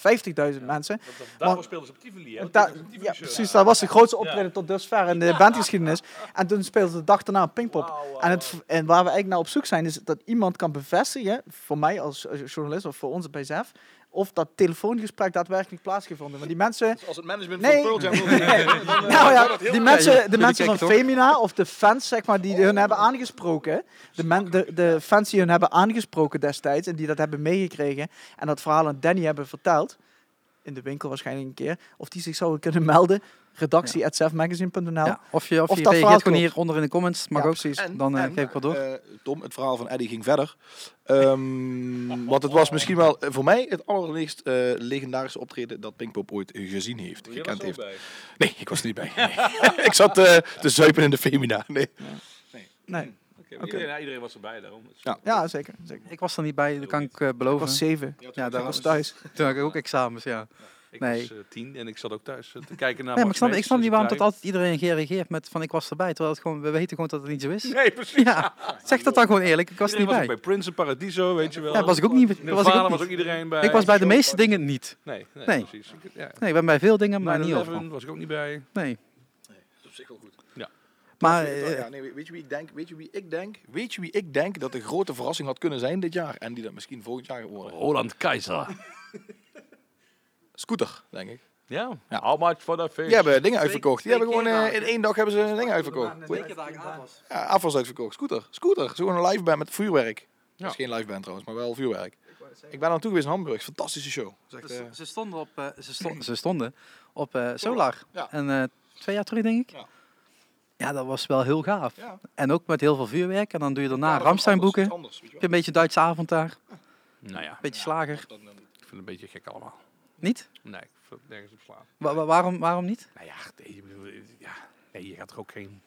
50.000 mensen? Daarvoor speelden ze op Tivoli, hè? En daar- Dat was een ja, Tivoli-show. precies. Dat was de grootste optreden tot dusver in de bandgeschiedenis. En toen speelde ze de dag daarna Pinkpop. Nou, eh, En, het, en waar we eigenlijk naar op zoek zijn, is dat iemand kan bevestigen, voor mij als als journalist of voor ons bij ZEF, of dat telefoongesprek daadwerkelijk plaatsgevonden. Want die mensen... Als het management Nee. van Pearl Jam wil reageren, dan, (laughs) eh, Nou zou ja, dat heel die goed zijn. mensen, de jullie mensen van kijken Oh. Femina of de fans zeg maar, die hun hebben aangesproken. De, men, de, de fans die hun hebben aangesproken destijds en die dat hebben meegekregen. En dat verhaal aan Danny hebben verteld. In de winkel waarschijnlijk een keer. Of die zich zouden kunnen melden. Redactie at selfmagazine.nl. Ja, Of je, of Of je dat reageert verhaal gewoon klopt. hier onder in de comments. Mag Ja, ook. precies. En- Dan eh, en, geef ik wat door. eh, Tom, het verhaal van Eddie ging verder. (laughs) Ehm want het was misschien wel eh, voor mij het allerlicht eh, legendarische optreden dat Pinkpop ooit gezien heeft, Je was gekend er ook heeft. bij. Nee, ik was er niet bij. Nee. (laughs) ik zat eh, te zuipen in de Femina. Nee. Nee. Oké, maar Iedereen, ja, iedereen was erbij, daarom. Dus- Ja. ja, zeker. zeker. Ik was er niet bij, dat kan ik eh, Ik was beloven. zeven. Ja, Ik daarom. was thuis. Toen had ik ook examens, ja. Ik Nee. was eh, tien en ik zat ook thuis eh, te kijken naar Nee, maar ik Max snap, ik Mees snap en niet zijn waarom dat draai. altijd iedereen reageert met van ik was erbij. Terwijl het gewoon, we weten gewoon dat het niet zo is. Nee, (laughs) precies. Ja, zeg dat dan gewoon eerlijk. Ik was er Iedereen niet was bij. ook bij Prince en Paradiso, weet je wel. Ja, was ik ook niet. Was ik Nirvana was ook ook, niet. iedereen bij. Ik was bij de meeste dingen niet. Nee, nee, Nee. precies. Ik- Ja. Nee, ik ben bij veel dingen, maar niet 9-11 overal. was ik ook niet bij. Nee. Dat is op zich wel goed. Maar eh, Ja, nee, weet, je wie ik denk, weet je wie ik denk? Weet je wie ik denk dat de grote verrassing had kunnen zijn dit jaar? En die dat misschien volgend jaar gaat worden? Roland Keizer. Scooter, denk ik. Ja. Ja. How much for that fish? Die hebben dingen uitverkocht. Die twee hebben gewoon keer eh, daar. in één dag hebben ze een ding uitverkocht. Ja, afwas uitverkocht. Scooter. Scooter. Zo'n live band met vuurwerk. Dat is geen live band trouwens, maar wel vuurwerk. zeggen. Ik ben aan toe geweest in Hamburg. Fantastische show. Dat is echt, Ze, eh, ze stonden op, eh, ze sto- (clears throat) ze stonden op eh, Solar. Ja. En eh, twee jaar terug, denk ik. Ja. Ja. dat was wel heel gaaf. ja. En ook met heel veel vuurwerk. En dan doe je daarna Ja, dat is Ramstein anders, boeken. dat Heb is Anders, weet je je een beetje Duitse avond daar. Een Nou ja, beetje slager. wel. Dan, eh, ik vind het een beetje gek allemaal. Niet? Nee, ik vind het nergens op slaan. Wa- wa- waarom, waarom niet? Nou ja, nee, ik bedoel, ja, nee, je gaat er ook geen...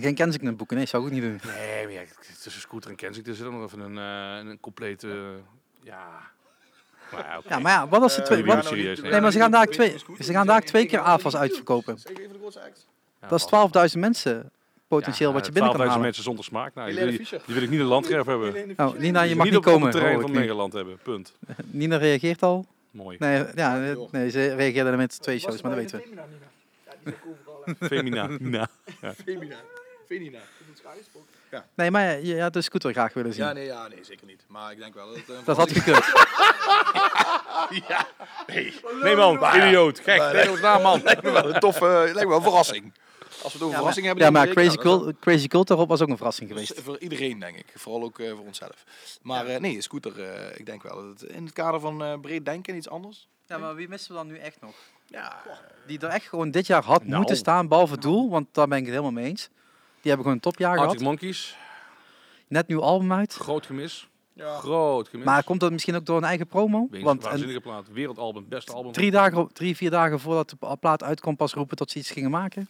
Geen Kensington boeken. Nee, zou ik ook niet doen. Nee, maar ja, tussen scooter en Kensington zit er nog even een, eh, een complete... eh, ja... Maar ja, oké. Ja, maar ja, wat als ze twee... eh, wat- we gaan nou serieus, niet- nee. Nee, maar ze gaan daar Weet twee, je, is goed. ze gaan daar Ik- ik- twee ik- keer ik- AFAS uitverkopen. Zeg even de grootste act. Ja, Dat is 12.000 mensen potentieel ja, wat je binnen kan 12.000 halen. mensen zonder smaak. Ah, Nou, die, Helene wil, je- Fischer. die wil ik niet in landgraf hebben. Helene Nou, Fischer. Nina, je Dus mag niet niet op, op komen. het terrein hoor van ik nu. Nederland hebben. Punt. Nina reageert al. Mooi. (laughs) Nee, ja, Ja, eh, joh. nee ze reageerde met twee shows, maar dat weten we. Ja, die is ook overal. hè. Femina. Nina. Femina. Femina. Die moet zich uitgesproken. Nee, maar ja, je had de scooter graag willen zien. Ja, nee, ja, nee, zeker niet. Maar ik denk wel dat het... eh, Dat had gekund. Nee man, idioot. Gek. Maar, Nee, dat is na, man. lijkt me wel een toffe... eh, lijkt me wel een verrassing. Als we het over verrassing hebben... Ja, dan maar denk ik, Crazy, nou, dat Dus- Cult, Crazy Cult daarop was ook een verrassing is- dat geweest. is Voor iedereen, denk ik. Vooral ook eh, voor onszelf. Maar eh, nee, scooter, eh, ik denk wel dat het in het kader van eh, breed denken iets anders. Ja, maar wie missen we dan nu echt nog? Ja, Die er echt gewoon dit jaar had Nou. moeten staan, behalve het doel, want daar ben ik het helemaal mee eens. Die hebben gewoon een topjaar Arctic gehad. Monkeys. Net nieuw album uit. Groot gemis. ja. Groot gemis. Maar komt dat misschien ook door een eigen promo? Wees Want een- waanzinnige plaat. Wereldalbum. Beste album. drie, dagen, drie, vier dagen voordat de plaat uitkwam pas roepen tot ze iets gingen maken.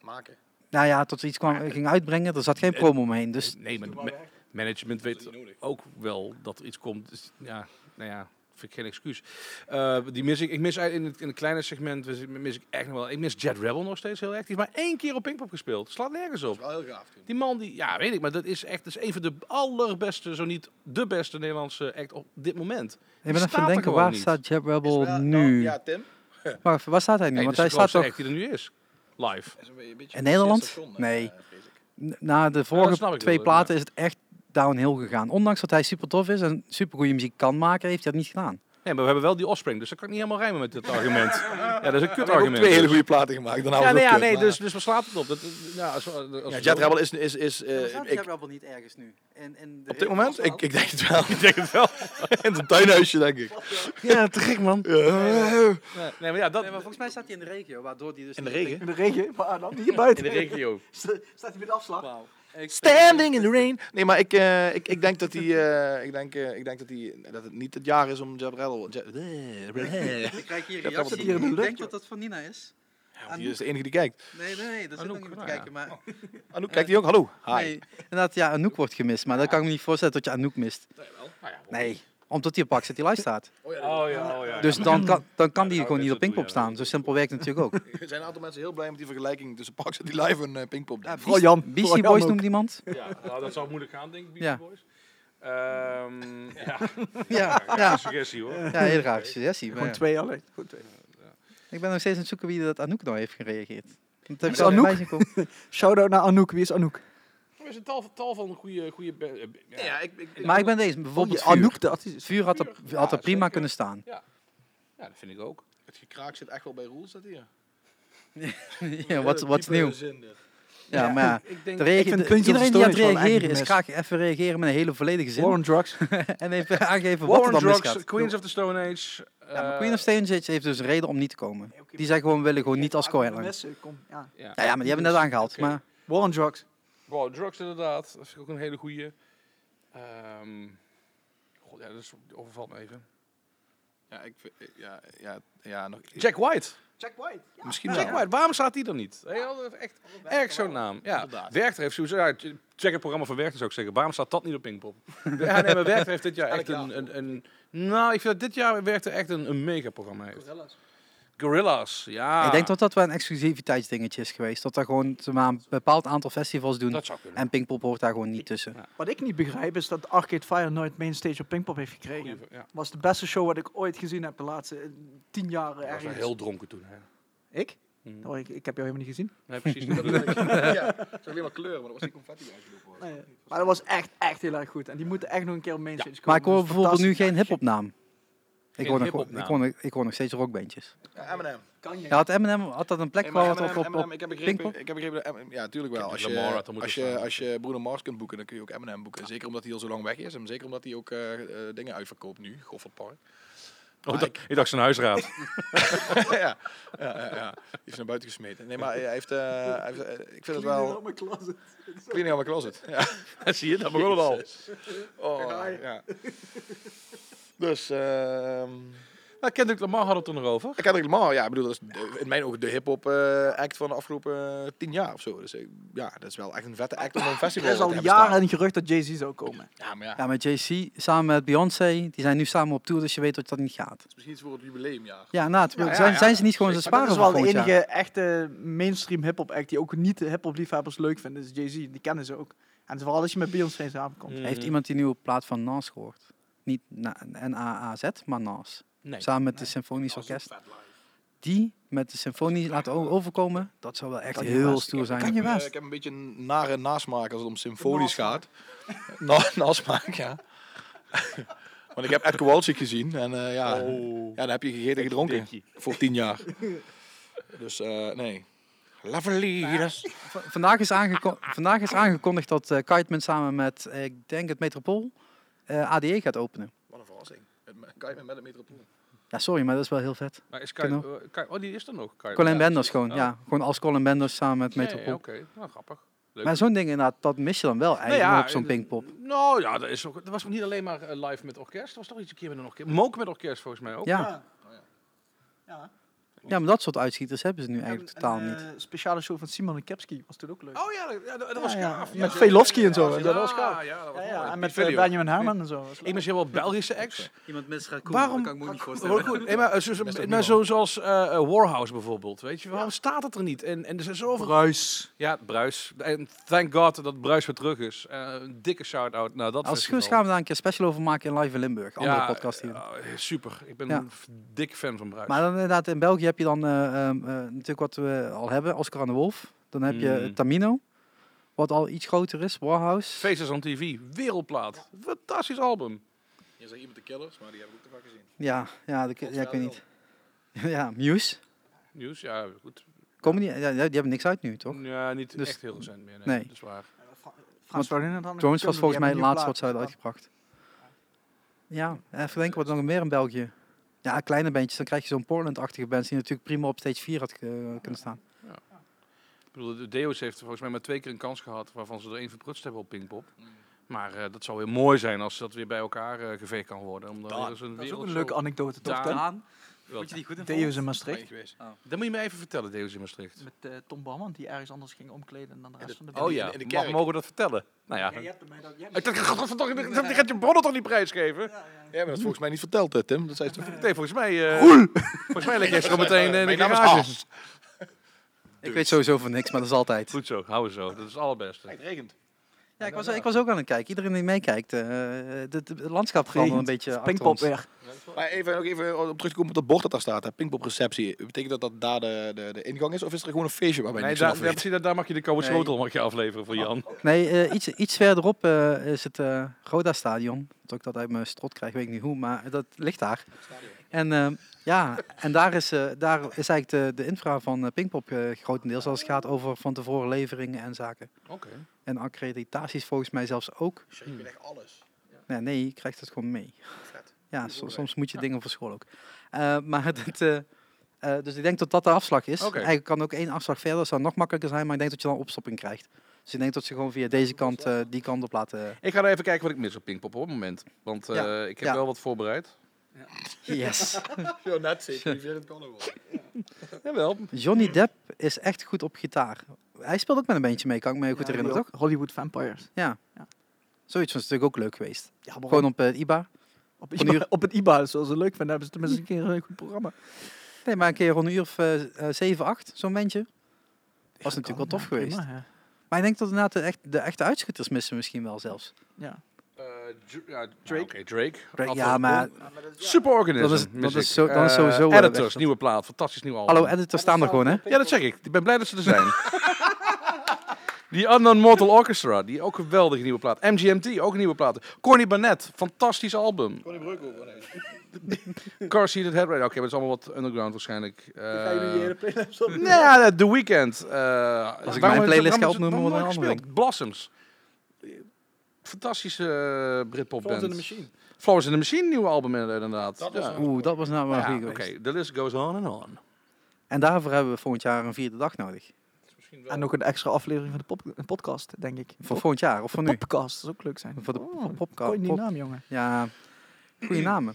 maken. Nou ja, tot ze iets kwam, gingen uitbrengen. Er zat geen promo omheen. Dus Nee, maar ma- management weet ook wel dat er iets komt. Dus, ja, nou ja, vind ik geen excuus. Eh, die mis ik. Ik mis uit- in het, in het kleine segment mis ik- mis ik echt nog wel. Ik mis Jet Rebel nog steeds heel erg. Die heeft maar één keer op Pinkpop gespeeld. Slaat nergens op. Wel heel gaaf. Die man, die, ja, weet ik, maar dat is echt dat is een van de allerbeste, zo niet de beste Nederlandse act op dit moment. ik ben even aan staat er het denken, gewoon waar niet. staat Jeb Rebel nu? Nou, ja, Tim. Maar waar staat hij nu? Hey, Want dit hij is de staat grootste toch act die er nu is. Live. Is een beetje- een beetje In Nederland? het station, eh, Nee. vrees ik. n- na de dat vorige snap ik twee wel, platen is het echt downhill gegaan. Ondanks dat hij super tof is en super goede muziek kan maken, heeft hij dat niet gedaan. Nee, maar we hebben wel die offspring, dus dat kan ik niet helemaal rijmen met dit argument. Ja, dat is een We hebben ook kutargument. twee hele dus. goede platen gemaakt. Dan Ja, houden nee, we ja, het op, nee, maar- dus, dus waar slaat het op? Dat, eh, ja, als, we- als, we- Ja, Jet Rebel is... is, is eh, ik, Rebel niet ergens nu? op dit moment? Ik, ik denk het wel. (laughs) Ik denk het wel. (laughs) In zijn tuinhuisje, denk ik. Ja, Oh, te gek, man. (laughs) Ja. Nee, nee, maar ja, dat... volgens mij staat hij in de regio, waardoor hij dus... In de regen? In de regen, maar dan hier buiten. in de regio. Staat hij met afslag? Standing in the rain. Nee, maar ik, eh, ik, ik denk dat die, eh, ik denk, eh, ik denk dat die, dat het niet het jaar is om Jeb Rebel. Je- Ik krijg hier Dat reactie. wordt hier in de Ik denk lucht, dat dat van Nina is. Ja, die is de enige die kijkt. Nee, nee, nee, dat zit Anouk, nog iemand te nou kijken, Maar, Anouk, kijkt die ook? Hallo. Hi. nee, inderdaad, ja, Anouk wordt gemist, maar dat kan ik me niet voorstellen dat je Anouk mist. Nou Nee, omdat hij op Pak City Live staat. Oh ja, oh ja. Dus dan kan, dan kan die Ja, gewoon niet op dat bedoel Pinkpop je, staan. Zo simpel werkt het (laughs) natuurlijk ook. Er zijn een aantal mensen heel blij met die vergelijking tussen Parks die Live en eh, Pinkpop. Ja, Vooral Jan. Beastie Vooral Jan Boys ook. noemt iemand. Ja, nou, dat zou moeilijk gaan, denk ik, Beastie Ja. Boys. Ehm, ja, Ja, ja. ja. suggestie hoor. Ja, heel graag suggestie. maar Gewoon ja. twee alleen. Gewoon twee. Ik ben nog steeds aan het zoeken wie dat Anouk nou heeft gereageerd. Dat heb ik Is wel in Anouk? mij zien komen. Shout-out naar Anouk. Wie is Anouk? Er is een tal, tal van goede... goede be- eh, be- ja. ja, ik, ik, Maar ik ben deze, bijvoorbeeld Oh, Vuur. Anouk, de artiest. Vuur had er, had er Ja, prima zeker. kunnen staan. Ja, dat vind ik ook. het gekraak zit echt wel bij Roel, staat hier. (laughs) Ja, wat wat is nieuw? Ja, maar ja. Ik denk... de reage- ik vind de- Puntje iedereen van die aan het Stories wel reageren is eigenlijk graag even reageren met een hele volledige zin. Warren Drugs. (laughs) En even aangeven wat War er on dan Drugs, misgaat. Queens of the Stone Age. Ja, maar eh, Queen of Stone Age heeft dus een reden om niet te komen. oké, Die zijn gewoon, willen gewoon niet als Arme co Ja, mensen, kom, ja. Nou ja. ja, maar die hebben net aangehaald. Dus, Oké. Maar Warren Drugs. Wow, drugs inderdaad. Dat vind ik ook een hele goeie. Ehm God, ja, dat is- overvalt me even. Ja, ik, vind- ja, ja, ja, nog. Jack White. Jack White. misschien Jack wel. White, waarom staat die dan niet? Heel, dat is echt erg zo'n naam. Ja, Inderdaad. Werchter heeft sowieso... Ja, check het programma van Werchter zou ik zeggen. Waarom staat dat niet op (laughs) Pinkpop? ja, nee, maar Werchter heeft dit jaar echt een... een, een nou, ik vind dat dit jaar Werchter echt een, een megaprogramma heeft. Gorillas, ja. ik denk dat dat wel een exclusiviteitsdingetje is geweest. Dat er gewoon ze maar een bepaald aantal festivals doen. Dat zou kunnen. En Pinkpop hoort daar gewoon niet tussen. Wat ik niet begrijp is dat Arcade Fire nooit mainstage op Pinkpop heeft gekregen. Goeie- ja. was de beste show wat ik ooit gezien heb de laatste eh, tien jaar Ik was wel ergens. heel dronken toen. Hè. Ik? Hm. Oh, ik? Ik heb jou helemaal niet gezien. (laughs) Nee, precies. dat bedoel ik. (laughs) Ja, het is alleen maar kleuren, maar dat was niet confetti uitgelopen. Nee, maar dat was echt, echt heel erg goed. En die moeten echt nog een keer op mainstage komen. Maar ik hoor Dat is bijvoorbeeld nu fantastisch. geen hip-hopnaam. Ik Geen hoor, nog, hip-hop ik, hoor, nog- ik hoor nog steeds rockbandjes. Ja, M&M. Kan je? Ja, had Eminem had dat een plek waar wat op, op, op ik heb Pinkpop? begrepen, ik heb begrepen, M- ja, tuurlijk wel. Ik Als heb Lamar je, had er moeten als, je, staan. als je Bruno Mars kunt boeken, dan kun je ook Eminem boeken. Zeker omdat hij al zo lang weg is en zeker omdat hij ook eh, eh, dingen uitverkoopt nu, Goffert Park. Oh, Maar ik, dacht, ik dacht zijn (laughs) huisraad. ja, (laughs) ja, ja, ja. Die is naar buiten gesmeten. Nee, maar hij heeft, eh, hij heeft, eh, ik vind het wel... Cleaning out my (laughs) closet. Ja. Zie je, dat begon het al. Oh, ja. Dus, ehm Nou, Kendrick Lamar had het er nog over. ik had helemaal, ja, ik bedoel, dat is de- in mijn ogen de hip-hop eh, act van de afgelopen eh, tien jaar of zo. Dus eh, ja, dat is wel echt een vette (laughs) act om op een festival Er is te al hebben staan. jaren een gerucht dat Jay-Z zou komen. Ja, maar ja, Ja, met JC samen met Beyoncé. Die zijn nu samen op tour, dus je weet dat dat niet gaat. is misschien iets voor het jubileumjaar. Ja, na het, Ja, ja, zijn, ja, zijn ze niet gewoon ze zeker. Maar sparen dat is wel de voor volgend enige jaar? echte mainstream hip-hop act die ook niet de hip-hop liefhebbers leuk vinden. is Jay-Z, die kennen ze ook. En vooral als je met Beyoncé samenkomt. Mhm. Heeft iemand die nieuwe plaat van Nas gehoord? Niet Na- N-A-A-Z, maar Nas. Nee. Samen met de Symfonisch Orkest. Die met de symfonie laten o- overkomen, dat zou wel echt Kanye heel West. stoer zijn. Kanye Eh, West. ik heb een beetje een nare nasmaak als het om symfonisch gaat. (laughs) Na, nasmaak, ja. (laughs) Want ik heb Ed Kowalczyk gezien en eh, ja, ja, dan heb je gegeten en gedronken dikkie. voor tien (laughs) jaar. Dus eh, nee. Lavaliers. V- vandaag, is aangeko- vandaag is aangekondigd dat eh Kiteman samen met, eh, ik denk het Metropool, eh, ADE gaat openen. Wat een verrassing. Kan je met een metropool? Ja, sorry, maar dat is wel heel vet. Maar is Kai, Kunnen eh, Kai- oh, die is er nog. Kai- Colin Ja. Benders gewoon, Oh. ja. Gewoon als Colin Benders samen met Ja, ja, Metropool. Oké, nou grappig. Leuk. Maar zo'n ding inderdaad, dat mis je dan wel eigenlijk Nou ja, op zo'n eh, Pinkpop. Nou ja, dat, is ook, dat was ook niet alleen maar eh, live met orkest. Er was toch iets een keer met een orkest. Mook met orkest volgens mij ook. Ja. Ja. ja, maar dat soort uitschieters hebben ze nu Een, eigenlijk totaal een, niet. eh, speciale show van Simon en Kepski was toen ook leuk. Oh ja, dat, ja, dat, dat was Ja, ja. gaaf. Met Ja, Velofsky en zo, Ja, dat was ja, gaaf. Ja, dat was Ja, mooi. ja, en met Video. eh, Benjamin Herman en zo. was leuk. Ik ben heel wel Belgische acts. Iemand met Schakoen, Waarom- dat kan ik me ook niet Heel voorstellen. (laughs) goed. Nee, maar, eh, zo, zo- maar zo- zoals eh, eh, Warhouse bijvoorbeeld, weet je, waarom staat het er niet? En, en er zijn zoveel... Bruis. Ja, Bruis. En thank god dat Bruis weer terug is. Eh, een dikke shout-out naar dat Als festival. schuurs gaan we daar een keer special over maken in Live in Limburg. Andere podcast hier. ja, eh, super. Ik ben Ja. een f- dik fan van Bruis. Maar dan inderdaad, in België heb je dan eh, ehm, eh, natuurlijk wat we al hebben, Oscar aan de Wolf. Dan heb je Mm. Tamino, wat al iets groter is, Warhouse. Faces on TV, wereldplaat. Fantastisch album. Je zegt iemand de killers, maar die heb ik ook te vaak gezien. Ja, ja, dat, ja, ik weet niet. (laughs) Ja, Muse. Nieuws, ja, goed. Komen die, ja, die hebben niks uit nu, toch? Ja, niet Dus- echt heel recent meer. Nee, nee. Dat is waar. Frans Ferdinand had een Jones was film, volgens die mij hebben het een laatste nieuwe wat ze plaat. hadden uitgebracht. Ja, eh, even denken wat er nog meer in België. Ja, kleine bandjes, dan krijg je zo'n Portland-achtige band die natuurlijk prima op stage 4 had eh, kunnen staan. Ik bedoel, de Deus heeft volgens mij maar twee keer een kans gehad waarvan ze er één verprutst hebben op Pinkpop. Maar eh, dat zou weer mooi zijn als dat weer bij elkaar eh, geveegd kan worden. Om dan weer eens een Dat is ook wereld een leuke zo- anekdote, toch? Daar- Tim? Wat? die goed in volgen? Theo's in Ben je Maastricht. geweest? Dat moet je me even vertellen, Deus in Maastricht. Met eh, Tom Bouwman, die ergens anders ging omkleden dan de rest van de Oh band. ja, in de Mag- kerk. mogen we dat vertellen? Nou ja. hebt hem, hè, dat- jij- Ik dacht, godverdomme, die die gaat je bronnen toch niet prijsgeven? Ja, maar dat is volgens mij niet verteld, hè, Tim. Dat zei ze toch- Nee, volgens mij... eh, volgens mij leg jij zo meteen eh, in de Mijn naam is garage. Haas. Ik weet sowieso van niks, maar dat is altijd. Goed zo, hou zo. Dat is het allerbeste. Het regent. Ja, ik was, ik was ook aan het kijken. Iedereen die meekijkt, eh, het- het het landschap verandert een Regent. beetje achter Pinkpop ons. weer. Maar even, ook even op terug te komen op dat bord dat daar staat, hè. Pinkpop receptie. Betekent dat dat daar de, de, de ingang is? Of is er gewoon een feestje waarbij Nee, niks vanaf daar, weet? daar, zie je, daar mag je de koude Nee. schotel mag je afleveren voor Jan. Nee, eh, iets, iets verderop eh, is het eh, Roda Stadion. Dat ik dat uit mijn strot krijg, weet ik niet hoe, maar dat ligt daar. En eh, ja, en daar is, eh, daar is eigenlijk de, de infra van eh, Pinkpop eh, grotendeels als het gaat over van tevoren leveringen en zaken. Oké. En accreditaties volgens mij zelfs ook. Dus Je krijgt alles. Nee, nee je krijgt het gewoon mee. Vet. Ja, so- soms moet je dingen voor school ook. Eh, maar (laughs) het, eh, eh, dus ik denk dat dat de afslag is. Oké. Eigenlijk kan ook één afslag verder, dat zou nog makkelijker zijn, maar ik denk dat je dan opstopping krijgt. Dus ik denk dat ze gewoon via deze kant, eh, die kant op (laughs) laten. Ik ga even kijken wat ik mis op Pinkpop op het moment. Want eh, Ja, ik heb ja. wel wat voorbereid. Yes. Zo (laughs) net zeker, die het kan worden. Jawel. Johnny Depp is echt goed op gitaar. Hij speelt ook met een bandje mee, kan ik me heel goed Ja, die herinneren, ook. toch? Hollywood Vampires. Zoiets was natuurlijk ook leuk geweest. Ja, Gewoon op eh, IBA. Op, Van IBA, hier- op het IBA, zoals ze leuk vinden, hebben ze tenminste een keer een goed programma. Nee, maar een keer rond een uur of eh, eh, 7, 8, zo'n bandje. Was natuurlijk wel tof geweest. Ja, Maar ik denk dat inderdaad de, echt, de echte uitschutters missen misschien wel zelfs. ja. Eh, Drake. Drake. Drake, Afro- ja, maar Superorganism. Dat is- mis dat is ik. zo- dat is Eh, sowieso, eh, weg, editors, dat- nieuwe plaat. Fantastisch nieuw album. hallo editors staan er gewoon, hè? Ja, dat zeg ik. Ik ben blij dat ze er zijn. (laughs) Die Unknown Mortal Orchestra, die ook een geweldige nieuwe plaat. MGMT, ook een nieuwe plaat. Corny Barnett, fantastisch album. Connie Breuk ook. nee. (laughs) Car Seated Headband. Oké, maar het is allemaal wat underground waarschijnlijk. Eh, Ga je nu je hele playlist op? Nee, ja, The Weeknd. eh, mijn waarom heeft- waarom playlist heeft ga het- opnoemen, waarom wordt heeft een het gespeeld? Blossoms. Fantastische eh, Britpop Volgens in de band. machine. Flowers in the Machine, nieuwe album in- inderdaad. Dat was Ja. een- Oeh, dat was nou wel Ja, goed Oké, geweest. the list goes on and on. En daarvoor hebben we volgend jaar een vierde dag nodig. En nog een extra aflevering van de pop- een podcast, denk ik. Voor volgend jaar of voor de nu? podcast, dat zou ook leuk zijn. Voor de oh, popka- kon je die pop- naam, jongen. Ja, goede namen.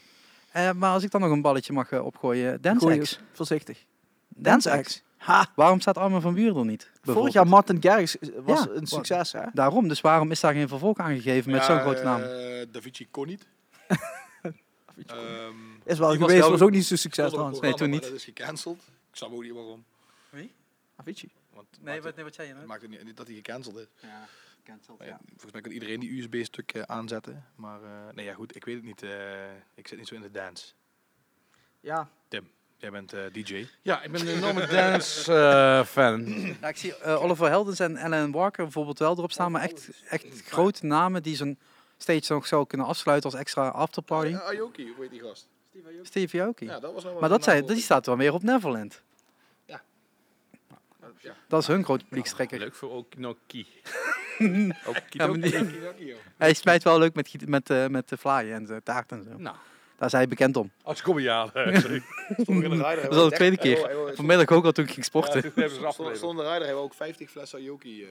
Eh, maar als ik dan nog een balletje mag eh, opgooien, Dance Goeie, X. Voorzichtig. Dance Dance X. X. Ha! Waarom staat Armin van Buren er niet? Vorig bijvoorbeeld? jaar Martin Garrix was Ja, een wat- succes, hè? Daarom, dus waarom is daar geen vervolg aangegeven met zo'n grote eh, naam? Davici eh, (laughs) Da Vinci kon niet. Ehm, Is wel die was geweest, wel- was, ook niet zo'n succes stond er een trouwens. Nee, toen programma, niet. maar Dat is gecanceld. Ik snap ook niet waarom. Avicii. Want het maakt het- wat zei je nou? Oh het maakt het niet, niet dat hij gecanceld is. Ja, Maar ja, volgens mij kan iedereen die USB-stuk eh, aanzetten. Maar eh, nee, ja, goed, ik weet het niet. eh, ik zit niet zo in de dance. Ja, Jij bent eh, DJ. Ja, ik ben een enorme (laughs) dance eh, fan. ik zie eh, Oliver Heldens en Ellen Walker bijvoorbeeld wel erop staan, maar echt, echt grote namen die zo'n stage nog zou kunnen afsluiten als extra afterparty. Eh, Aoki, hoe heet die gast? Stevie Aoki. Ja, dat was nou wel maar een dat zei, naam. die staat dan weer op Neverland. Ja. Ja. Dat is hun grote publiekstrekker. Leuk voor (laughs) Okinoki. Ja, maar Okinoki. die- Okidoki, joh. hij smijt wel leuk met, giet- met, eh, met de vlaaien en de taart en zo. Nou, Daar is hij bekend om. als comediaan. Sorry. Stond er in de rider, Dat hij is wou al de tweede 30 hij keer. wou- hij wou- Vanmiddag ook al toen ik ging sporten. Toen hebben ze Stond afgeleverd. stond in de rider hebben we ook 50 flessen Aoki. eh,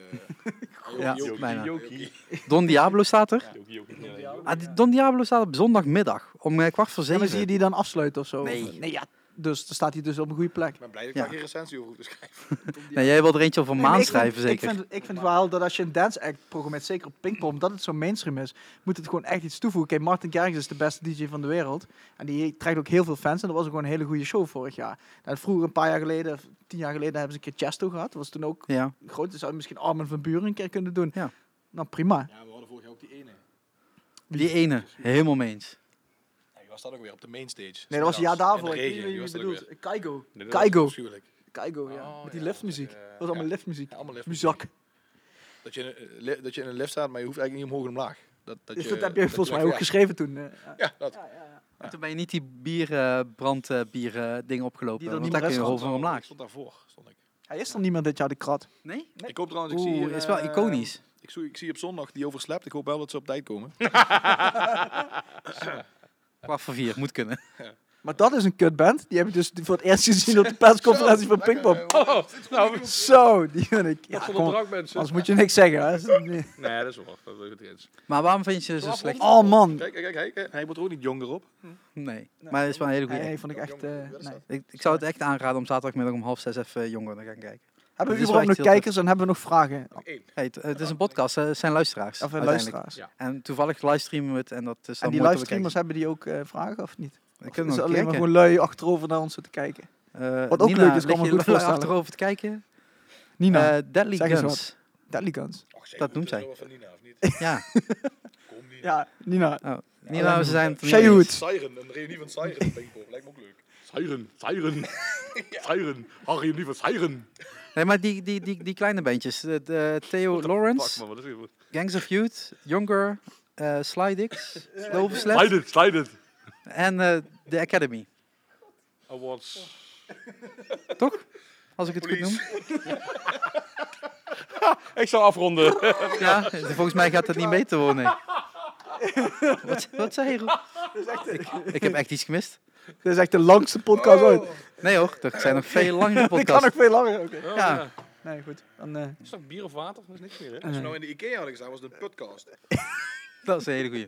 Aoki, Ja, Aoki, bijna. Aoki. Don Diablo staat er. Jokie, jokie, jokie. Ah, die- Don Diablo staat op zondagmiddag om eh, kwart voor ja, maar zeven. zie je die dan afsluiten of zo? Nee. nee ja. Dus dan staat hij dus op een goede plek. Ik ben blij dat ik Ja. daar geen recensie over hoef te schrijven. Tom, die- nee, jij wil er eentje over een Nee, maar maand ik vind- schrijven, zeker. Ik vind, ik vind wel dat als je een dance act programmeert, zeker op Pinkpop, omdat het zo mainstream is, moet het gewoon echt iets toevoegen. Kijk, Martin Garrix is de beste DJ van de wereld. En die trekt ook heel veel fans. En dat was ook gewoon een hele goede show vorig jaar. En vroeger, een paar jaar geleden, of tien jaar geleden, hebben ze een keer Chesto gehad. Dat was toen ook Ja. groot. Dus zou je misschien Armin van Buren een keer kunnen doen. Ja. Nou, prima. Ja, we hadden vorig jaar ook die ene. Die ene, helemaal mee eens. Ja, die was dat ook weer op de mainstage. Nee, dat was een jaar Smiddags. In daarvoor. de Ik weet niet regen, wie die je was dat ook bedoelt. weer. Kaigo. Nee, dat was Kaigo. Afschuwelijk. Keigo, ja. Oh, Met die ja, liftmuziek. dat was, eh, dat was allemaal ja. liftmuziek. Ja, allemaal lift. Muzak. Dat je, in een li- dat je in een lift staat, maar je hoeft eigenlijk niet omhoog en omlaag. Dat, dat, Dus je, dat heb je volgens mij ook ja, geschreven toen. eh, Ja, dat. En Toen ben je niet die bierbrand-bier eh, ding opgelopen, Die dan want niet daar meer kun je Stond over daar- omlaag. Ik stond daarvoor. Stond ik. Hij is er niet meer dit jaar, de krat. Nee? ik hoop trouwens, ik zie Oeh, hier, is wel eh, iconisch. Ik zie, ik zie op zondag die overslept. Ik hoop wel dat ze op tijd komen. Kwart voor vier, moet kunnen. Maar dat is een kutband. Die heb ik dus voor het eerst gezien op de persconferentie van Pinkpop. Oh, nou, we Zo, die vind ik. Ja, ja, kom, zonder drank, mensen. anders moet je niks zeggen. Hè. Is het niet- Nee, dat is wel. Dat is het eens. (laughs) Maar waarom vind je ze zo slecht? Oh man. Kijk, kijk, kijk. Hij wordt er ook niet jonger op. Nee, maar het is wel een hele goede Nee, act. vond ik echt... eh, nee. ik, ik zou het echt aanraden om zaterdagmiddag om half zes even jonger te gaan kijken. Hebben we is überhaupt wel nog echt heel kijkers en hebben we nog vragen? Hey, het, het is een podcast, hè, het zijn luisteraars. Of eh, uiteindelijk. luisteraars? Ja. En toevallig livestreamen we het en dat is dan En die mooi te livestreamers, hebben die ook eh, vragen of niet? bekijken. Dan Of kunnen is we het nog alleen maar kijken. gewoon lui achterover naar ons zitten kijken? Eh, Wat ook Nina, leuk is, kan lig me (laughs) je goed lui voorstellen. achterover te kijken. Nina, Eh, Deadly zeg eens Guns. Deadly Guns. dat noemt zij. Van Nina, of niet? (laughs) Ja. Kom niet. Ja, Nina. Oh. Nina, we zijn het er niet Shayhood. eens. Siren, een reunie van Siren. op Pinkpop. Lijkt me ook leuk. Siren, (laughs) Siren. Siren. Harry, liever Siren. Nee, maar die, die, die, die kleine bandjes. De, de Theo Fuck, Lawrence, man, wat is dit? Gangs of Youth, Younger, eh Sly Dix, Loverslap Slide it, slide it. en eh, The Academy. Awards. Toch? Als ik het goed noem. Please. (laughs) Ik zal afronden. (laughs) Ja, volgens mij gaat dat niet mee te wonen. Wat, wat zei je? Roel? Ik, ik heb echt iets gemist. Dit is echt de langste podcast ooit. Nee hoor, er zijn nog veel langere (laughs) Ik kan nog podcasts. veel langer. Oké. Ja, Nee, goed. Dan, eh, Is dat bier of water? Dat is niks meer, hè? Als we nou in de Ikea hadden gestaan, was het een podcast. dat is een hele goeie.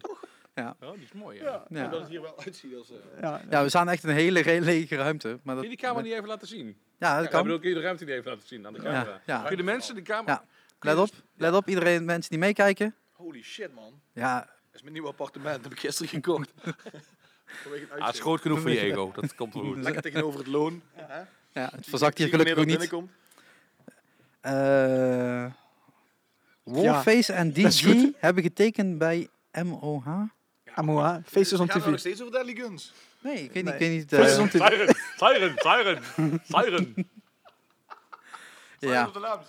Oh, die is mooi, ja. ja. Dat Ja. het hier wel uitziet als... eh, ja. ja, we staan echt in een hele re- lege ruimte. Maar Kun dat, je die camera niet even laten zien? ja, dat Ja, ik bedoel, kan. kun je de ruimte niet even laten zien aan de Ja, camera? ja. Kun je de mensen de camera... Ja. Let op, let op iedereen, mensen die meekijken. Holy shit, man. Ja, Dat is mijn nieuwe appartement. Dat heb ik gisteren gekocht. (laughs) Vanwege een Ah, het is uitzicht. groot genoeg voor je ego. Dat komt (laughs) wel goed. Lekker tegenover het loon. ja het verzakt hier Zie wanneer gelukkig ook dat niet. binnenkomt. Eh Warface en DG hebben getekend bij MOH. Amoa, feestjes on Gaat het nog TV. steeds over Deadly Guns? Nee, ik weet niet. Nee. Ik weet niet Feestjes eh, on TV. Siren, siren, siren, (laughs) (laughs) siren. ja. Op de naam.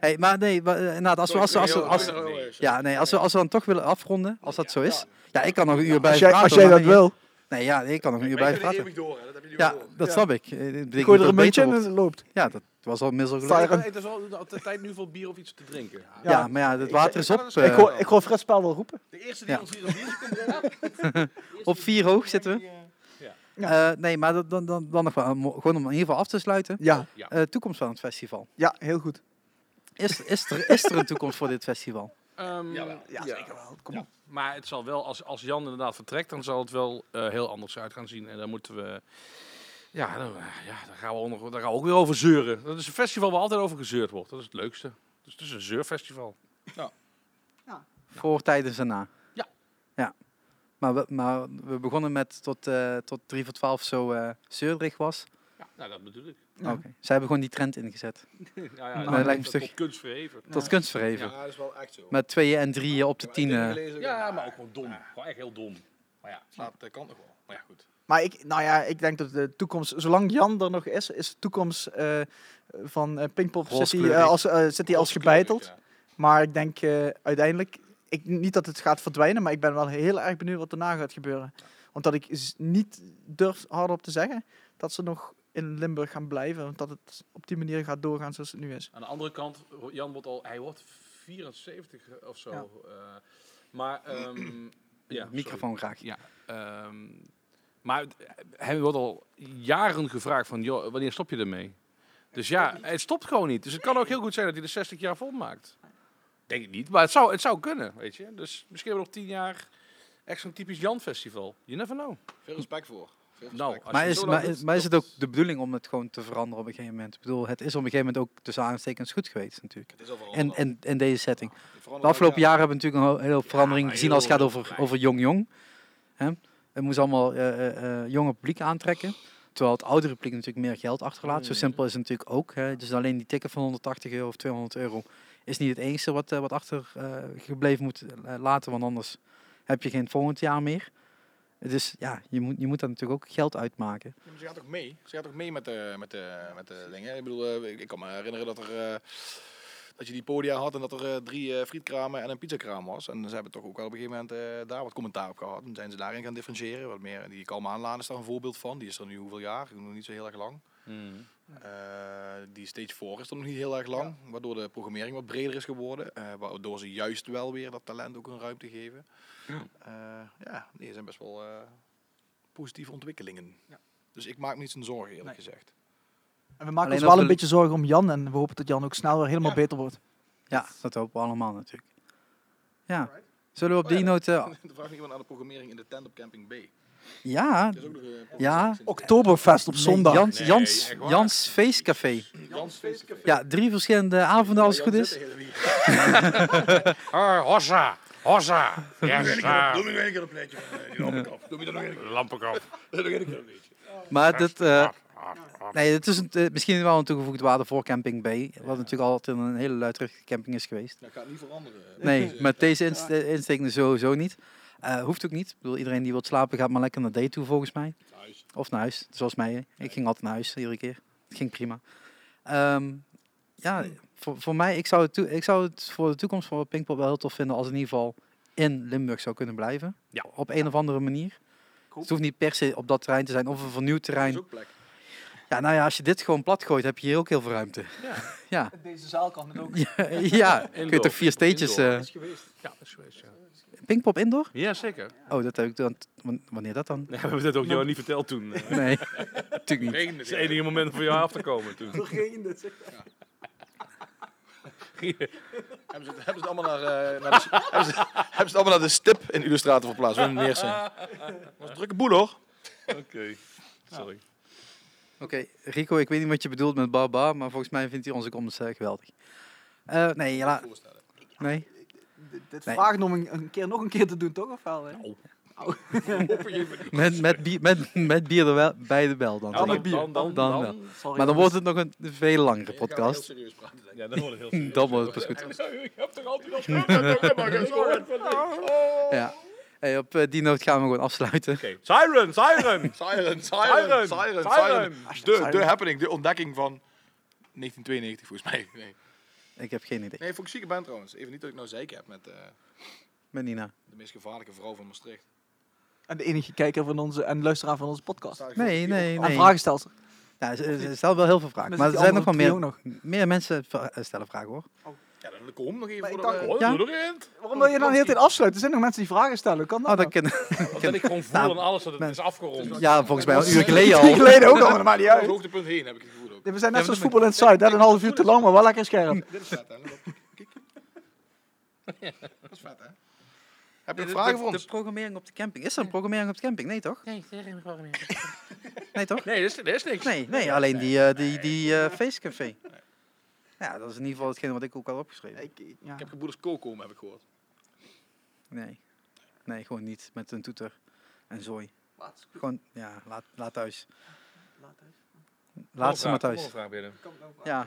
Hey, maar nee, maar, eh, inderdaad, als we, als we, als we, als we- Nee. ja, nee, als we, als we dan toch willen afronden, als dat zo is. Ja, ik kan nog een uur bij Als jij, praten, als jij maar dat nee, wil. Nee, ja, ik kan nog een uur Maar je blijven kunt er praten. eeuwig door, hè? dat hebben jullie Ja, wel door. dat Ja. snap ik. Eh, het betekent Gooi dat er het een beter muntje in en wordt. het loopt. Ja, dat was al middels Sta gelukt. je- Aaron. Het is al altijd tijd nu voor bier of iets te drinken. Ja, Ja, maar ja, het ik- water ik is kan op. het eh, Ik hoor, ik hoor Fred Spel wel roepen. De eerste die Ja. ons hier op biertje komt brengen. op vier hoog zitten we. Ja. Eh, nee, maar dat- dan, dan, dan nog wel. eh, mo- Gewoon om in ieder geval af te sluiten. Ja, Eh, toekomst van het festival. ja heel goed. Is, is, er, is er een toekomst voor dit festival? Ehm, Jawel. Ja, zeker wel. Kom op. Maar het zal wel, als, als Jan inderdaad vertrekt, dan zal het wel eh, heel anders uit gaan zien. En dan moeten we. Ja, dan, eh, ja, daar, gaan we ook nog, daar gaan we ook weer over zeuren. Dat is een festival waar altijd over gezeurd wordt. Dat is het leukste. Dus het is een zeurfestival. Voor, tijdens en na? Ja. ja. Maar, we, maar we begonnen met tot, eh tot 3 voor 12 zo eh zeurderig was. Ja, nou, dat bedoel ik. Ja. Oké. Zij hebben gewoon die trend ingezet. Ja, ja, dat lijkt me een tot stuk- kunst verheven. Tot kunst verheven. Ja, dat is wel echt zo. Met tweeën en drieën op de tien. eh. Ja, maar ook wel dom. Gewoon echt heel dom. Maar ja, maar dat kan nog wel. Maar ja, goed. Maar ik, nou ja, ik denk dat de toekomst, zolang Jan er nog is, is de toekomst eh, van eh, Pinkpop zit hij Rooskleurig. als, eh, zit hij als gebeiteld. Ja. Maar ik denk eh, uiteindelijk, ik, niet dat het gaat verdwijnen, maar ik ben wel heel erg benieuwd wat daarna gaat gebeuren. Want dat ik z- niet durf hardop te zeggen dat ze nog in Limburg gaan blijven. Want dat het op die manier gaat doorgaan zoals het nu is. Aan de andere kant, Jan wordt al, hij wordt 74 of zo. Ja. eh, maar, ehm ja, sorry. Microfoon graag. Ja. ehm, maar het- hij wordt al jaren gevraagd van, joh, wanneer stop je ermee? Dus ja, het stopt gewoon niet. Dus het kan ook heel goed zijn dat hij de 60 jaar volmaakt. Denk ik niet, maar het zou, het zou kunnen, weet je. Dus misschien hebben we nog 10 jaar echt zo'n typisch Jan-festival. You never know. Veel respect voor. Veel respect. Nou, als Maar je is, zo lang maar, is, doet, maar is het dat- ook de bedoeling om het gewoon te veranderen op een gegeven moment? Ik bedoel, het is op een gegeven moment ook tussen aanstekens goed geweest natuurlijk. het is al veranderd. En, en, en deze setting. Het verandert De afgelopen elk jaren hebben we natuurlijk een ho- hele hoop verandering maar gezien als het heel gaat over, over jong jong. Hè? Het moest allemaal eh, eh, eh, jonge publiek aantrekken. Terwijl het oudere publiek natuurlijk meer geld achterlaat. Mm. Zo simpel is het natuurlijk ook. Hè? Dus alleen die ticket van 180 euro of 200 euro is niet het enige wat, eh, wat achtergebleven moet eh, laten. Want anders heb je geen volgend jaar meer. Dus ja, je moet, je moet daar natuurlijk ook geld uitmaken. Ja, maar Ze gaat ook mee. Ze gaat ook mee met de, met de, met de dingen. Ik bedoel, eh, ik- ik kan me herinneren dat er. eh, dat je die podia had en dat er eh, drie eh, frietkramen en een pizzakraam was. En ze hebben toch ook wel op een gegeven moment eh, daar wat commentaar op gehad. En zijn ze daarin gaan differentiëren. Wat meer, die Kalmaanlaan is daar een voorbeeld van. Die is er nu hoeveel jaar? Ik Nog niet zo heel erg lang. Hmm. Eh, die stage 4 is er nog niet heel erg lang, waardoor de programmering wat breder is geworden. eh, waardoor ze juist wel weer dat talent ook een ruimte geven. Ja, ja nee, er zijn best wel eh, positieve ontwikkelingen. Dus ik maak me niet zo'n zorgen, eerlijk Nee. gezegd. En we maken Alleen ons wel als een we- beetje zorgen om Jan. En we hopen dat Jan ook snel weer helemaal beter wordt. Ja, dat hopen we allemaal natuurlijk. Ja. Zullen we op die noot... eh, Dan vraag ik iemand aan (laughs) de programmering in de tent op Camping B. ja, Dat is ook nog een ja. Oktoberfest op zondag. Jans, Nee, Jans, echt waar. Jans Feestcafé. Jans Feestcafé. Ja, drie verschillende avonden als het goed is. Oh, hossa. Hossa. Yes, ah. Doe me nog een keer een plekje van (laughs) eh, die lampenkap. Doe me er nog een keer. Lampenkop. (laughs) Doe me nog een keer een plekje. Maar dat, eh, Ah, nee, het is een, eh, misschien wel een toegevoegde waarde voor Camping B. Wat natuurlijk altijd een hele luidruchtige camping is geweest. Dat gaat niet veranderen. Nee, met deze inst eh, insteek sowieso niet. Eh, hoeft ook niet. Ik bedoel, iedereen die wil slapen gaat maar lekker naar day toe volgens mij. Thuis. Of naar huis, zoals mij. hè. Ik ging altijd naar huis, iedere keer. Het ging prima. Ehm, Hm. ja, voor, voor mij, ik zou, het toe- ik zou het voor de toekomst van Pinkpop wel heel tof vinden als het in ieder geval in Limburg zou kunnen blijven. Ja. Op een of andere manier. Het hoeft niet per se op dat terrein te zijn of een vernieuwd Dat is terrein. ook plek. Ja, nou ja, als je dit gewoon plat gooit, heb je hier ook heel veel ruimte. (laughs) Ja, Deze zaal kan het (laughs) ook. ja, ja. kun je Indoor. toch vier steentjes... Indoor. eh, Ja, dat is geweest, ja. Pinkpop indoor? Ja, Nou. zeker. (laughs) Oh, dat heb ik dan... Wanneer dat dan? Nee, we hebben dat (laughs) ook jou niet verteld toen. eh. Nee, natuurlijk niet. Het is het enige moment om voor jou af te komen (laughs) toen. Hebben ze, het- hebben ze het allemaal naar, eh, naar de, s- hebben ze, hebben ze het allemaal naar de stip in Illustrator verplaatst? Wat een neerzin. Dat was een drukke boel hoor. Oké, sorry. Oké, Rico, ik weet niet wat je bedoelt met Baba, maar volgens mij vindt hij onze comments eh, geweldig. Eh, nee, ja, la- nee. Dit Nee. vraagt om een, een keer nog een keer te doen, toch? Of wel? hè? Met, met, bier, met, met bier er wel, bij de bel dan. Ja, toch? dan, dan, dan, Dan wel. dan- Sorry, Maar dan wordt jongens. het nog een veel langere podcast. Ja, dan wordt het heel (laughs) Dan wordt het pas goed. Ik heb toch altijd al Ja. Hey, op eh, die noot gaan we gewoon afsluiten. (laughs) Siren, (laughs) siren! (laughs) Siren, siren, Siren, siren, siren. siren. De, de happening, de ontdekking van 1992 volgens mij. Nee, Ik heb geen idee. nee vond ik een zieke band trouwens. Even niet dat ik nou zeker heb met eh, Met Nina. de meest gevaarlijke vrouw van Maastricht. En de enige kijker van onze, en luisteraar van onze podcast. Nee, nee, En nee. vragen stelt. Ja, ze, ze stellen wel heel veel vragen. Dan Maar er zit zijn die nog wel andere meer, meer mensen vra- eh, stellen vragen hoor. Ja, dan kom nog even Maar voor eh, ik dacht- de... Hoor, Ja? doe erin. Waarom wil je dan de hele tijd afsluiten? Er zijn nog mensen die vragen stellen. Hoe kan dat? Oh, dat nou? kan, Of dat ik gewoon voel nou aan alles dat het Nee. is afgerond. (laughs) ja, volgens mij al (laughs) (laughs) een uur geleden Een week al. geleden ook al, maar dat maakt niet Het uit. hoogtepunt heen heb ik het gevoel ook. We zijn net Ja, zoals maar voetbal en site. Dat een half uur te lang, maar wel lekker scherp. Dit is vet, hè? Kijk. Dat is vet, hè? Heb je nog vragen voor de, ons? programmering op de camping. Is er een programmering op de camping? Nee toch? Nee, dat is geen probleem. (laughs) Nee toch? Nee, dat is, dat is niks. Nee, nee alleen die, eh, die, die eh feestcafé. Ja, dat is in ieder geval hetgeen wat ik ook had opgeschreven. Ik- ja. Ik heb gebroeders Kokom, heb ik gehoord. Nee. Nee, gewoon niet. Met een toeter en zooi. Laat ze- Gewoon, ja, laat, laat thuis. laat uit. Laat ze maar Volgende thuis. vraag, volgende vraag binnen. Ja,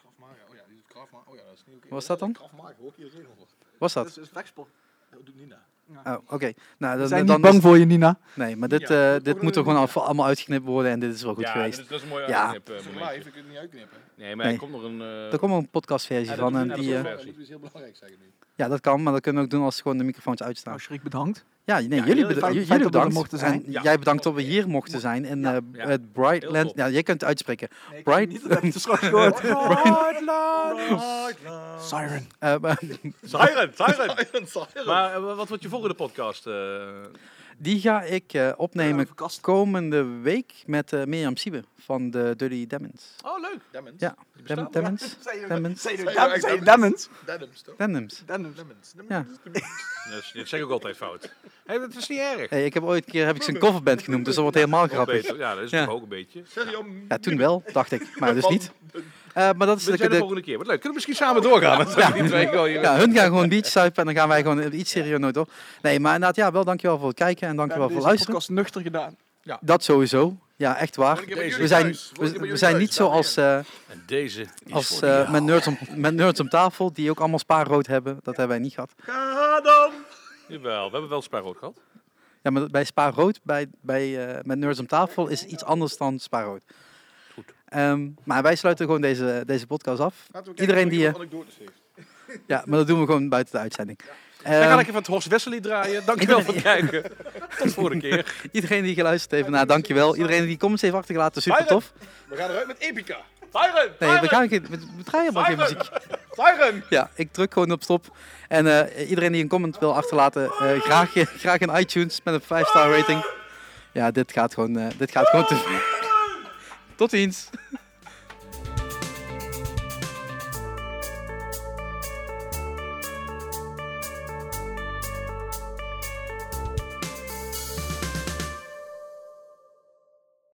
Krav Maga. Oh ja, die doet Krav Maga. Oh ja, dat is niet oké. Wat is dat dan? Krav Maga, hoor ik iedereen over. was Dat dat? Dus- is een vechtsport. Dat doet Nina. Oh, oké. Nou, We dan, zijn dan niet bang is- voor je, Nina. Nee, maar dit, Ja, eh, dat dit moet moet er er gewoon al- allemaal uitgeknipt worden en dit is wel goed ja, geweest. Dat is, dat is een mooi Ja. uitknip, eh, Dat is momentje. live, ik kan het niet uitknippen. Nee, maar Nee. er komt nog een... eh, Er komt wel een podcastversie Ja, dat van. is- En ja, dat die, is eh, wel- Dat moet dus heel belangrijk zeggen (laughs) nu. ja, dat kan, maar dat kunnen we ook doen als gewoon de microfoons uitstaan. Nou, Schrik bedankt. Ja, nee, heel jullie, erg beda- j- fijn- fijn jullie dat we er bedankt. mochten En zijn. Ja. jij bedankt dat we hier mochten zijn. En eh, b- Ja. het Brightland. top. Ja, jij kunt het uitspreken. ik Bright- niet, dat heb je (laughs) dus gewoon gehoord. Siren. Eh, maar Siren, siren! Iron Siren. Maar eh, wat wordt je volgende podcast? eh? (laughs) die ga ik eh, opnemen Verkast. komende week met eh, Mirjam Siebe van de Dirty Demons. Oh, leuk. Demons. Ja. Dem- Demons? Demons? Demons. Zijn Demons? Denims, toch? Denims. Demons. Demons. Ja. Dat, is- dat zeg ik ook altijd fout. Hey, dat is niet erg. Hey, ik heb ooit een keer heb ik zijn coverband genoemd, dus dat wordt helemaal Nog grappig. beter. Ja, dat is Ja. toch ook een beetje. Serieus. Ja, toen wel, dacht ik. Maar dus niet. Eh, maar dat is We de, zijn de de- volgende keer. Wat leuk. Kunnen we misschien samen (laughs) doorgaan? Dat zijn die twee gewoon hier- ja, hun gaan gewoon biertjes zuipen en dan gaan wij gewoon iets serieus nooit op. Nee, maar inderdaad, ja, wel dankjewel voor het kijken en dankjewel hebben voor het deze luisteren. podcast nuchter gedaan. Dat sowieso. Ja, echt waar. Volgende keer bij We jullie zijn, thuis. Volgende keer bij we, we jullie zijn thuis, niet zo dames en als, eh, En deze is als voor eh, jou. met, nerds om, (laughs) met nerds om tafel, die ook allemaal spaarrood hebben. Dat hebben wij niet gehad. Ga dan. Jawel, we hebben wel spaarrood gehad. Ja, maar bij spaarrood, bij, bij, eh, met nerds om tafel, is iets anders dan spaarrood. Goed. Ehm, maar wij sluiten gewoon deze, deze podcast af. Laten we kijken Iedereen of die, eh, iemand anekdotes heeft. Ja, maar dat doen we gewoon buiten de uitzending. Dan Ehm, ga ik even het Horst Wesselie draaien. Dankjewel voor het kijken. Tot volgende keer. Ehm, Iedereen die geluisterd heeft, nou dankjewel. Iedereen die comments heeft achtergelaten, super tof. We gaan eruit met Epica. Siren! Nee, we, gaan geen, we, we draaien helemaal geen muziek. Siren. Ja, ik druk gewoon op stop. En eh, iedereen die een comment wil achterlaten, eh, graag, graag in iTunes met een 5-star rating. Ja, dit gaat gewoon, eh, dit gaat gewoon te ver. Tot ziens.